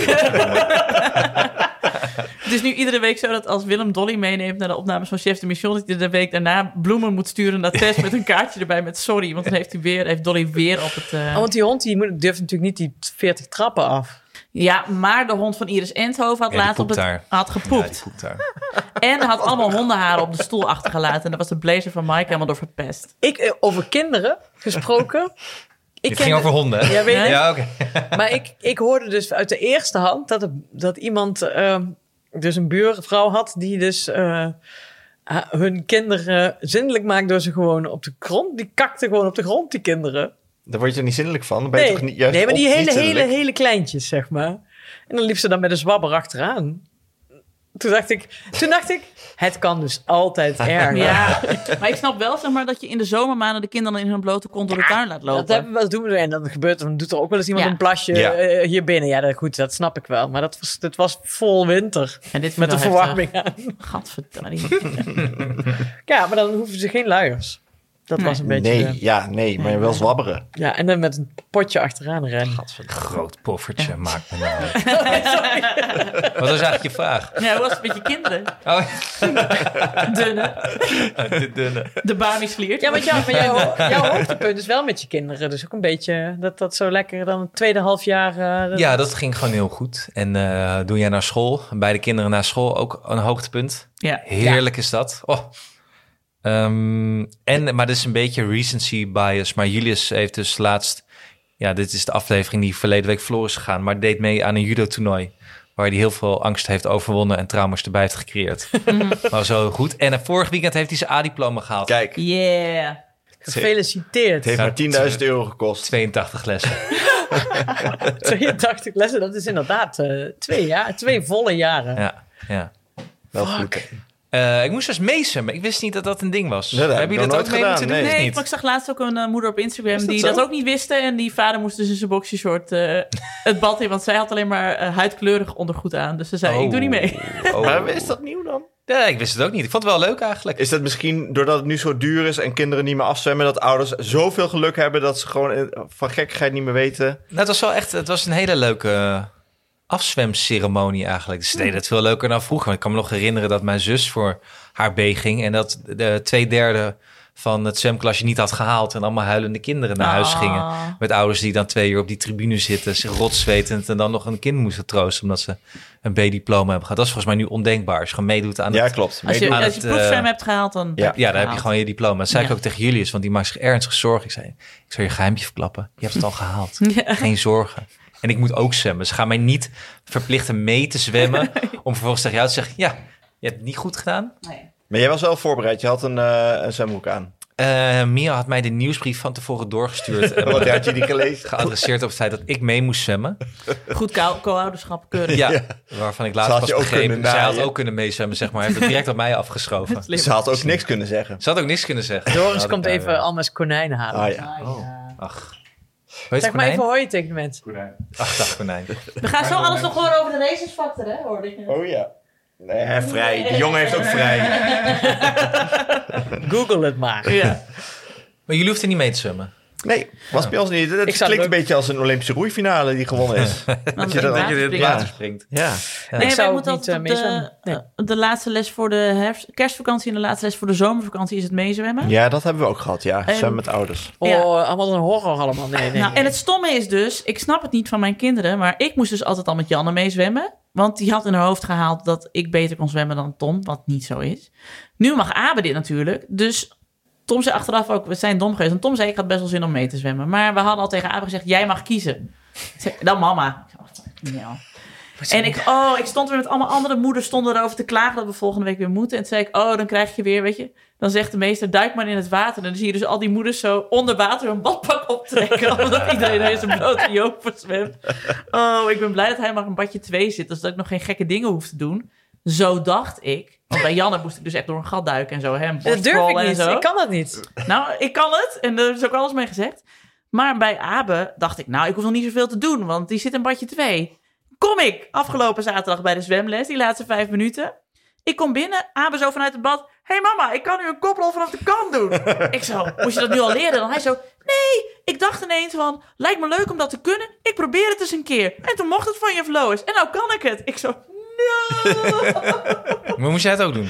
[SPEAKER 2] Het is nu iedere week zo dat als Willem Dolly meeneemt naar de opnames van Chef de Mission, dat hij de week daarna bloemen moet sturen naar Tess met een kaartje erbij met sorry. Want dan heeft, hij weer, heeft Dolly weer op het... eh,
[SPEAKER 4] Oh, want die hond die moet- durft natuurlijk niet die 40 trappen af.
[SPEAKER 2] Ja, maar de hond van Iris Endhoven had
[SPEAKER 3] Ja, die
[SPEAKER 2] laatst op
[SPEAKER 3] poept
[SPEAKER 2] het,
[SPEAKER 3] daar.
[SPEAKER 2] had
[SPEAKER 3] Ja, die
[SPEAKER 2] gepoept.
[SPEAKER 3] poept daar.
[SPEAKER 2] En had allemaal hondenharen op de stoel achtergelaten. En daar was de blazer van Mike helemaal door verpest.
[SPEAKER 4] Ik, eh, over kinderen gesproken. Ik
[SPEAKER 3] Dit ging over honden, hè?
[SPEAKER 4] Ja, weet ik.
[SPEAKER 3] Ja, oké.
[SPEAKER 4] Maar ik, ik hoorde dus uit de eerste hand dat, er- dat iemand, ehm, dus een buurvrouw had, die dus eh, ha- hun kinderen zindelijk maakt door ze gewoon op de grond. Die kakte gewoon op de grond, die kinderen.
[SPEAKER 1] Daar word je er niet zinnelijk van. Dan ben je toch niet juist
[SPEAKER 4] nee, maar die
[SPEAKER 1] op-
[SPEAKER 4] hele,
[SPEAKER 1] niet
[SPEAKER 4] hele,
[SPEAKER 1] zinnelijk?
[SPEAKER 4] hele kleintjes, zeg maar. En dan liep ze dan met een zwabber achteraan. Toen dacht ik, toen dacht ik het kan dus altijd erger.
[SPEAKER 2] Ja, maar ik snap wel zeg maar, dat je in de zomermaanden de kinderen in hun blote kont door de tuin laat lopen.
[SPEAKER 4] Dat, hebben we, dat doen we en dan gebeurt er, dan doet er ook wel eens iemand
[SPEAKER 2] Ja.
[SPEAKER 4] een plasje
[SPEAKER 1] Ja.
[SPEAKER 4] eh, hier binnen. Ja, dat, goed, dat snap ik wel. Maar dat was, het was vol winter
[SPEAKER 2] en dit vind
[SPEAKER 4] met
[SPEAKER 2] ik
[SPEAKER 4] de
[SPEAKER 1] eh,
[SPEAKER 2] wel heftig.
[SPEAKER 4] verwarming aan.
[SPEAKER 2] Gadverdamme.
[SPEAKER 4] Ja, maar dan hoeven ze geen luiers. Dat was een beetje...
[SPEAKER 1] Nee,
[SPEAKER 4] eh,
[SPEAKER 1] ja, nee, maar wel zwabberen.
[SPEAKER 4] ja, en dan met een potje achteraan rennen.
[SPEAKER 3] Groot poffertje, maakt me nou uit. Wat was eigenlijk je vraag?
[SPEAKER 2] Ja, hoe was het met je kinderen?
[SPEAKER 3] Oh,
[SPEAKER 2] Dunne.
[SPEAKER 3] de dunne.
[SPEAKER 2] De Bami sliert.
[SPEAKER 4] Ja, want jou, maar jouw, ho- jouw hoogtepunt is wel met je kinderen. Dus ook een beetje dat dat zo lekker dan het tweede half jaar... eh, dat-
[SPEAKER 3] Ja, dat ging gewoon heel goed. En eh doe jij naar school, beide kinderen naar school, ook een hoogtepunt.
[SPEAKER 2] Ja.
[SPEAKER 3] Heerlijk is dat. Oh. Ehm, en, maar dit is een beetje recency bias. Maar Julius heeft dus laatst... Ja, dit is de aflevering die verleden week verloren is gegaan. Maar deed mee aan een judo-toernooi. Waar hij heel veel angst heeft overwonnen en trauma's erbij heeft gecreëerd. maar zo goed. En eh, vorig weekend heeft hij zijn A-diploma gehaald.
[SPEAKER 1] Kijk, het
[SPEAKER 2] Yeah.
[SPEAKER 4] Gefeliciteerd.
[SPEAKER 1] heeft
[SPEAKER 3] Nou,
[SPEAKER 1] maar 10.000 euro gekost.
[SPEAKER 3] 82 lessen.
[SPEAKER 4] 82 lessen, dat is inderdaad eh, twee, jaar, twee volle jaren.
[SPEAKER 3] ja, ja.
[SPEAKER 1] Wel goed.
[SPEAKER 3] Eh, ik moest dus meesen, maar ik wist niet dat dat een ding was.
[SPEAKER 1] Nee, dat heb
[SPEAKER 3] Hebben
[SPEAKER 1] ik
[SPEAKER 3] jullie
[SPEAKER 1] nog
[SPEAKER 3] dat ook
[SPEAKER 1] nooit
[SPEAKER 3] mee
[SPEAKER 1] gedaan,
[SPEAKER 3] moeten
[SPEAKER 1] nee.
[SPEAKER 3] doen? of
[SPEAKER 2] Nee,
[SPEAKER 3] niet?
[SPEAKER 2] maar ik zag laatst ook een eh, moeder op Instagram
[SPEAKER 1] Is dat
[SPEAKER 2] die
[SPEAKER 1] zo?
[SPEAKER 2] dat ook niet wist. En die vader moest dus in zijn boxershort eh het bad in. Want zij had alleen maar eh, huidkleurig ondergoed aan. Dus ze zei, ik doe niet mee.
[SPEAKER 3] Oh.
[SPEAKER 1] Maar is dat nieuw dan?
[SPEAKER 3] Nee, ik wist het ook niet. Ik vond het wel leuk eigenlijk.
[SPEAKER 1] Is dat misschien doordat het nu zo duur is en kinderen niet meer afzwemmen, dat ouders zoveel geluk hebben dat ze gewoon eh, van gekkigheid niet meer weten?
[SPEAKER 3] Nou, het was wel echt, het was een hele leuke afzwemceremonie eigenlijk. Ze deden het veel leuker dan vroeger. Want Ik kan me nog herinneren dat mijn zus voor haar B ging en dat de twee derde van het zwemklasje niet had gehaald en allemaal huilende kinderen naar huis
[SPEAKER 2] Ah.
[SPEAKER 3] gingen. Met ouders die dan twee uur op die tribune zitten, zich rotzwetend en dan nog een kind moesten troosten omdat ze een B-diploma hebben gehad. Dat is volgens mij nu ondenkbaar. Als je gewoon meedoet aan
[SPEAKER 1] Ja,
[SPEAKER 3] het...
[SPEAKER 1] klopt.
[SPEAKER 2] Als je,
[SPEAKER 1] Meedoen.
[SPEAKER 3] aan
[SPEAKER 2] als je
[SPEAKER 3] het,
[SPEAKER 2] proefzwem
[SPEAKER 3] eh,
[SPEAKER 2] hebt gehaald, dan
[SPEAKER 1] ja.
[SPEAKER 3] Ja, daar heb je
[SPEAKER 2] gehaald.
[SPEAKER 3] gewoon je diploma. Dat zei ik
[SPEAKER 2] Ja.
[SPEAKER 3] ook tegen Julius, want die maakt zich ernstig zorgen. Ik zei, ik zal je geheimje verklappen. Je hebt het al gehaald. Geen zorgen. En ik moet ook zwemmen. Ze gaan mij niet verplichten mee te zwemmen... om vervolgens tegen jou te zeggen... ja, je hebt het niet goed gedaan.
[SPEAKER 1] Maar jij was wel voorbereid. Je had een, eh een zwemhoek aan.
[SPEAKER 3] Eh, Mia had mij de nieuwsbrief van tevoren doorgestuurd... eh,
[SPEAKER 1] Want had je die gelezen?
[SPEAKER 3] geadresseerd op het feit dat ik mee moest zwemmen.
[SPEAKER 2] goed kou- co-ouderschap keurig.
[SPEAKER 3] Ja, waarvan ik
[SPEAKER 1] Ze
[SPEAKER 3] later
[SPEAKER 1] had
[SPEAKER 3] pas
[SPEAKER 1] je ook
[SPEAKER 3] begreep...
[SPEAKER 1] kunnen
[SPEAKER 3] zij had
[SPEAKER 1] naaien.
[SPEAKER 3] ook kunnen meezwemmen, zeg maar. Hij heeft het direct op mij afgeschoven.
[SPEAKER 1] Dus Ze had ook niks kunnen zeggen.
[SPEAKER 3] Ze had ook niks kunnen zeggen. Dan
[SPEAKER 4] Doris
[SPEAKER 3] had
[SPEAKER 4] komt
[SPEAKER 3] ik daar
[SPEAKER 4] even Alma's konijnen halen.
[SPEAKER 1] Ah ja.
[SPEAKER 3] Ach. Hoe heet
[SPEAKER 4] Zeg
[SPEAKER 3] het
[SPEAKER 4] maar even
[SPEAKER 3] konijn?
[SPEAKER 4] hoi tegen de mensen.
[SPEAKER 3] Ach, dag konijn.
[SPEAKER 2] We gaan zo alles nog horen over de racersfactor, hè? Hoorde ik.
[SPEAKER 1] Oh ja. Nee, hè, vrij. Die jongen heeft ook vrij.
[SPEAKER 4] Google het maar.
[SPEAKER 2] Ja.
[SPEAKER 3] Maar jullie hoefden niet mee te zwemmen.
[SPEAKER 1] Nee, was bij ons niet. Het
[SPEAKER 4] Ik zou
[SPEAKER 1] klinkt
[SPEAKER 4] het
[SPEAKER 1] een beetje als een Olympische roeifinale die gewonnen is.
[SPEAKER 2] Dan
[SPEAKER 1] je dat- dat
[SPEAKER 2] water
[SPEAKER 3] in
[SPEAKER 2] springen.
[SPEAKER 3] het water springt.
[SPEAKER 1] ja.
[SPEAKER 3] Ja.
[SPEAKER 2] Nee,
[SPEAKER 4] Ik
[SPEAKER 2] wij
[SPEAKER 4] zou
[SPEAKER 2] moeten
[SPEAKER 4] ook niet,
[SPEAKER 2] altijd op
[SPEAKER 4] eh, meezwemmen.
[SPEAKER 2] de, eh, de laatste les voor de herfst, kerstvakantie en de laatste les voor de zomervakantie is het meezwemmen.
[SPEAKER 1] ja, dat hebben we ook gehad. Ja,
[SPEAKER 2] En-
[SPEAKER 1] zwemmen met ouders.
[SPEAKER 4] Oh,
[SPEAKER 2] Ja.
[SPEAKER 4] allemaal een horror allemaal. Nee, nee,
[SPEAKER 2] Nou,
[SPEAKER 4] nee.
[SPEAKER 2] en het stomme is dus, ik snap het niet van mijn kinderen, maar ik moest dus altijd al met Janne meezwemmen. Want die had in haar hoofd gehaald dat ik beter kon zwemmen dan Tom, wat niet zo is. Nu mag Abe dit natuurlijk, dus Tom zei achteraf ook, we zijn dom geweest. En Tom zei, ik had best wel zin om mee te zwemmen. Maar we hadden al tegen Abe gezegd, jij mag kiezen. Ik zei, Dan mama. Ik zei, "Oh, ja." En ik, oh, ik stond weer met allemaal andere moeders stonden erover te klagen dat we volgende week weer moeten. En toen zei ik, oh, dan krijg je weer, weet je. Dan zegt de meester, duik maar in het water. En dan zie je dus al die moeders zo onder water hun badpak optrekken. omdat iedereen in zijn blote joper zwemt. Oh, ik ben blij dat hij maar een badje 2 zit. Dus dat ik nog geen gekke dingen hoef te doen. Zo dacht ik. Want bij Janne moest ik dus echt door een gat duiken en zo. Hè, en
[SPEAKER 4] dat durf ik
[SPEAKER 2] borstrollen en
[SPEAKER 4] niet.
[SPEAKER 2] zo.
[SPEAKER 4] Ik kan dat niet.
[SPEAKER 2] Nou, ik kan het. En er is ook alles mee gezegd. Maar bij Abe dacht ik, nou, ik hoef nog niet zoveel te doen, want die zit in badje 2. Kom ik afgelopen zaterdag bij de zwemles, die laatste vijf minuten. Ik kom binnen, Abe zo vanuit het bad. Hé hey mama, ik kan nu een koprol vanaf de kant doen. ik zo, moest je dat nu al leren? Dan hij zo, nee, ik dacht ineens van, lijkt me leuk om dat te kunnen. Ik probeer het eens een keer. En toen mocht het van je Lois. En nou kan ik het. Ik zo, no.
[SPEAKER 3] Maar moest jij het ook doen?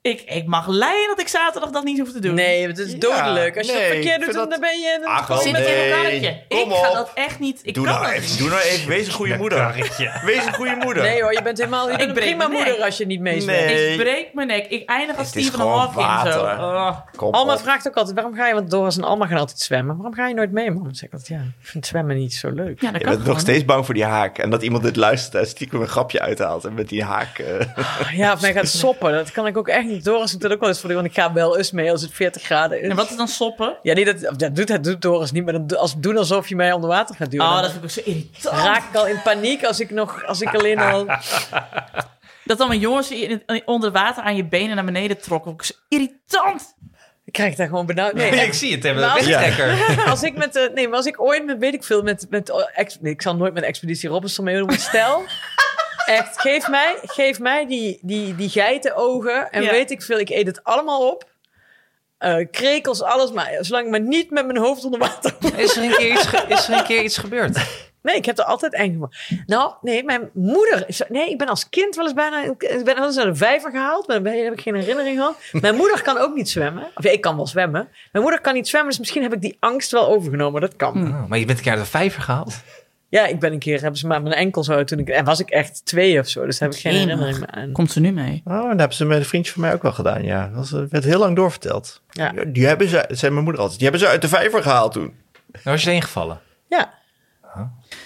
[SPEAKER 2] ik, ik mag lijden dat ik zaterdag dat niet hoef te doen.
[SPEAKER 4] Nee, het is dodelijk. Als je
[SPEAKER 1] nee,
[SPEAKER 4] dat
[SPEAKER 1] ik
[SPEAKER 4] verkeerd doet,
[SPEAKER 1] vind
[SPEAKER 4] dan
[SPEAKER 1] dat-
[SPEAKER 4] ben je... Dan
[SPEAKER 1] Ach, wel,
[SPEAKER 2] Zit ik in
[SPEAKER 1] nee.
[SPEAKER 2] een karretje?
[SPEAKER 1] Kom
[SPEAKER 2] Ik ga
[SPEAKER 1] op.
[SPEAKER 2] dat echt niet. Ik
[SPEAKER 1] Doe
[SPEAKER 2] kan
[SPEAKER 1] nou,
[SPEAKER 2] dat
[SPEAKER 1] even, doe nou even. Wees een goede moeder. Wees een goede moeder.
[SPEAKER 4] Nee hoor, je bent helemaal je bent een
[SPEAKER 2] breek
[SPEAKER 4] prima
[SPEAKER 2] mijn
[SPEAKER 4] moeder
[SPEAKER 2] nek.
[SPEAKER 4] als je niet meespeelt.
[SPEAKER 1] Nee.
[SPEAKER 2] Ik breek mijn nek. Ik eindig als
[SPEAKER 1] Het is
[SPEAKER 2] Stephen
[SPEAKER 1] gewoon
[SPEAKER 2] Hawking. Zo.
[SPEAKER 1] water.
[SPEAKER 2] Oh.
[SPEAKER 1] Kom
[SPEAKER 4] Alma
[SPEAKER 1] op.
[SPEAKER 4] vraagt ook altijd, waarom ga je, want Doris en Alma gaan altijd zwemmen. Waarom ga je nooit mee, man? Dan Zeg ik altijd, ja, ik vind zwemmen niet zo leuk.
[SPEAKER 2] Ja, dat
[SPEAKER 1] Je
[SPEAKER 2] kan
[SPEAKER 1] bent nog
[SPEAKER 2] gewoon.
[SPEAKER 1] steeds bang voor die haak. En dat iemand dit luistert en stiekem een grapje uithaalt. En met die haak... eh,
[SPEAKER 4] Ja, of mij gaat soppen. Dat kan ik ook echt niet. Doris doet dat ook wel eens voor die, want ik ga wel eens mee als het 40 graden is.
[SPEAKER 2] En wat is dan soppen?
[SPEAKER 4] Ja, niet dat, of dat, doet, dat doet Doris niet, maar dan, do- als, doen alsof je mij onder water gaat duwen.
[SPEAKER 2] Oh, dat
[SPEAKER 4] Dan
[SPEAKER 2] vind ik ook zo irritant.
[SPEAKER 4] raak ik al in paniek als ik, nog, als ik alleen al...
[SPEAKER 2] Dat dan mijn jongens in het- onder water aan je benen naar beneden trokken. Ook zo irritant.
[SPEAKER 4] Ik krijg daar gewoon benauwd. Nee,
[SPEAKER 3] ik zie het, hebben
[SPEAKER 4] Nou,
[SPEAKER 3] we wegtrekker.
[SPEAKER 4] Als ik met, eh, nee, maar als ik ooit met, weet ik veel, met, met oh, ex- nee, ik zal nooit met Expeditie Robinson meedoen, maar stel, echt, geef mij, geef mij die, die, die geitenogen en
[SPEAKER 2] Ja.
[SPEAKER 4] weet ik veel, ik eet het allemaal op. Eh, krekels, alles, maar zolang ik maar niet met mijn hoofd onder water.
[SPEAKER 3] Is er, een keer iets ge- is er een keer iets gebeurd?
[SPEAKER 4] Nee, ik heb er altijd eng gemaakt. Nou, nee, mijn moeder. is- Nee, ik ben als kind wel eens bijna. Ik ben wel eens naar de vijver gehaald. Maar daar heb ik geen herinnering aan. Mijn moeder kan ook niet zwemmen. Of ja, ik kan wel zwemmen. Mijn moeder kan niet zwemmen, dus misschien heb ik die angst wel overgenomen. Dat kan.
[SPEAKER 3] Oh, maar je bent een keer uit de vijver gehaald.
[SPEAKER 4] Ja, ik ben een keer, hebben ze maar mijn enkel zo toen ik, en was ik echt twee of zo, dus daar heb ik geen
[SPEAKER 2] Jemig.
[SPEAKER 4] herinnering meer aan.
[SPEAKER 2] Komt ze nu mee?
[SPEAKER 1] Oh, en dat hebben ze met een vriendje van mij ook wel gedaan, ja. Dat was- dat werd heel lang doorverteld.
[SPEAKER 4] Ja.
[SPEAKER 1] Ja, Die hebben ze, zei mijn moeder altijd, die hebben ze uit de vijver gehaald toen.
[SPEAKER 3] Nou, was je erin gevallen.
[SPEAKER 4] Ja,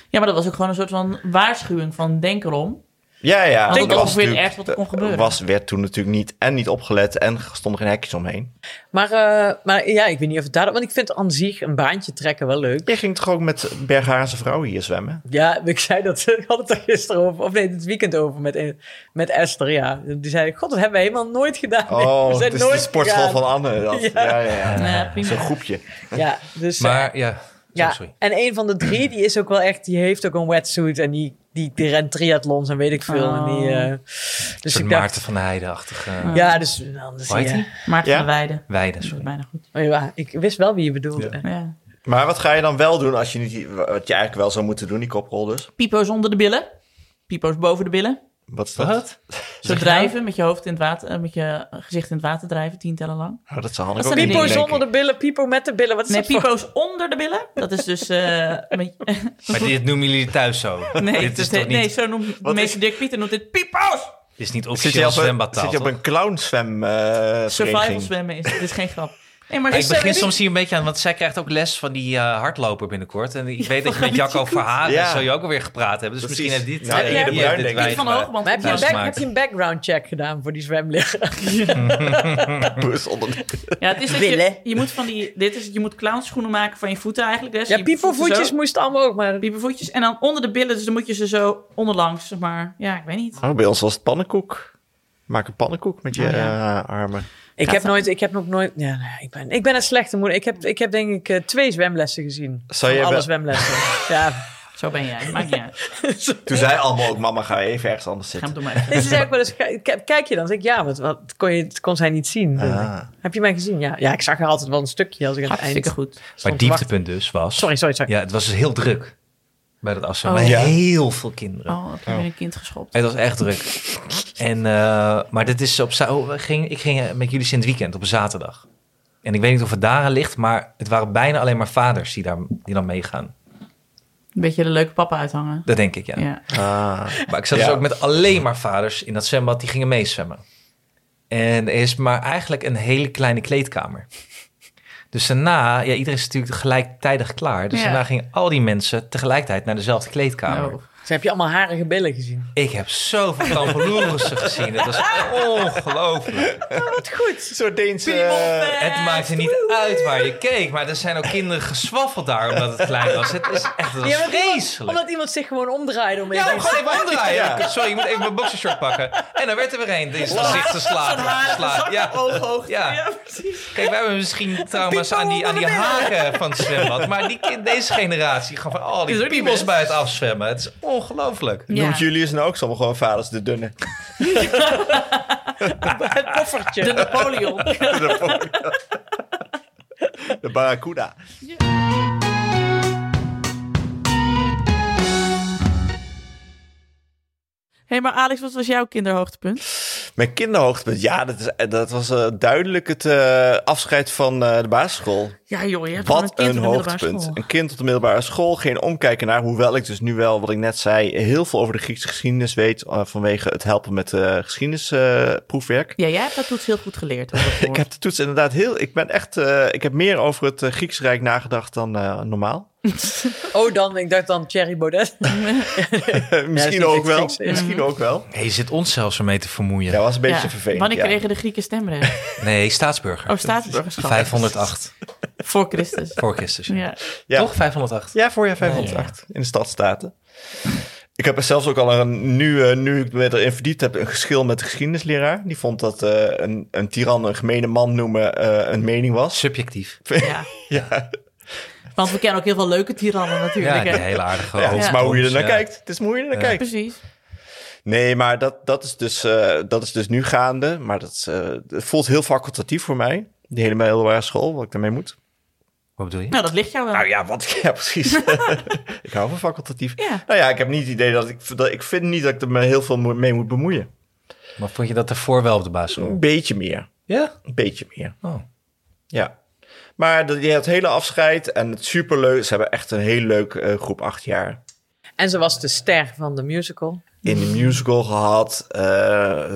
[SPEAKER 2] Ja, maar dat was ook gewoon een soort van waarschuwing van denk erom.
[SPEAKER 1] Ja, ja.
[SPEAKER 8] Denk
[SPEAKER 1] dat
[SPEAKER 8] ook
[SPEAKER 1] was
[SPEAKER 8] weer
[SPEAKER 1] natuurlijk-
[SPEAKER 8] echt wat er kon gebeuren.
[SPEAKER 1] Was, werd toen natuurlijk niet en niet opgelet en stonden geen hekjes omheen.
[SPEAKER 4] Maar, eh, maar ja, ik weet niet of het daarop... Want ik vind aan zich een baantje trekken wel leuk.
[SPEAKER 1] Je ging toch ook met Berghaarse vrouwen hier zwemmen?
[SPEAKER 4] Ja, ik zei dat. Ik had het er gisteren over. Of nee, het weekend over met, een- met Esther. Ja. Die zei: God, dat hebben we helemaal nooit gedaan.
[SPEAKER 1] Oh,
[SPEAKER 4] we
[SPEAKER 1] het is de sportschool
[SPEAKER 4] gegaan."
[SPEAKER 1] van Anne. dat.
[SPEAKER 4] Ja.
[SPEAKER 1] Ja, ja, ja.
[SPEAKER 8] Ja, prima.
[SPEAKER 1] Zo'n groepje.
[SPEAKER 4] Ja, dus, eh,
[SPEAKER 3] Maar ja,
[SPEAKER 4] ja.
[SPEAKER 3] sorry.
[SPEAKER 1] Dus
[SPEAKER 4] En een van de drie, die is ook wel echt. Die heeft ook een wetsuit. En die, die, die rent triathlons en weet ik veel.
[SPEAKER 8] Oh.
[SPEAKER 4] En die, eh,
[SPEAKER 3] Een
[SPEAKER 4] dus
[SPEAKER 3] soort Maarten
[SPEAKER 4] ik dacht.
[SPEAKER 3] van de Heide-achtige
[SPEAKER 4] Ja, dus. nou, dus
[SPEAKER 3] Hoe heet
[SPEAKER 4] ja.
[SPEAKER 3] die?
[SPEAKER 8] Maarten
[SPEAKER 1] Ja?
[SPEAKER 8] van Weijden.
[SPEAKER 3] weide.
[SPEAKER 8] Dat is
[SPEAKER 3] Sorry.
[SPEAKER 8] bijna goed.
[SPEAKER 4] Oh, ja, ik wist wel wie je bedoelde.
[SPEAKER 1] Ja.
[SPEAKER 8] Ja.
[SPEAKER 1] Maar wat ga je dan wel doen als je niet... die- Wat je eigenlijk wel zou moeten doen, die koprol dus.
[SPEAKER 8] Pipo's onder de billen. Pipo's boven de billen.
[SPEAKER 1] Wat is dat?
[SPEAKER 3] Wat?
[SPEAKER 8] Zo drijven met je hoofd in het water, eh, met je gezicht in het water drijven, tientallen lang.
[SPEAKER 1] Oh, dat zou Hanneke
[SPEAKER 8] Dat
[SPEAKER 1] ook
[SPEAKER 8] is
[SPEAKER 1] niet
[SPEAKER 8] een
[SPEAKER 1] doen,
[SPEAKER 4] Pipo
[SPEAKER 8] Nee,
[SPEAKER 1] denk ik.
[SPEAKER 4] zonder de billen, Pipo met de billen. Wat is
[SPEAKER 8] Nee,
[SPEAKER 4] dat voor-
[SPEAKER 8] pipo's onder de billen. Dat is dus. eh, met-
[SPEAKER 3] Maar dit noemen jullie thuis zo.
[SPEAKER 8] nee,
[SPEAKER 3] dit is
[SPEAKER 8] dat-
[SPEAKER 3] toch niet,
[SPEAKER 8] nee, zo noemt de
[SPEAKER 1] Wat
[SPEAKER 8] meester Dirk Pieter noemt dit pipo's.
[SPEAKER 3] dit is
[SPEAKER 1] Zit
[SPEAKER 3] niet
[SPEAKER 1] je,
[SPEAKER 3] officieel
[SPEAKER 1] op een,
[SPEAKER 3] zwembadtaal.
[SPEAKER 1] zit je op
[SPEAKER 3] toch?
[SPEAKER 1] een clownzwem eh,
[SPEAKER 8] Survival
[SPEAKER 1] vereniging?
[SPEAKER 8] zwemmen is. Dit is geen grap. Nee, maar
[SPEAKER 3] Ja, ik
[SPEAKER 8] is-
[SPEAKER 3] begin
[SPEAKER 8] is-
[SPEAKER 3] soms hier een beetje aan, want zij krijgt ook les van die eh, hardloper binnenkort. En ik weet dat je met Jacco Verhagen
[SPEAKER 1] Ja.
[SPEAKER 3] zou je ook alweer gepraat hebben. Dus
[SPEAKER 1] Precies.
[SPEAKER 3] misschien heeft dit...
[SPEAKER 1] Nou,
[SPEAKER 3] eh,
[SPEAKER 8] Ieder
[SPEAKER 3] die
[SPEAKER 1] Bruin,
[SPEAKER 3] heeft dit
[SPEAKER 1] denk ik.
[SPEAKER 3] wijs
[SPEAKER 8] Piet van
[SPEAKER 3] gemaakt.
[SPEAKER 8] Hoogman.
[SPEAKER 4] Maar heb, je
[SPEAKER 3] thuis
[SPEAKER 8] Ja.
[SPEAKER 4] een back-
[SPEAKER 3] maken.
[SPEAKER 4] heb je een background check gedaan voor die zwemleraar?
[SPEAKER 1] Bus onder de-
[SPEAKER 8] Ja, het is dat
[SPEAKER 4] Billen.
[SPEAKER 8] je, je moet van die. Dit is, je moet clownschoenen maken van je voeten eigenlijk. Dus
[SPEAKER 4] Ja,
[SPEAKER 8] je
[SPEAKER 4] Pipo
[SPEAKER 8] voeten zo,
[SPEAKER 4] voetjes moesten allemaal ook, maar
[SPEAKER 8] Piepo voetjes. En dan onder de billen, dus dan moet je ze zo onderlangs, zeg maar. Ja, ik weet niet.
[SPEAKER 1] Oh, bij ons was het pannenkoek. Maak een pannenkoek met je
[SPEAKER 8] Oh, ja.
[SPEAKER 1] eh, armen.
[SPEAKER 4] Ik
[SPEAKER 8] Gaat
[SPEAKER 4] heb,
[SPEAKER 8] dat-
[SPEAKER 4] nooit, ik heb nog nooit. Ja, nou ja, ik, ben, ik ben een slechte moeder. Ik heb, ik heb denk ik eh, twee zwemlessen gezien.
[SPEAKER 1] Zou
[SPEAKER 4] Van
[SPEAKER 1] je
[SPEAKER 4] alle
[SPEAKER 1] wel-
[SPEAKER 4] zwemlessen. ja.
[SPEAKER 8] Zo ben jij. Maakt niet uit.
[SPEAKER 1] Toen zei allemaal ook, mama, ga even ergens anders
[SPEAKER 8] Ga hem
[SPEAKER 1] zitten.
[SPEAKER 8] door maar.
[SPEAKER 4] Nee, ze zei ook wel eens: "K- k- Kijk je dan? Zeg ik ja, want wat kon, je, het kon zij niet zien.
[SPEAKER 1] Ah.
[SPEAKER 4] Heb je mij gezien? Ja. ja, ik zag haar altijd wel een stukje als ik aan het eind.
[SPEAKER 8] Hartstikke goed.
[SPEAKER 3] Maar
[SPEAKER 4] stond te wachten.
[SPEAKER 3] dieptepunt dus was...
[SPEAKER 4] Sorry, sorry, sorry.
[SPEAKER 3] Ja, het was dus heel druk bij dat afstand.
[SPEAKER 8] Oh.
[SPEAKER 3] Met
[SPEAKER 1] Ja.
[SPEAKER 3] heel veel kinderen.
[SPEAKER 8] Oh, heb je weer een kind geschopt.
[SPEAKER 3] Het was echt druk. En, eh, maar dit is op, za- oh, we ging, ik ging eh, met jullie sinds weekend op een zaterdag. En ik weet niet of het daaraan ligt, maar het waren bijna alleen maar vaders die, daar, die dan meegaan.
[SPEAKER 8] Een beetje de leuke papa uithangen.
[SPEAKER 3] Dat denk ik, ja.
[SPEAKER 8] Ja.
[SPEAKER 1] Ah.
[SPEAKER 3] Maar ik zat dus
[SPEAKER 1] Ja.
[SPEAKER 3] ook met alleen maar vaders in dat zwembad die gingen meezwemmen. En er is maar eigenlijk een hele kleine kleedkamer. Dus daarna, ja, iedereen is natuurlijk gelijktijdig klaar. Dus
[SPEAKER 8] Ja.
[SPEAKER 3] daarna gingen al die mensen tegelijkertijd naar dezelfde kleedkamer.
[SPEAKER 8] Oh.
[SPEAKER 4] Ze heb je allemaal harige billen gezien.
[SPEAKER 3] Ik heb zoveel kampeloerissen gezien. Het was ongelooflijk.
[SPEAKER 8] Ah,
[SPEAKER 1] Een soort Deense... eh,
[SPEAKER 2] Eh,
[SPEAKER 3] Het maakte niet uit waar je keek, maar er zijn ook kinderen geswaffeld daar omdat het klein was. Het is echt het was
[SPEAKER 4] Ja, maar die-
[SPEAKER 3] vreselijk.
[SPEAKER 4] Omdat iemand zich gewoon omdraaide om
[SPEAKER 3] Ja,
[SPEAKER 4] even-
[SPEAKER 3] maar gewoon even omdraaien.
[SPEAKER 1] Ja.
[SPEAKER 3] Sorry, ik moet even mijn boxershort pakken. En dan werd er weer een die zijn gezicht geslagen. geslagen. Ja. Ja. Kijk, wij hebben misschien trauma's aan die, aan die haren van het zwembad. Maar die, kind- deze generatie gaan van al
[SPEAKER 8] Is
[SPEAKER 3] die
[SPEAKER 8] ook niet
[SPEAKER 3] piemels
[SPEAKER 8] best.
[SPEAKER 3] bij het afzwemmen. Het is ongelooflijk.
[SPEAKER 1] Noemt
[SPEAKER 8] Ja.
[SPEAKER 1] Julius nou ook sommige gewoon vaders de dunne?
[SPEAKER 4] het koffertje.
[SPEAKER 8] De Napoleon.
[SPEAKER 1] De barracuda.
[SPEAKER 8] hey, maar Alex, wat was jouw kinderhoogtepunt?
[SPEAKER 1] Mijn kinderhoogtepunt, ja, dat, is, dat was eh, duidelijk het eh, afscheid van eh, de basisschool.
[SPEAKER 8] Ja joh, je hebt gewoon
[SPEAKER 1] Wat
[SPEAKER 8] kind
[SPEAKER 1] een
[SPEAKER 8] op de middelbare
[SPEAKER 1] hoogtepunt.
[SPEAKER 8] school.
[SPEAKER 1] Een kind op de middelbare school, geen omkijken naar. Hoewel ik dus nu wel, wat ik net zei, heel veel over de Griekse geschiedenis weet. eh, vanwege het helpen met eh geschiedenisproefwerk.
[SPEAKER 8] Ja, jij hebt dat toets heel goed geleerd. heb ik
[SPEAKER 1] ik
[SPEAKER 8] gehoord.
[SPEAKER 1] heb de toets inderdaad heel. Ik ben echt. eh, ik heb meer over het eh, Griekse Rijk nagedacht dan eh, normaal.
[SPEAKER 4] Oh, dan, ik dacht dan Thierry Baudet.
[SPEAKER 8] dus
[SPEAKER 1] misschien
[SPEAKER 4] niet
[SPEAKER 1] ook wel.
[SPEAKER 4] Grieks, eh.
[SPEAKER 1] Misschien ook wel.
[SPEAKER 3] Hey, je zit ons zelfs ermee te vermoeien.
[SPEAKER 1] Ja, was een beetje
[SPEAKER 8] Ja.
[SPEAKER 1] vervelend.
[SPEAKER 8] Wanneer
[SPEAKER 1] ja.
[SPEAKER 8] kregen de Grieken stemrecht?
[SPEAKER 3] Nee, staatsburger.
[SPEAKER 8] Oh, staatsburgerschap.
[SPEAKER 3] 508
[SPEAKER 8] Voor Christus.
[SPEAKER 3] voor Christus.
[SPEAKER 8] Ja.
[SPEAKER 1] Ja.
[SPEAKER 3] Toch 508?
[SPEAKER 1] Ja, voor jaar 508 in de stadstaten. Ik heb er zelfs ook al een, nu, eh, nu ik me erin verdiept heb, een geschil met de geschiedenisleraar. Die vond dat eh, een, een tiran een gemene man noemen eh, een mening was.
[SPEAKER 3] Subjectief.
[SPEAKER 8] ja.
[SPEAKER 1] Ja,
[SPEAKER 8] Want we kennen ook heel veel leuke tirannen
[SPEAKER 3] Ja,
[SPEAKER 8] natuurlijk.
[SPEAKER 3] die
[SPEAKER 8] hè?
[SPEAKER 3] hele aardige
[SPEAKER 1] ja, het is
[SPEAKER 3] hoofdbond,
[SPEAKER 1] maar hoe je er naar
[SPEAKER 3] ja.
[SPEAKER 1] kijkt. Het is maar hoe je er naar kijkt.
[SPEAKER 8] Precies.
[SPEAKER 1] Nee, maar dat, dat, is dus, eh, dat is dus nu gaande. Maar dat, is, eh, het voelt heel facultatief voor mij. Die hele middelbare school, wat ik daarmee moet.
[SPEAKER 3] Wat bedoel je?
[SPEAKER 8] Nou, dat ligt jou wel.
[SPEAKER 1] Nou ja, wat, ja precies. ik hou van facultatief.
[SPEAKER 8] Ja.
[SPEAKER 1] Nou ja, ik heb niet het idee dat ik... Dat, ik vind niet dat ik er me heel veel mo- mee moet bemoeien.
[SPEAKER 3] Maar vond je dat daarvoor wel op de basisschool?
[SPEAKER 1] Een beetje meer.
[SPEAKER 3] Ja.
[SPEAKER 1] Een beetje meer.
[SPEAKER 3] Oh.
[SPEAKER 1] Ja. Maar dat- je hebt het hele afscheid en het superleuk. Ze hebben echt een heel leuk eh, groep acht jaar
[SPEAKER 4] En ze was de ster van de musical.
[SPEAKER 1] in de musical gehad. Eh,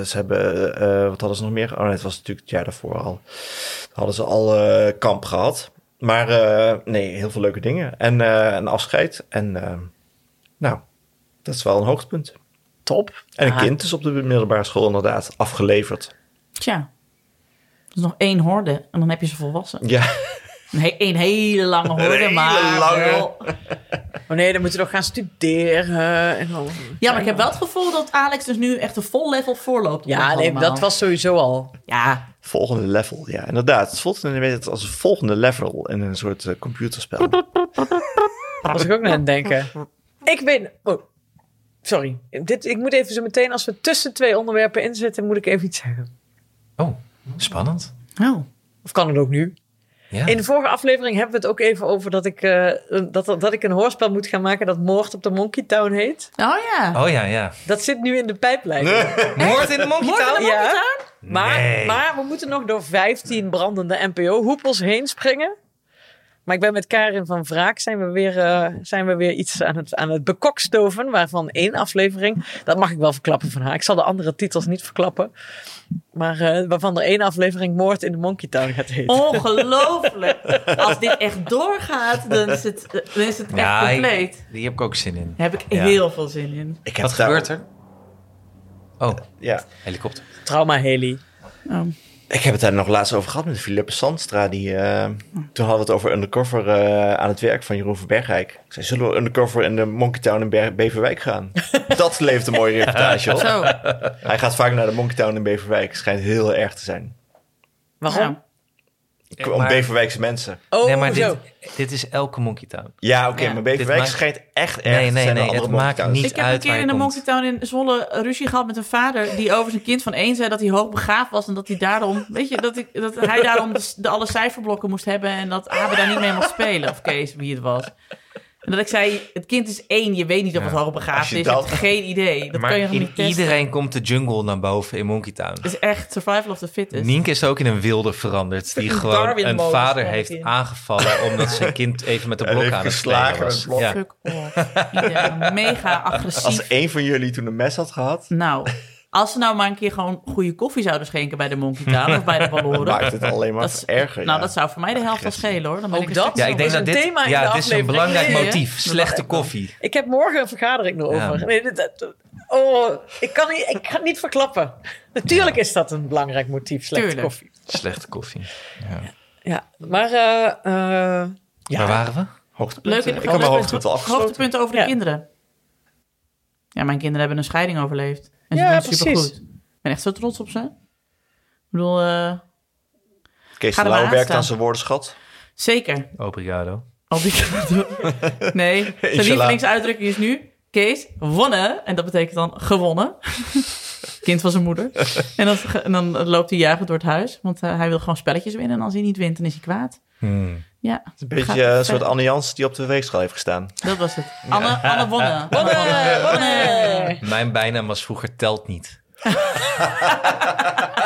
[SPEAKER 1] ze hebben, eh, wat hadden ze nog meer? Oh nee, het was natuurlijk het jaar daarvoor al. Toen hadden ze al eh, kamp gehad. Maar eh, nee, heel veel leuke dingen. En eh, een afscheid. En eh, nou, dat is wel een hoogtepunt.
[SPEAKER 4] top.
[SPEAKER 1] En een kind is op de middelbare school inderdaad afgeleverd.
[SPEAKER 2] Tja. Dus nog één horde en dan heb je ze volwassen.
[SPEAKER 1] Ja,
[SPEAKER 2] Een, he- een hele lange horde,
[SPEAKER 1] hele
[SPEAKER 2] maar
[SPEAKER 1] lange.
[SPEAKER 2] wel-
[SPEAKER 4] Oh nee, dan moeten we nog gaan studeren. En dan...
[SPEAKER 2] Ja, maar ik heb wel het gevoel dat Alex dus nu echt een vol level voorloopt. op
[SPEAKER 4] Ja,
[SPEAKER 2] ons
[SPEAKER 4] nee,
[SPEAKER 2] allemaal.
[SPEAKER 4] dat was sowieso al.
[SPEAKER 2] Ja,
[SPEAKER 1] volgende level. Ja, inderdaad. Het voelt inderdaad als een volgende level in een soort eh, computerspel.
[SPEAKER 4] Was ik ook net aan het denken. Ik ben... Oh, sorry. Dit, ik moet even zo meteen, als we tussen twee onderwerpen inzitten, moet ik even iets zeggen.
[SPEAKER 3] Oh, spannend.
[SPEAKER 8] Oh.
[SPEAKER 4] Of kan het ook nu?
[SPEAKER 3] Ja.
[SPEAKER 4] In de vorige aflevering hebben we het ook even over dat ik, eh, een- dat, dat ik een hoorspel moet gaan maken dat Moord op de Monkey Town heet.
[SPEAKER 2] Oh ja.
[SPEAKER 3] Oh ja, ja.
[SPEAKER 4] Dat zit nu in de pijplijn.
[SPEAKER 3] Moord in de Monkey Town?
[SPEAKER 4] Ja. Maar,
[SPEAKER 3] Nee.
[SPEAKER 4] maar we moeten nog door 15 brandende NPO-hoepels heen springen. Maar ik ben met Karin van Wraak zijn we weer, eh, zijn we weer iets aan het, aan het bekokstoven. Waarvan één aflevering, dat mag ik wel verklappen van haar. Ik zal de andere titels niet verklappen. Maar eh, waarvan er één aflevering Moord in de Monkey Town gaat heten.
[SPEAKER 2] Oh. Ongelooflijk. Als dit echt doorgaat, dan is het, dan is het echt
[SPEAKER 3] Ja, ik-
[SPEAKER 2] compleet.
[SPEAKER 3] Die heb ik ook zin in.
[SPEAKER 2] Daar heb ik
[SPEAKER 3] Ja.
[SPEAKER 2] heel veel zin in.
[SPEAKER 1] Ik
[SPEAKER 3] Wat
[SPEAKER 1] daar-
[SPEAKER 3] gebeurt er? Oh,
[SPEAKER 1] Ja.
[SPEAKER 3] helikopter.
[SPEAKER 4] Trauma Haley.
[SPEAKER 2] Oh.
[SPEAKER 3] Oh.
[SPEAKER 1] Ik heb het daar nog laatst over gehad met Philippe Sandstra. Die, eh, Toen hadden we het over undercover eh, aan het werk van Jeroen van Bergrijk. Ik zei, zullen we undercover in de Monkey Town in Ber- Beverwijk gaan? Dat leeft een mooie reportage op.
[SPEAKER 2] Zo.
[SPEAKER 1] Hij gaat vaak naar de Monkey Town in Beverwijk. Schijnt heel erg te zijn.
[SPEAKER 4] Waarom?
[SPEAKER 2] Ja.
[SPEAKER 1] Om
[SPEAKER 3] maar-
[SPEAKER 1] Beverwijkse mensen.
[SPEAKER 4] Oh,
[SPEAKER 3] nee, maar
[SPEAKER 4] zo.
[SPEAKER 3] dit, dit is elke Monkey Town.
[SPEAKER 1] Ja, oké,
[SPEAKER 2] Ja.
[SPEAKER 1] maar Beverwijk
[SPEAKER 3] Dit maakt-
[SPEAKER 1] schijnt echt erg
[SPEAKER 3] Nee,
[SPEAKER 1] te
[SPEAKER 3] nee,
[SPEAKER 1] zijn dan
[SPEAKER 3] nee.
[SPEAKER 1] andere
[SPEAKER 3] Het
[SPEAKER 1] Monkey
[SPEAKER 3] maakt
[SPEAKER 1] Towns.
[SPEAKER 3] niet
[SPEAKER 2] Ik heb een
[SPEAKER 3] uit
[SPEAKER 2] keer
[SPEAKER 3] waar je
[SPEAKER 2] in de
[SPEAKER 3] komt.
[SPEAKER 2] Monkey Town in Zwolle ruzie gehad met een vader... die over zijn kind van één zei dat hij hoogbegaafd was... en dat hij daarom, weet je, dat, ik, dat hij daarom de, de alle cijferblokken moest hebben... en dat Abe daar niet mee mocht spelen, of Kees, wie het was. En dat ik zei, het kind is één, je weet niet of het
[SPEAKER 1] als
[SPEAKER 2] hoogbegaafd
[SPEAKER 1] je
[SPEAKER 2] is.
[SPEAKER 1] dat-
[SPEAKER 2] Je hebt geen idee, dat
[SPEAKER 3] maar
[SPEAKER 2] kan je nog
[SPEAKER 3] in
[SPEAKER 2] niet testen.
[SPEAKER 3] iedereen komt de jungle naar boven in Monkey Town.
[SPEAKER 2] Het is echt survival of the fittest.
[SPEAKER 3] Nienke is ook in een wilde veranderd. Die
[SPEAKER 4] Fucking
[SPEAKER 3] gewoon
[SPEAKER 4] Darwin
[SPEAKER 3] een
[SPEAKER 4] modus
[SPEAKER 3] vader
[SPEAKER 4] kwam ik
[SPEAKER 3] heeft
[SPEAKER 4] in.
[SPEAKER 3] aangevallen. omdat zijn kind even met de
[SPEAKER 1] En
[SPEAKER 3] blok
[SPEAKER 1] heeft
[SPEAKER 3] aan het
[SPEAKER 1] geslagen
[SPEAKER 3] spelen was.
[SPEAKER 1] met
[SPEAKER 3] Ja.
[SPEAKER 2] Fuck off. Iedereen Mega agressief.
[SPEAKER 1] Als één van jullie toen een mes had gehad,
[SPEAKER 2] Nou, als ze nou maar een keer gewoon goede koffie zouden schenken bij de Monkey Town of bij de
[SPEAKER 1] maakt
[SPEAKER 2] Balloren.
[SPEAKER 1] het alleen maar
[SPEAKER 2] Dat is-
[SPEAKER 1] erger.
[SPEAKER 2] Nou,
[SPEAKER 1] ja.
[SPEAKER 2] dat zou voor mij de helft wel schelen hoor. Dan ben
[SPEAKER 4] Ook
[SPEAKER 2] ik een
[SPEAKER 4] dat?
[SPEAKER 2] stuk
[SPEAKER 3] ja, ik denk
[SPEAKER 4] Dat
[SPEAKER 3] dat
[SPEAKER 4] is
[SPEAKER 3] dit.
[SPEAKER 4] een thema in de
[SPEAKER 3] ja, het is een
[SPEAKER 4] aflevering.
[SPEAKER 3] belangrijk
[SPEAKER 4] Nee, hè?
[SPEAKER 3] motief. Slechte koffie.
[SPEAKER 4] Ik heb morgen een vergadering erover.
[SPEAKER 3] Ja.
[SPEAKER 4] Nee, dit- dat- oh, ik, kan niet, ik ga het niet verklappen. Natuurlijk is dat een belangrijk motief, slechte
[SPEAKER 2] Tuurlijk.
[SPEAKER 4] koffie.
[SPEAKER 3] Slechte koffie.
[SPEAKER 4] Ja, maar eh, eh,
[SPEAKER 3] Waar waren we?
[SPEAKER 2] Leuk
[SPEAKER 1] hoogtepunten.
[SPEAKER 2] in
[SPEAKER 1] Ik heb mijn hoogtepunt al afgesloten.
[SPEAKER 2] Hoogtepunten over de
[SPEAKER 4] Ja.
[SPEAKER 2] kinderen. Ja, mijn kinderen hebben een scheiding overleefd. En ze
[SPEAKER 4] Ja,
[SPEAKER 2] doen het
[SPEAKER 4] precies.
[SPEAKER 2] supergoed. Ik ben echt zo trots op ze. Ik bedoel, eh,
[SPEAKER 1] Kees de
[SPEAKER 2] Ga er maar
[SPEAKER 1] Lauw
[SPEAKER 2] aan
[SPEAKER 1] werkt
[SPEAKER 2] staan.
[SPEAKER 1] aan zijn woordenschat.
[SPEAKER 2] zeker.
[SPEAKER 3] Obrigado.
[SPEAKER 2] Al die Nee, zijn
[SPEAKER 1] Inshallah.
[SPEAKER 2] lievelingsuitdrukking is nu... Kees, wonnen. En dat betekent dan gewonnen. Kind van zijn moeder. En dan, en dan loopt hij jagend door het huis. Want eh, hij wil gewoon spelletjes winnen. En als hij niet wint, dan is hij kwaad.
[SPEAKER 3] Hmm.
[SPEAKER 2] Ja,
[SPEAKER 1] Een
[SPEAKER 2] Gaat-
[SPEAKER 1] beetje eh, een soort Anne Jansen die op de weegschaal heeft gestaan.
[SPEAKER 2] dat was het. Anne, Anne wonnen. Anne wonnen.
[SPEAKER 4] Bonne!
[SPEAKER 3] Mijn bijnaam was vroeger telt niet.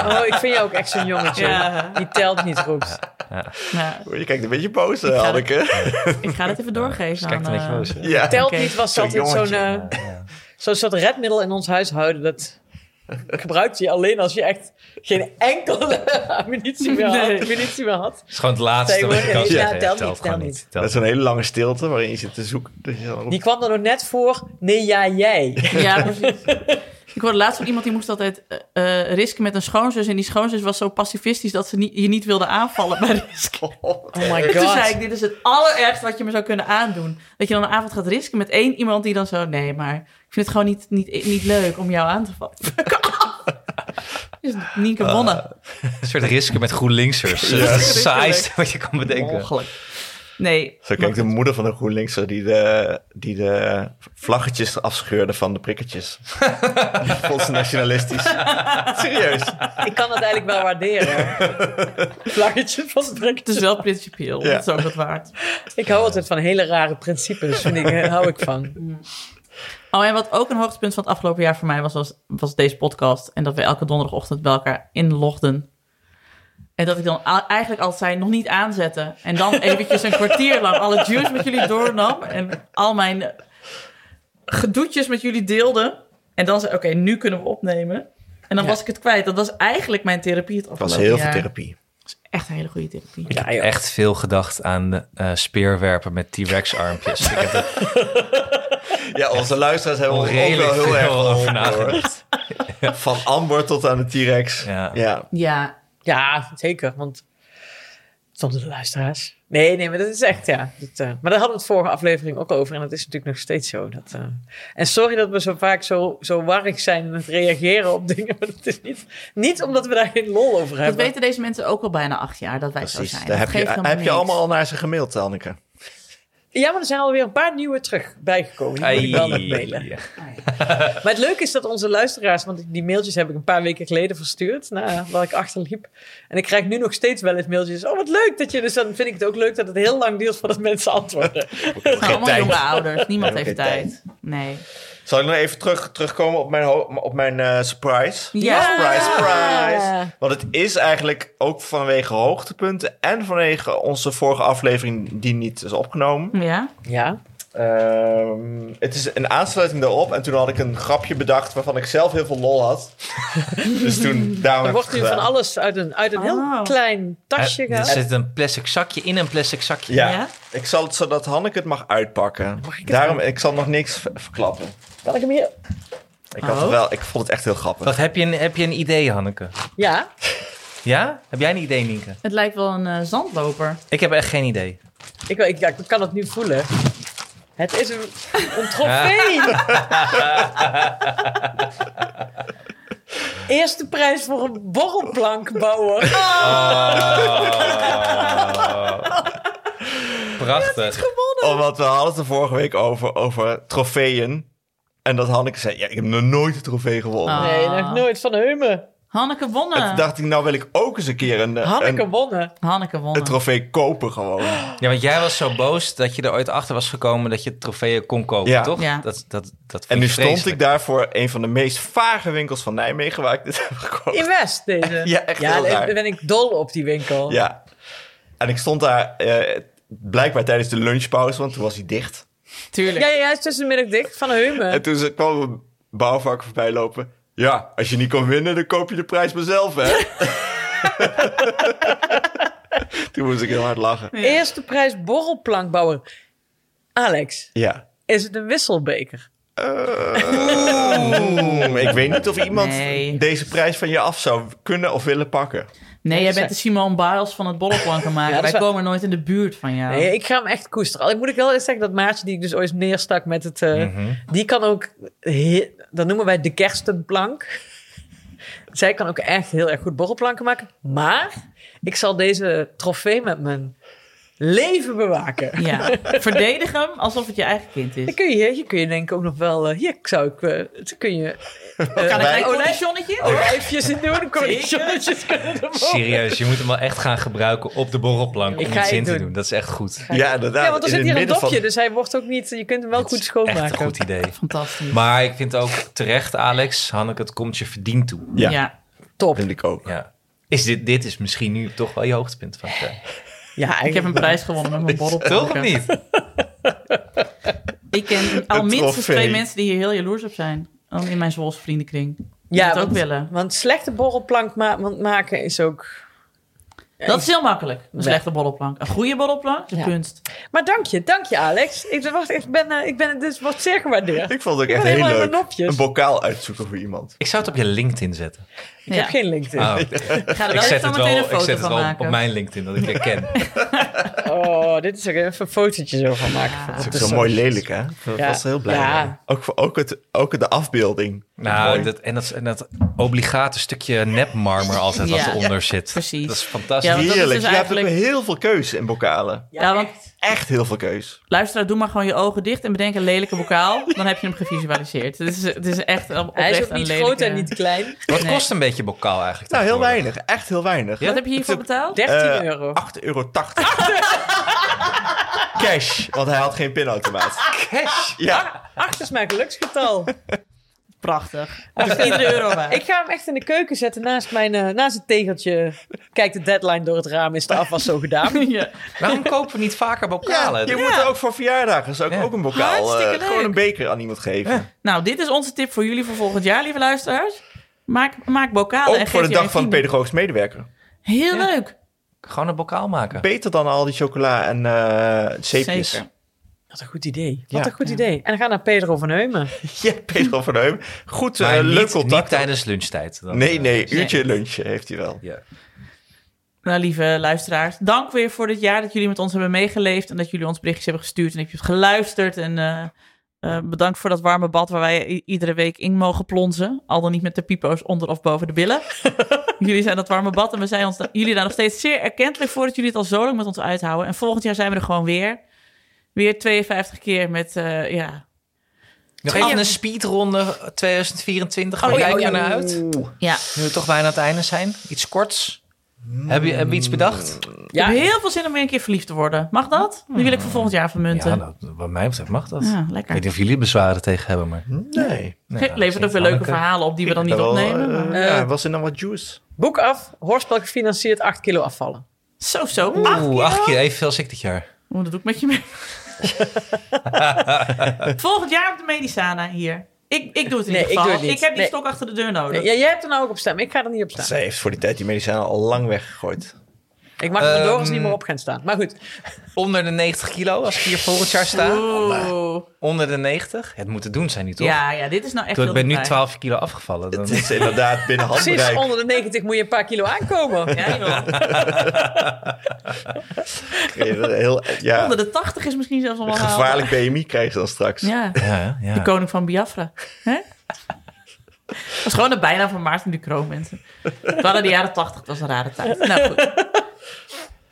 [SPEAKER 4] Oh, ik vind jou ook echt zo'n jongetje.
[SPEAKER 2] Ja.
[SPEAKER 4] Die telt niet goed.
[SPEAKER 2] Ja,
[SPEAKER 1] Oh, Je kijkt een beetje boos, eh,
[SPEAKER 2] Ik ga
[SPEAKER 1] Anneke.
[SPEAKER 2] ik ga dat even doorgeven
[SPEAKER 3] Dus
[SPEAKER 2] aan...
[SPEAKER 3] Kijk een beetje
[SPEAKER 2] eh,
[SPEAKER 3] boos. hè?
[SPEAKER 1] Ja.
[SPEAKER 4] Telt
[SPEAKER 2] Oké.
[SPEAKER 4] niet was
[SPEAKER 1] Zo'n
[SPEAKER 4] altijd zo'n eh,
[SPEAKER 1] jongetje.
[SPEAKER 4] zo'n soort redmiddel in ons huishouden. Dat gebruikte je alleen als je echt geen enkele munitie meer had.
[SPEAKER 2] Nee.
[SPEAKER 4] Munitie meer had.
[SPEAKER 3] Het is gewoon het laatste
[SPEAKER 4] Zeg,
[SPEAKER 3] wat je kan
[SPEAKER 4] ja,
[SPEAKER 3] zeggen.
[SPEAKER 4] telt
[SPEAKER 3] Telt
[SPEAKER 4] niet,
[SPEAKER 3] gewoon
[SPEAKER 4] telt
[SPEAKER 3] niet.
[SPEAKER 1] Dat
[SPEAKER 3] Telt
[SPEAKER 1] is een hele lange stilte waarin je zit te zoeken. Dat je dan roept,
[SPEAKER 4] Die kwam er nog net voor. Nee, ja, jij.
[SPEAKER 2] Ja, precies. Ik hoorde laatst van iemand die moest altijd eh, eh, risken met een schoonzus. En die schoonzus was zo pacifistisch dat ze niet, je niet wilde aanvallen bij risk.
[SPEAKER 4] Oh my
[SPEAKER 2] Toen zei
[SPEAKER 4] god.
[SPEAKER 2] ik, dit is het allerergste wat je me zou kunnen aandoen. Dat je dan een avond gaat risken met één iemand die dan zo... Nee, maar ik vind het gewoon niet, niet, niet leuk om jou aan te vallen. Dus niet
[SPEAKER 1] Ah.
[SPEAKER 2] gewonnen.
[SPEAKER 3] Een soort risken met GroenLinksers.
[SPEAKER 1] Ja.
[SPEAKER 3] Dat is het saaiste wat je kan bedenken.
[SPEAKER 1] Ongeluk.
[SPEAKER 2] Nee.
[SPEAKER 1] Zo kijkt de moeder van de GroenLinkser die de, die de vlaggetjes afscheurde van de prikketjes. Vond ze nationalistisch. Serieus.
[SPEAKER 4] Ik kan dat eigenlijk wel waarderen. Vlaggetje van het
[SPEAKER 2] Het is wel principieel.
[SPEAKER 1] Ja.
[SPEAKER 2] Dat is ook wat waard.
[SPEAKER 4] Ik hou altijd van hele rare principes. Vind ik, eh, hou ik van.
[SPEAKER 2] Oh, en wat ook een hoogtepunt van het afgelopen jaar voor mij was, was, was deze podcast. En dat we elke donderdagochtend bij elkaar inlogden. En dat ik dan a- eigenlijk altijd zei, nog niet aanzetten. En dan eventjes een kwartier lang alle juice met jullie doornam. En al mijn eh, gedoetjes met jullie deelde. En dan zei, oké, nu kunnen we opnemen. En dan was ik het kwijt. Dat was eigenlijk mijn therapie het
[SPEAKER 1] Het was
[SPEAKER 2] afgelopen
[SPEAKER 1] heel veel
[SPEAKER 2] jaar.
[SPEAKER 1] therapie.
[SPEAKER 2] Echt een hele goede therapie.
[SPEAKER 4] Ja, joh.
[SPEAKER 3] Echt veel gedacht aan eh, speerwerpen met T-Rex armpjes. Ik heb dat-
[SPEAKER 1] Ja, onze luisteraars hebben ons ook
[SPEAKER 3] Onredelijk
[SPEAKER 1] wel heel erg
[SPEAKER 3] veel over
[SPEAKER 1] geholpen, hoor. Van Amber tot aan de T-Rex.
[SPEAKER 3] Ja.
[SPEAKER 1] ja.
[SPEAKER 2] nou. Ja,
[SPEAKER 4] Ja, zeker. Want zonder de luisteraars. Nee, nee, maar dat is echt, ja. Dat, eh, maar daar hadden we het vorige aflevering ook over. En dat is natuurlijk nog steeds zo. Dat, eh, en sorry dat we zo vaak zo, zo warrig zijn in het reageren op dingen. Maar dat is niet, niet omdat we daar geen lol over
[SPEAKER 2] dat
[SPEAKER 4] hebben.
[SPEAKER 2] weten deze mensen ook al bijna acht jaar dat wij
[SPEAKER 1] Precies.
[SPEAKER 2] zo zijn.
[SPEAKER 1] Daar
[SPEAKER 2] Dat
[SPEAKER 1] heb je,
[SPEAKER 2] geeft helemaal
[SPEAKER 1] heb je
[SPEAKER 2] niks.
[SPEAKER 1] allemaal al naar ze gemaild, Anneke.
[SPEAKER 4] Ja, maar er zijn alweer een paar nieuwe terug bijgekomen. Die moet ik wel nog mailen.
[SPEAKER 3] Ja.
[SPEAKER 4] Maar het leuke is dat onze luisteraars, want die mailtjes heb ik een paar weken geleden verstuurd, nadat ik achterliep. En ik krijg nu nog steeds wel eens mailtjes. Oh, wat leuk dat je, dus dan vind ik het ook leuk dat het heel lang duurt voordat mensen antwoorden.
[SPEAKER 2] Het zijn Nou, allemaal
[SPEAKER 1] tijd.
[SPEAKER 2] jonge ouders. Niemand
[SPEAKER 1] We
[SPEAKER 2] heeft
[SPEAKER 1] hebben geen
[SPEAKER 2] tijd. Nee.
[SPEAKER 1] Zal ik nog even terug, terugkomen op mijn, ho- op mijn eh, surprise?
[SPEAKER 2] Ja.
[SPEAKER 1] Surprise, surprise. Want het is eigenlijk ook vanwege hoogtepunten en vanwege onze vorige aflevering die niet is opgenomen.
[SPEAKER 2] Ja.
[SPEAKER 4] Ja,
[SPEAKER 1] Ehm, het is een aansluiting daarop. En toen had ik een grapje bedacht waarvan ik zelf heel veel lol had. dus toen daarom
[SPEAKER 4] er
[SPEAKER 1] heb ik
[SPEAKER 4] wordt
[SPEAKER 1] het
[SPEAKER 4] nu van
[SPEAKER 1] gedaan.
[SPEAKER 4] alles uit een, uit een
[SPEAKER 2] Oh.
[SPEAKER 4] heel klein
[SPEAKER 1] Eh,
[SPEAKER 4] tasje
[SPEAKER 3] Er
[SPEAKER 4] gehaald.
[SPEAKER 3] zit een plastic zakje in een plastic zakje.
[SPEAKER 1] Ja.
[SPEAKER 2] Ja?
[SPEAKER 1] ik zal het zodat Hanneke het mag uitpakken. daarom, ik zal nog niks ver- verklappen.
[SPEAKER 4] Kan ik hem hier?
[SPEAKER 1] Ik, had het
[SPEAKER 2] Oh.
[SPEAKER 1] wel, ik vond het echt heel grappig.
[SPEAKER 3] Wat, heb, je een, heb je een idee, Hanneke?
[SPEAKER 4] Ja,
[SPEAKER 3] Ja? Heb jij een idee, Nienke?
[SPEAKER 2] Het lijkt wel een eh, zandloper.
[SPEAKER 3] Ik heb echt geen idee.
[SPEAKER 4] ik, ik, ja, ik kan het nu voelen. Het is een, een trofee. Eerste prijs voor een borrelplankbouwer.
[SPEAKER 1] Ah,
[SPEAKER 3] Prachtig.
[SPEAKER 1] Omdat we hadden het er vorige week over, over trofeeën. En dat Hanneke zei, ja, ik heb nog nooit een trofee gewonnen.
[SPEAKER 2] Ah.
[SPEAKER 4] Nee, nog nooit van Heumen.
[SPEAKER 2] Hanneke
[SPEAKER 1] En
[SPEAKER 2] wonnen.
[SPEAKER 1] toen dacht ik, nou wil ik ook eens een keer een, eh,
[SPEAKER 4] Hanneke
[SPEAKER 1] een,
[SPEAKER 4] wonnen.
[SPEAKER 2] Hanneke wonnen.
[SPEAKER 1] een trofee kopen gewoon.
[SPEAKER 3] Ja, want jij was zo boos dat je er ooit achter was gekomen dat je trofeeën kon kopen,
[SPEAKER 1] Ja.
[SPEAKER 3] toch?
[SPEAKER 2] Ja.
[SPEAKER 3] Dat, dat, dat
[SPEAKER 1] En
[SPEAKER 3] vond
[SPEAKER 1] nu
[SPEAKER 3] je
[SPEAKER 1] stond ik
[SPEAKER 3] vreselijk.
[SPEAKER 1] daar voor een van de meest vage winkels van Nijmegen waar ik dit heb gekocht.
[SPEAKER 4] In West, deze.
[SPEAKER 1] Ja, echt heel
[SPEAKER 4] daar
[SPEAKER 1] raar.
[SPEAKER 4] ben ik dol op die winkel.
[SPEAKER 1] Ja. En ik stond daar eh, blijkbaar tijdens de lunchpauze, want toen was hij dicht.
[SPEAKER 4] Ja, ja, hij is tussen de middag dicht van Heumen.
[SPEAKER 1] En toen ze- kwam een bouwvakker voorbij lopen. Ja, als je niet kan winnen, dan koop je de prijs maar zelf, hè? toen moest ik heel hard lachen.
[SPEAKER 4] Eerste prijs borrelplankbouwer. Alex,
[SPEAKER 1] Ja.
[SPEAKER 4] is het een wisselbeker?
[SPEAKER 1] Oeh, ik weet niet of iemand
[SPEAKER 2] Nee.
[SPEAKER 1] deze prijs van je af zou kunnen of willen pakken.
[SPEAKER 2] Nee, jij bent de Simone Biles van het bolleplanken maken.
[SPEAKER 4] Ja,
[SPEAKER 2] Wij
[SPEAKER 4] dat is wel-
[SPEAKER 2] komen nooit in de buurt van jou.
[SPEAKER 4] Nee, ik ga hem echt koesteren. Al moet ik wel eens zeggen dat Maartje, die ik dus ooit neerstak met het... eh, Die kan ook... he- dat noemen wij de kerstenplank. Zij kan ook echt heel erg goed borrelplanken maken. Maar ik zal deze trofee met mijn leven bewaken.
[SPEAKER 2] Ja. Verdedig hem alsof het je eigen kind
[SPEAKER 4] Dan
[SPEAKER 2] is.
[SPEAKER 4] kun je, hier kun je denk ik ook nog wel... eh, hier zou ik... eh, dan kun je
[SPEAKER 2] Kan ik
[SPEAKER 1] wij-
[SPEAKER 2] een
[SPEAKER 4] oh, nee.
[SPEAKER 2] conditionnetje?
[SPEAKER 4] olijfjes in doen. Dan kom ik zonnetjes kunnen er boven.
[SPEAKER 3] Serieus, je moet hem wel echt gaan gebruiken op de borrelplank
[SPEAKER 4] Ik
[SPEAKER 3] om
[SPEAKER 4] ga
[SPEAKER 3] iets
[SPEAKER 4] het
[SPEAKER 3] in te
[SPEAKER 4] doen.
[SPEAKER 3] doen. Dat is echt goed.
[SPEAKER 1] Ja, inderdaad.
[SPEAKER 4] Ja, want er
[SPEAKER 1] in
[SPEAKER 4] zit
[SPEAKER 1] het
[SPEAKER 4] hier een
[SPEAKER 1] midden
[SPEAKER 4] dopje,
[SPEAKER 1] van-
[SPEAKER 4] dus hij wordt ook niet... Je kunt hem wel
[SPEAKER 3] Dat
[SPEAKER 4] goed
[SPEAKER 3] is Echt een
[SPEAKER 4] schoonmaken.
[SPEAKER 3] goed idee.
[SPEAKER 2] Fantastisch.
[SPEAKER 3] Maar ik vind ook terecht, Alex, Hanneke, het komt je verdiend toe.
[SPEAKER 1] Ja,
[SPEAKER 2] ja.
[SPEAKER 4] Top.
[SPEAKER 1] vind ik ook.
[SPEAKER 3] Ja. Is dit, dit is misschien nu toch wel je hoogtepunt van het jaar.
[SPEAKER 4] Ja,
[SPEAKER 2] Ik heb een prijs gewonnen met mijn borrelplanken.
[SPEAKER 3] Toch of niet?
[SPEAKER 2] Ik ken al
[SPEAKER 1] Een
[SPEAKER 2] minstens
[SPEAKER 1] trofee.
[SPEAKER 2] twee mensen die hier heel jaloers op zijn. Ook in mijn Zwolse vriendenkring. Die
[SPEAKER 4] Ja,
[SPEAKER 2] dat ook
[SPEAKER 4] want,
[SPEAKER 2] willen.
[SPEAKER 4] want slechte borrelplank ma- want maken is ook...
[SPEAKER 2] Dat is heel makkelijk. Een
[SPEAKER 4] Ja.
[SPEAKER 2] slechte borrelplank. Een goede borrelplank is
[SPEAKER 4] Ja.
[SPEAKER 2] kunst.
[SPEAKER 4] Maar dank je, dank je Alex. Ik, wacht, ik ben, eh, ik ben, dit wordt zeer gewaardeerd.
[SPEAKER 1] Ik vond het ook
[SPEAKER 4] Ik
[SPEAKER 1] echt
[SPEAKER 4] ben
[SPEAKER 1] heel
[SPEAKER 4] helemaal in mijn
[SPEAKER 1] leuk.
[SPEAKER 4] nopjes.
[SPEAKER 1] Een bokaal uitzoeken voor iemand.
[SPEAKER 3] Ik zou het op je LinkedIn zetten.
[SPEAKER 4] Ik
[SPEAKER 2] Ja.
[SPEAKER 4] heb geen LinkedIn.
[SPEAKER 1] Ah.
[SPEAKER 3] Oh,
[SPEAKER 2] Ik ga er
[SPEAKER 3] ik
[SPEAKER 2] wel
[SPEAKER 3] zet
[SPEAKER 2] echt
[SPEAKER 3] het
[SPEAKER 2] zo meteen
[SPEAKER 3] wel,
[SPEAKER 2] een
[SPEAKER 3] ik zet
[SPEAKER 2] foto
[SPEAKER 3] het
[SPEAKER 2] van
[SPEAKER 3] wel op
[SPEAKER 2] maken.
[SPEAKER 3] mijn LinkedIn, dat ik je ken.
[SPEAKER 4] Oh, dit is ook even een fotootje zo van maken. van
[SPEAKER 1] Dat
[SPEAKER 4] op
[SPEAKER 1] is
[SPEAKER 4] de
[SPEAKER 1] ook zo mooi lelijk, hè? Dat
[SPEAKER 4] Ja.
[SPEAKER 1] was heel blij.
[SPEAKER 4] Ja.
[SPEAKER 1] mee. Ook, voor- ook, het, ook de afbeelding.
[SPEAKER 3] Nou,
[SPEAKER 1] Mooi.
[SPEAKER 3] dat, en, dat, en dat obligate stukje nepmarmer altijd
[SPEAKER 2] Ja.
[SPEAKER 3] wat eronder zit.
[SPEAKER 2] precies.
[SPEAKER 3] Dat is fantastisch.
[SPEAKER 2] Ja, want- dat is
[SPEAKER 1] Heerlijk.
[SPEAKER 2] dus
[SPEAKER 1] Je
[SPEAKER 2] eigenlijk-
[SPEAKER 1] hebt ook heel veel keus in bokalen.
[SPEAKER 2] Ja, want
[SPEAKER 1] Echt Nou, heel veel keus.
[SPEAKER 2] luisteraar, doe maar gewoon je ogen dicht en bedenk een lelijke bokaal. Dan heb je hem gevisualiseerd. Het is, het is echt op- oprecht
[SPEAKER 4] Hij is ook
[SPEAKER 2] een
[SPEAKER 4] niet
[SPEAKER 2] lelijke...
[SPEAKER 4] groot en niet klein.
[SPEAKER 3] Wat
[SPEAKER 2] Nee.
[SPEAKER 3] kost een beetje bokaal eigenlijk?
[SPEAKER 1] Nou, heel
[SPEAKER 3] tegenwoordig?
[SPEAKER 1] weinig. Echt heel weinig.
[SPEAKER 2] Wat heb je hiervoor betaald?
[SPEAKER 4] 13
[SPEAKER 1] Eh,
[SPEAKER 4] euro.
[SPEAKER 1] 8,80 euro. Cash, want hij had geen pinautomaat.
[SPEAKER 4] Cash.
[SPEAKER 1] Ja,
[SPEAKER 4] 8 is mijn geluksgetal.
[SPEAKER 2] Prachtig. Dat is iedere euro waard.
[SPEAKER 4] Ik ga hem echt in de keuken zetten naast, mijn, eh, naast het tegeltje. Kijk, de deadline door het raam is de afwas zo gedaan.
[SPEAKER 2] Ja.
[SPEAKER 3] Waarom kopen we niet vaker bokalen?
[SPEAKER 1] ja je moet er ook voor verjaardagen zou ik
[SPEAKER 3] Ja.
[SPEAKER 1] ook een bokaal, eh,
[SPEAKER 2] Hartstikke leuk.
[SPEAKER 1] gewoon een beker aan iemand geven.
[SPEAKER 2] Nou, dit is onze tip voor jullie voor volgend jaar, lieve luisteraars. Maak, maak bokalen en
[SPEAKER 1] Ook
[SPEAKER 2] geef
[SPEAKER 1] voor de
[SPEAKER 2] je
[SPEAKER 1] dag van de
[SPEAKER 2] vrienden.
[SPEAKER 1] pedagogisch medewerker.
[SPEAKER 2] Heel
[SPEAKER 3] Ja.
[SPEAKER 2] leuk.
[SPEAKER 3] Gewoon een bokaal maken.
[SPEAKER 1] Beter dan al die chocola en eh zeepjes.
[SPEAKER 2] Zeker.
[SPEAKER 4] Wat een goed idee. Wat
[SPEAKER 3] Ja.
[SPEAKER 4] een goed idee. En ga naar Pedro van Heumen.
[SPEAKER 1] Ja, Pedro van Heum. Goed, eh,
[SPEAKER 3] Maar
[SPEAKER 1] leuk
[SPEAKER 3] niet, niet
[SPEAKER 1] contact.
[SPEAKER 3] tijdens lunchtijd. Dan,
[SPEAKER 1] nee,
[SPEAKER 3] eh,
[SPEAKER 1] nee, uurtje lunchen heeft hij wel.
[SPEAKER 3] ja.
[SPEAKER 2] Nou, lieve luisteraars, dank weer voor dit jaar dat jullie met ons hebben meegeleefd en dat jullie ons berichtjes hebben gestuurd en dat je hebt geluisterd. En eh, eh, bedankt voor dat warme bad waar wij i- iedere week in mogen plonzen. Al dan niet met de pipo's onder of boven de billen. jullie zijn dat warme bad en we zijn ons, da- jullie daar nog steeds zeer erkentelijk voor dat jullie het al zo lang met ons uithouden. En volgend jaar zijn we er gewoon weer. Weer 52 keer met, eh, ja.
[SPEAKER 3] Nog even een speedronde 2024. Waar
[SPEAKER 2] Oh, ja,
[SPEAKER 3] kijk je
[SPEAKER 2] oh, ja.
[SPEAKER 3] naar uit?
[SPEAKER 2] ja.
[SPEAKER 3] Nu we toch bijna aan het einde zijn. Iets korts. Heb je, heb je iets bedacht?
[SPEAKER 2] Ik heb heel veel zin om weer een keer verliefd te worden. Mag dat? Die wil ik voor volgend jaar vermunten.
[SPEAKER 3] Ja, nou, wat mij betreft mag dat.
[SPEAKER 2] Ja,
[SPEAKER 3] Ik
[SPEAKER 2] Ah, lekker.
[SPEAKER 3] weet niet of jullie bezwaren tegen hebben, maar...
[SPEAKER 1] Nee.
[SPEAKER 3] Nee,
[SPEAKER 2] Ge- Levert ook weer leuke
[SPEAKER 3] Hanneke.
[SPEAKER 2] verhalen op die we dan niet
[SPEAKER 1] Wel,
[SPEAKER 2] opnemen.
[SPEAKER 1] eh,
[SPEAKER 2] maar-
[SPEAKER 1] ja, was er dan wat juice?
[SPEAKER 4] Boek af, hoorspel gefinancierd, 8 kilo afvallen.
[SPEAKER 2] Zo, zo. Acht
[SPEAKER 3] Oeh,
[SPEAKER 4] ah.
[SPEAKER 2] kilo?
[SPEAKER 3] acht keer evenveel als ik dit jaar.
[SPEAKER 2] Oh, dat doe ik met je mee. Volgend jaar op de Medisana hier. Ik, ik doe het in
[SPEAKER 4] Nee,
[SPEAKER 2] ieder geval. Ik,
[SPEAKER 4] ik doe het niet.
[SPEAKER 2] heb die
[SPEAKER 4] Nee.
[SPEAKER 2] stok achter de deur nodig.
[SPEAKER 4] Ja, jij hebt er nou ook op stem. Ik ga er niet op staan.
[SPEAKER 1] Zij heeft voor die tijd die medicijnen al lang weggegooid.
[SPEAKER 4] Ik mag er
[SPEAKER 3] Ehm,
[SPEAKER 4] Doris niet meer op gaan staan. Maar goed,
[SPEAKER 3] Onder de 90 kilo als ik hier volgend jaar sta.
[SPEAKER 2] Oeh.
[SPEAKER 3] Onder de 90. Het moet te doen zijn nu, toch?
[SPEAKER 2] Ja, ja, dit is nou echt
[SPEAKER 3] Toen ik
[SPEAKER 2] heel
[SPEAKER 3] ben nu
[SPEAKER 2] dichtbij.
[SPEAKER 3] 12 kilo afgevallen. Dan...
[SPEAKER 1] Het is inderdaad binnen
[SPEAKER 4] precies
[SPEAKER 1] handbereik.
[SPEAKER 4] onder de 90 moet je een paar kilo aankomen.
[SPEAKER 2] Ja, joh.
[SPEAKER 1] Kreeg je Heel, ja,
[SPEAKER 2] Onder de 80 is misschien zelfs al wel
[SPEAKER 1] een gevaarlijk BMI krijg je dan straks.
[SPEAKER 2] haalbaar. Ja,
[SPEAKER 3] Ja,
[SPEAKER 2] de
[SPEAKER 3] ja.
[SPEAKER 2] koning van Biafra. Hè? Dat is gewoon de bijnaam van Maarten de Kroon, mensen. Het waren de jaren 80, het was een rare tijd. Nou goed.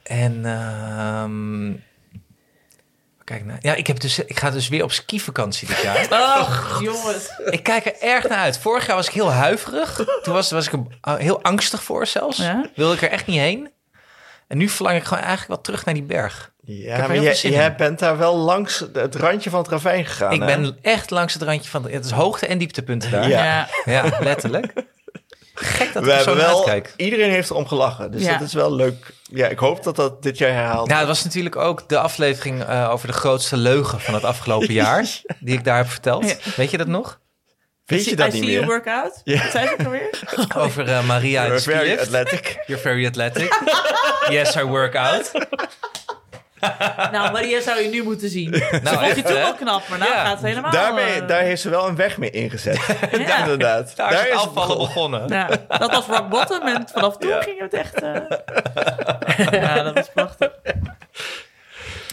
[SPEAKER 3] En... ehm Kijk nou. Ja, ik, heb dus, ik ga dus weer op skivakantie dit jaar.
[SPEAKER 2] Och, jongens.
[SPEAKER 3] Ik kijk er erg naar uit. Vorig jaar was ik heel huiverig. Toen was, was ik er a- heel angstig voor zelfs.
[SPEAKER 2] Ja?
[SPEAKER 3] Wilde ik er echt niet heen. En nu verlang ik gewoon eigenlijk wel terug naar die berg.
[SPEAKER 1] Ja,
[SPEAKER 3] heb er
[SPEAKER 1] maar
[SPEAKER 3] heel
[SPEAKER 1] jij,
[SPEAKER 3] veel zin
[SPEAKER 1] jij
[SPEAKER 3] in.
[SPEAKER 1] bent daar wel langs het randje van het ravijn gegaan.
[SPEAKER 3] ik
[SPEAKER 1] hè?
[SPEAKER 3] ben echt langs het randje van... de- Het is hoogte- en dieptepunten daar. nou. Ja,
[SPEAKER 1] Ja.
[SPEAKER 2] Ja.
[SPEAKER 3] letterlijk. Gek dat
[SPEAKER 1] We
[SPEAKER 3] ik er zo
[SPEAKER 1] hebben
[SPEAKER 3] naar
[SPEAKER 1] wel,
[SPEAKER 3] uitkijk.
[SPEAKER 1] iedereen heeft erom gelachen, dus
[SPEAKER 2] Ja.
[SPEAKER 1] dat is wel leuk. Ja, ik hoop dat dat dit jaar herhaalt.
[SPEAKER 3] Nou, het was natuurlijk ook de aflevering eh, over de grootste leugen van het afgelopen jaar. Die ik daar heb verteld. Weet je dat nog?
[SPEAKER 1] Weet je dat
[SPEAKER 2] I
[SPEAKER 1] niet
[SPEAKER 2] see you
[SPEAKER 1] meer?
[SPEAKER 2] work out.
[SPEAKER 1] Ja.
[SPEAKER 2] Wat zei ze ook alweer?
[SPEAKER 3] Over eh, Maria in de
[SPEAKER 1] You're very
[SPEAKER 3] skilift.
[SPEAKER 1] athletic.
[SPEAKER 3] You're very athletic. yes, I work out.
[SPEAKER 2] Nou, Maria zou je nu moeten zien.
[SPEAKER 3] Nou,
[SPEAKER 2] Vond je
[SPEAKER 3] echt,
[SPEAKER 2] toen
[SPEAKER 3] hè?
[SPEAKER 2] wel knap, maar nou
[SPEAKER 3] Ja.
[SPEAKER 2] gaat het helemaal...
[SPEAKER 1] Daarmee,
[SPEAKER 2] eh,
[SPEAKER 1] daar heeft ze wel een weg mee ingezet.
[SPEAKER 2] Ja.
[SPEAKER 1] Inderdaad.
[SPEAKER 3] Daar, is het
[SPEAKER 1] het
[SPEAKER 3] afvallen begonnen.
[SPEAKER 2] Ja, dat was rock bottom en vanaf toen ging het echt... eh, Ja, dat was prachtig.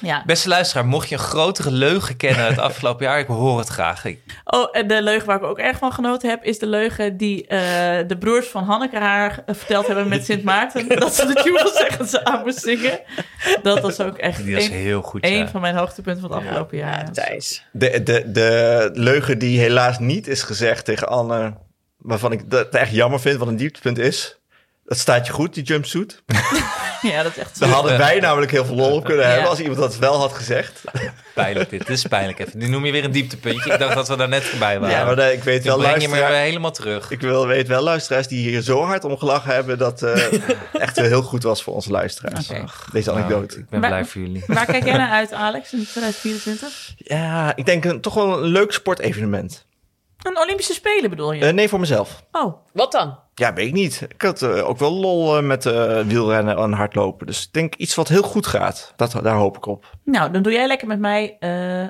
[SPEAKER 2] Ja.
[SPEAKER 3] Beste luisteraar, mocht je een grotere leugen kennen het afgelopen jaar, ik hoor het graag. Ik-
[SPEAKER 2] Oh, en de leugen waar ik ook erg van genoten heb... is de leugen die eh, de broers van Hanneke haar verteld hebben met Sint Maarten. Dat ze de jubel zeggen ze aan moest zingen. Dat was ook echt
[SPEAKER 3] Die was
[SPEAKER 2] een,
[SPEAKER 3] heel goed.
[SPEAKER 2] een
[SPEAKER 3] ja.
[SPEAKER 2] van mijn hoogtepunten van het afgelopen jaar.
[SPEAKER 4] Ja, Thijs.
[SPEAKER 1] De, de, de leugen die helaas niet is gezegd tegen Anne, waarvan ik dat echt jammer vind, wat een dieptepunt is. Dat staat je goed, die jumpsuit.
[SPEAKER 2] Ja, dat is echt...
[SPEAKER 1] Daar hadden wij namelijk heel veel lol op kunnen
[SPEAKER 2] Ja.
[SPEAKER 1] hebben als iemand dat wel had gezegd.
[SPEAKER 3] Pijnlijk dit. Dit is pijnlijk even. Nu noem je weer een dieptepuntje. Ik dacht dat we daar net voorbij waren.
[SPEAKER 1] Ja, maar eh, ik weet
[SPEAKER 3] ik
[SPEAKER 1] wel,
[SPEAKER 3] breng je maar
[SPEAKER 1] luisteraar,
[SPEAKER 3] helemaal terug.
[SPEAKER 1] ik wil, weet wel luisteraars die hier zo hard om gelachen hebben dat eh, echt heel goed was voor onze luisteraars.
[SPEAKER 2] Oké.
[SPEAKER 1] Deze
[SPEAKER 3] Nou,
[SPEAKER 1] anekdote.
[SPEAKER 3] ik ben
[SPEAKER 2] Maar-
[SPEAKER 3] blij voor jullie.
[SPEAKER 2] Waar kijk jij naar uit, Alex, in 2024?
[SPEAKER 1] Ja, ik denk een, toch wel een leuk sportevenement.
[SPEAKER 2] Een Olympische Spelen bedoel je?
[SPEAKER 1] Eh, nee, voor mezelf.
[SPEAKER 2] Oh,
[SPEAKER 4] Wat dan?
[SPEAKER 1] Ja, weet ik niet. Ik had eh, ook wel lol eh, met eh, wielrennen en hardlopen. Dus ik denk iets wat heel goed gaat. Dat, daar hoop ik op.
[SPEAKER 2] nou, dan doe jij lekker met mij... eh,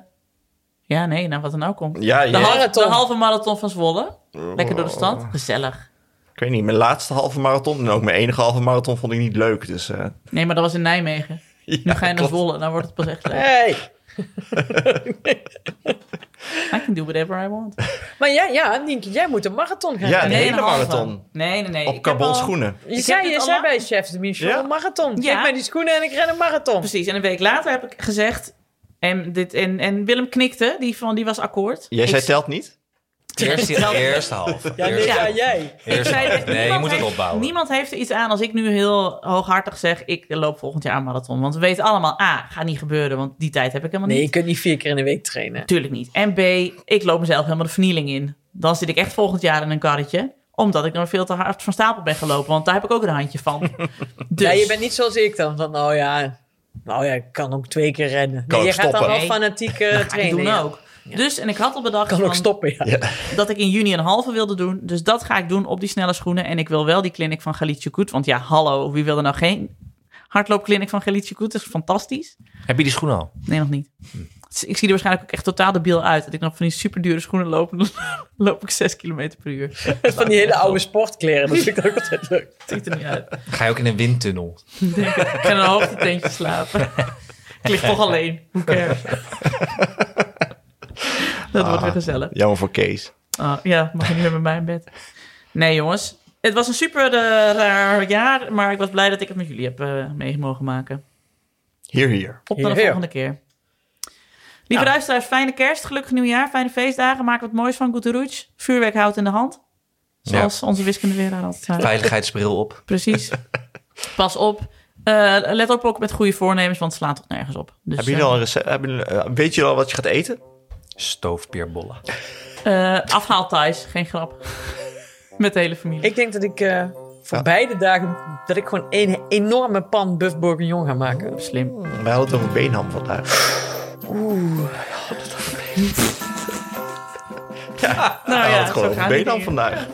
[SPEAKER 2] Ja, nee, nou wat er nou komt.
[SPEAKER 1] Ja,
[SPEAKER 2] De,
[SPEAKER 1] ja.
[SPEAKER 2] halve-
[SPEAKER 4] Marathon.
[SPEAKER 2] de halve marathon van Zwolle. Lekker door de stad. Gezellig.
[SPEAKER 1] ik weet niet. Mijn laatste halve marathon en ook mijn enige halve marathon vond ik niet leuk. Dus eh,
[SPEAKER 2] Nee, maar dat was in Nijmegen. Nu ga je naar
[SPEAKER 1] klopt.
[SPEAKER 2] Zwolle. Dan wordt het pas echt leuk.
[SPEAKER 4] Hey.
[SPEAKER 2] I can do whatever I want.
[SPEAKER 4] Maar ja, ja, Nienke, jij moet een marathon gaan.
[SPEAKER 1] Ja,
[SPEAKER 4] rennen.
[SPEAKER 1] nee. hele
[SPEAKER 2] een halve.
[SPEAKER 1] marathon.
[SPEAKER 2] Nee, nee, nee.
[SPEAKER 1] op
[SPEAKER 2] Ik
[SPEAKER 1] carbon
[SPEAKER 2] heb al-
[SPEAKER 1] schoenen.
[SPEAKER 4] Je
[SPEAKER 2] Ik
[SPEAKER 4] zei,
[SPEAKER 2] heb dit
[SPEAKER 4] je
[SPEAKER 2] al
[SPEAKER 4] zei
[SPEAKER 2] lang-
[SPEAKER 4] bij Chef de Michel,
[SPEAKER 1] Ja.
[SPEAKER 4] een marathon.
[SPEAKER 2] Ja.
[SPEAKER 4] Geef mij die schoenen en ik ren een marathon.
[SPEAKER 2] Precies. En een week later heb ik gezegd... En, dit, en, en Willem knikte. Die, van, die was akkoord.
[SPEAKER 1] Jij
[SPEAKER 2] Ik-
[SPEAKER 1] zei telt niet?
[SPEAKER 3] Eerst die eerste half.
[SPEAKER 4] Ja, nee,
[SPEAKER 3] Eerste-
[SPEAKER 4] ja, jij.
[SPEAKER 2] Ik
[SPEAKER 3] eerste
[SPEAKER 2] zei,
[SPEAKER 3] half.
[SPEAKER 2] echt,
[SPEAKER 3] Nee, je
[SPEAKER 2] niemand
[SPEAKER 3] moet het
[SPEAKER 2] heeft-
[SPEAKER 3] opbouwen.
[SPEAKER 2] Niemand heeft er iets aan als ik nu heel hooghartig zeg... ik loop volgend jaar een marathon. Want we weten allemaal... A, gaat niet gebeuren, want die tijd heb ik helemaal
[SPEAKER 4] Nee,
[SPEAKER 2] niet.
[SPEAKER 4] je kunt niet vier keer in de week trainen.
[SPEAKER 2] Tuurlijk niet. En B, ik loop mezelf helemaal de vernieling in. Dan zit ik echt volgend jaar in een karretje. Omdat ik dan veel te hard van stapel ben gelopen. Want daar heb ik ook een handje van. Dus,
[SPEAKER 4] Ja, je bent niet zoals ik dan. Van, nou ja, nou ja, ik kan ook twee keer rennen.
[SPEAKER 1] Kan
[SPEAKER 4] Nee, je
[SPEAKER 1] ook
[SPEAKER 4] gaat dan
[SPEAKER 1] stoppen.
[SPEAKER 2] Nee.
[SPEAKER 4] wel fanatiek eh,
[SPEAKER 2] dat ga ik
[SPEAKER 4] trainen.
[SPEAKER 2] doen
[SPEAKER 4] ja.
[SPEAKER 2] ook. Dus, en ik had al bedacht
[SPEAKER 4] Kan ook
[SPEAKER 2] van,
[SPEAKER 4] stoppen, ja.
[SPEAKER 2] dat ik in juni een halve wilde doen. Dus dat ga ik doen op die snelle schoenen. En ik wil wel die clinic van Galicia Koet. Want ja, hallo, wie wil er nou geen hardloopclinic van Galicia Koet? Dat is fantastisch.
[SPEAKER 3] Heb je die schoen al?
[SPEAKER 2] Nee, nog niet. Ik zie er waarschijnlijk ook echt totaal debiel uit. Dat ik dan van die superdure schoenen loop en dan loop ik 6 km per uur.
[SPEAKER 4] Van die hele oude sportkleren, dat vind ik ook altijd leuk.
[SPEAKER 2] Het ziet er niet uit.
[SPEAKER 3] Ga je ook in een windtunnel?
[SPEAKER 2] Ik ga in een hoogteteentje slapen. ik lig toch alleen. Hoe cares? Dat wordt weer gezellig.
[SPEAKER 1] Jammer voor Kees.
[SPEAKER 2] Ah, ja, mag je niet meer bij mij in bed. Nee, jongens. Het was een super eh, raar jaar, maar ik was blij dat ik het met jullie heb eh, mee mogen maken.
[SPEAKER 1] Hier, hier.
[SPEAKER 2] Op naar
[SPEAKER 4] Heer,
[SPEAKER 2] de
[SPEAKER 4] heer.
[SPEAKER 2] volgende keer.
[SPEAKER 1] Nou.
[SPEAKER 2] Lieve luisteraars, fijne kerst, gelukkig nieuwjaar, fijne feestdagen. Maak wat moois van Goederoets. Vuurwerk houdt in de hand. Zoals onze wiskundeleraar altijd zei.
[SPEAKER 3] Veiligheidsbril op.
[SPEAKER 2] eh, Precies. Pas op. Eh, let op ook met goede voornemens, want het slaat toch nergens op. Dus,
[SPEAKER 1] Hebben jullie al een recept? Hebben jullie- eh, weet je al wat je gaat eten?
[SPEAKER 3] Stoofpeerbollen.
[SPEAKER 2] eh, eh, afhaal Thijs, geen grap. Met de hele familie.
[SPEAKER 4] Ik denk dat ik eh, voor beide dagen dat ik gewoon een enorme pan buff bourguignon ga maken.
[SPEAKER 2] Slim.
[SPEAKER 1] Wij hadden het over beenham vandaag.
[SPEAKER 2] Nou
[SPEAKER 1] Wij hadden
[SPEAKER 2] ja,
[SPEAKER 1] het
[SPEAKER 2] zo
[SPEAKER 1] gewoon over
[SPEAKER 2] gaan die
[SPEAKER 1] beenham
[SPEAKER 2] dingen.
[SPEAKER 1] vandaag.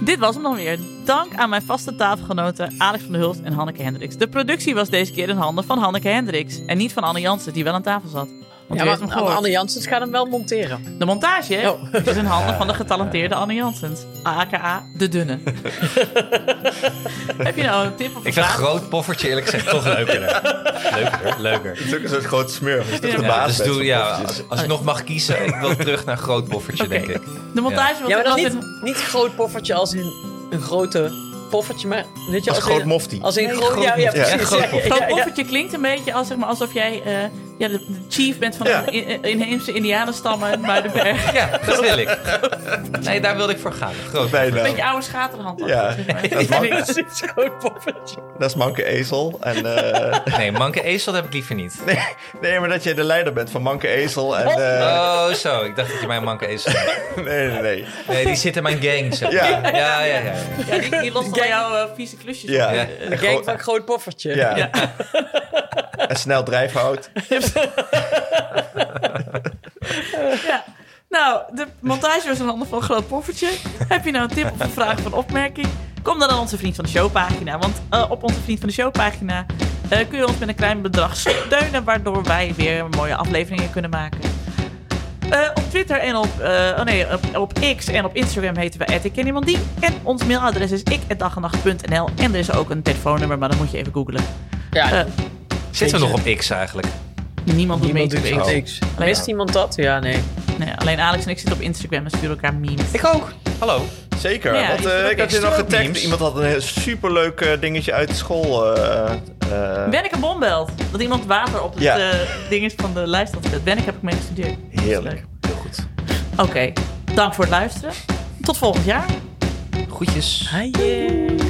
[SPEAKER 2] Dit was hem dan weer. Dank aan mijn vaste tafelgenoten Alex van der Hulst en Hanneke Hendricks. De productie was deze keer in handen van Hanneke Hendricks. En niet van Anne Jansen, die wel aan tafel zat. Want
[SPEAKER 4] Ja,
[SPEAKER 2] ja, heeft
[SPEAKER 4] maar
[SPEAKER 2] hem
[SPEAKER 4] maar
[SPEAKER 2] gehoord.
[SPEAKER 4] Anne Janssens gaat hem wel monteren.
[SPEAKER 2] De montage hè,
[SPEAKER 4] Oh.
[SPEAKER 2] is in handen van de getalenteerde Anne Janssens. A.k.a. De Dunne. Heb je nou een tip of een
[SPEAKER 3] Ik vind
[SPEAKER 2] vraag?
[SPEAKER 3] groot poffertje eerlijk gezegd toch leuker. Leuker, leuker.
[SPEAKER 1] Het is ook een soort groot smurf. Het is toch
[SPEAKER 2] Ja,
[SPEAKER 1] de
[SPEAKER 3] Ja,
[SPEAKER 1] baas
[SPEAKER 3] dus doe,
[SPEAKER 1] van
[SPEAKER 3] ja,
[SPEAKER 1] poffertjes?
[SPEAKER 3] als, als ik nog mag kiezen, ik wil terug naar groot poffertje,
[SPEAKER 2] Oké.
[SPEAKER 3] denk ik.
[SPEAKER 2] De montage was
[SPEAKER 4] Ja, maar
[SPEAKER 2] in
[SPEAKER 4] dan
[SPEAKER 2] handen-
[SPEAKER 4] niet, niet groot poffertje als in een grote poffertje, maar weet je,
[SPEAKER 1] Als
[SPEAKER 4] in-
[SPEAKER 1] groot mofti.
[SPEAKER 4] Als in groot, ja, ja,
[SPEAKER 1] mofti. Ja,
[SPEAKER 4] precies.
[SPEAKER 3] groot
[SPEAKER 4] Ja, ja,
[SPEAKER 2] Groot
[SPEAKER 4] ja, ja.
[SPEAKER 2] poffertje klinkt een beetje als, zeg maar, alsof jij eh, ja, de, de chief bent van
[SPEAKER 1] Ja.
[SPEAKER 2] de in- inheemse indianenstammen uit Muidenberg. Een
[SPEAKER 3] Ja, dat wil ik. Nee, daar wilde ik voor gaan. Groot.
[SPEAKER 1] Bijna.
[SPEAKER 2] beetje oude schaterhand.
[SPEAKER 1] Ja, dat is, manke,
[SPEAKER 4] Precies, groot poffertje.
[SPEAKER 1] dat is manke ezel. En, eh,
[SPEAKER 3] Nee, manke ezel dat heb ik liever niet.
[SPEAKER 1] nee, maar dat jij de leider bent van manke ezel. En, eh,
[SPEAKER 3] Oh, zo. Ik dacht dat je mijn manke ezel
[SPEAKER 1] nee, nee, nee.
[SPEAKER 3] Nee, die zit in mijn gang. Zeg.
[SPEAKER 1] Ja.
[SPEAKER 3] Ja, ja, ja. ja.
[SPEAKER 2] Ja, die, die lost al jouw eh, vieze klusjes
[SPEAKER 1] Ja.
[SPEAKER 2] op.
[SPEAKER 3] Ja.
[SPEAKER 4] De gang van groot poffertje.
[SPEAKER 1] Ja.
[SPEAKER 2] Ja.
[SPEAKER 1] En snel drijfhout.
[SPEAKER 2] Ja. Nou, de montage was een handen van groot poffertje. Heb je nou een tip of een vraag of een opmerking? Kom dan naar onze Vriend van de Show pagina. Want eh, op onze Vriend van de Show pagina eh, kun je ons met een klein bedrag steunen... waardoor wij weer mooie afleveringen kunnen maken. Eh, op Twitter en op, eh, oh nee, op, op X en op Instagram heten we @ikkenniemandie. En ons mailadres is ik@dagennacht.nl. En er is ook een telefoonnummer, maar dat moet je even googlen.
[SPEAKER 4] Ja,
[SPEAKER 2] Eh,
[SPEAKER 3] Zitten we nog op X eigenlijk?
[SPEAKER 2] niemand doet mee
[SPEAKER 4] niemand
[SPEAKER 2] op
[SPEAKER 4] doet
[SPEAKER 2] X.
[SPEAKER 4] niks. Leest iemand dat? Ja, nee.
[SPEAKER 2] Nee, alleen Alex en ik zitten op Instagram en sturen elkaar memes.
[SPEAKER 3] Ik ook. Hallo.
[SPEAKER 1] Zeker,
[SPEAKER 2] Ja,
[SPEAKER 1] want
[SPEAKER 2] die is
[SPEAKER 1] eh,
[SPEAKER 2] ook
[SPEAKER 1] ik had je
[SPEAKER 2] echt
[SPEAKER 1] nog
[SPEAKER 2] stroop,
[SPEAKER 1] getagd.
[SPEAKER 3] memes.
[SPEAKER 1] Iemand had een heel superleuk eh, dingetje uit school. eh, eh,
[SPEAKER 2] Wenneke Bombelt. Dat iemand water op het
[SPEAKER 1] Ja.
[SPEAKER 2] eh, ding is van de lijst had gezet. Wenneke heb ik mee gestudeerd. Dat is
[SPEAKER 1] Heerlijk.
[SPEAKER 2] leuk. Oké, dank voor het luisteren. Tot volgend jaar.
[SPEAKER 3] Groetjes.
[SPEAKER 4] Ah, yeah.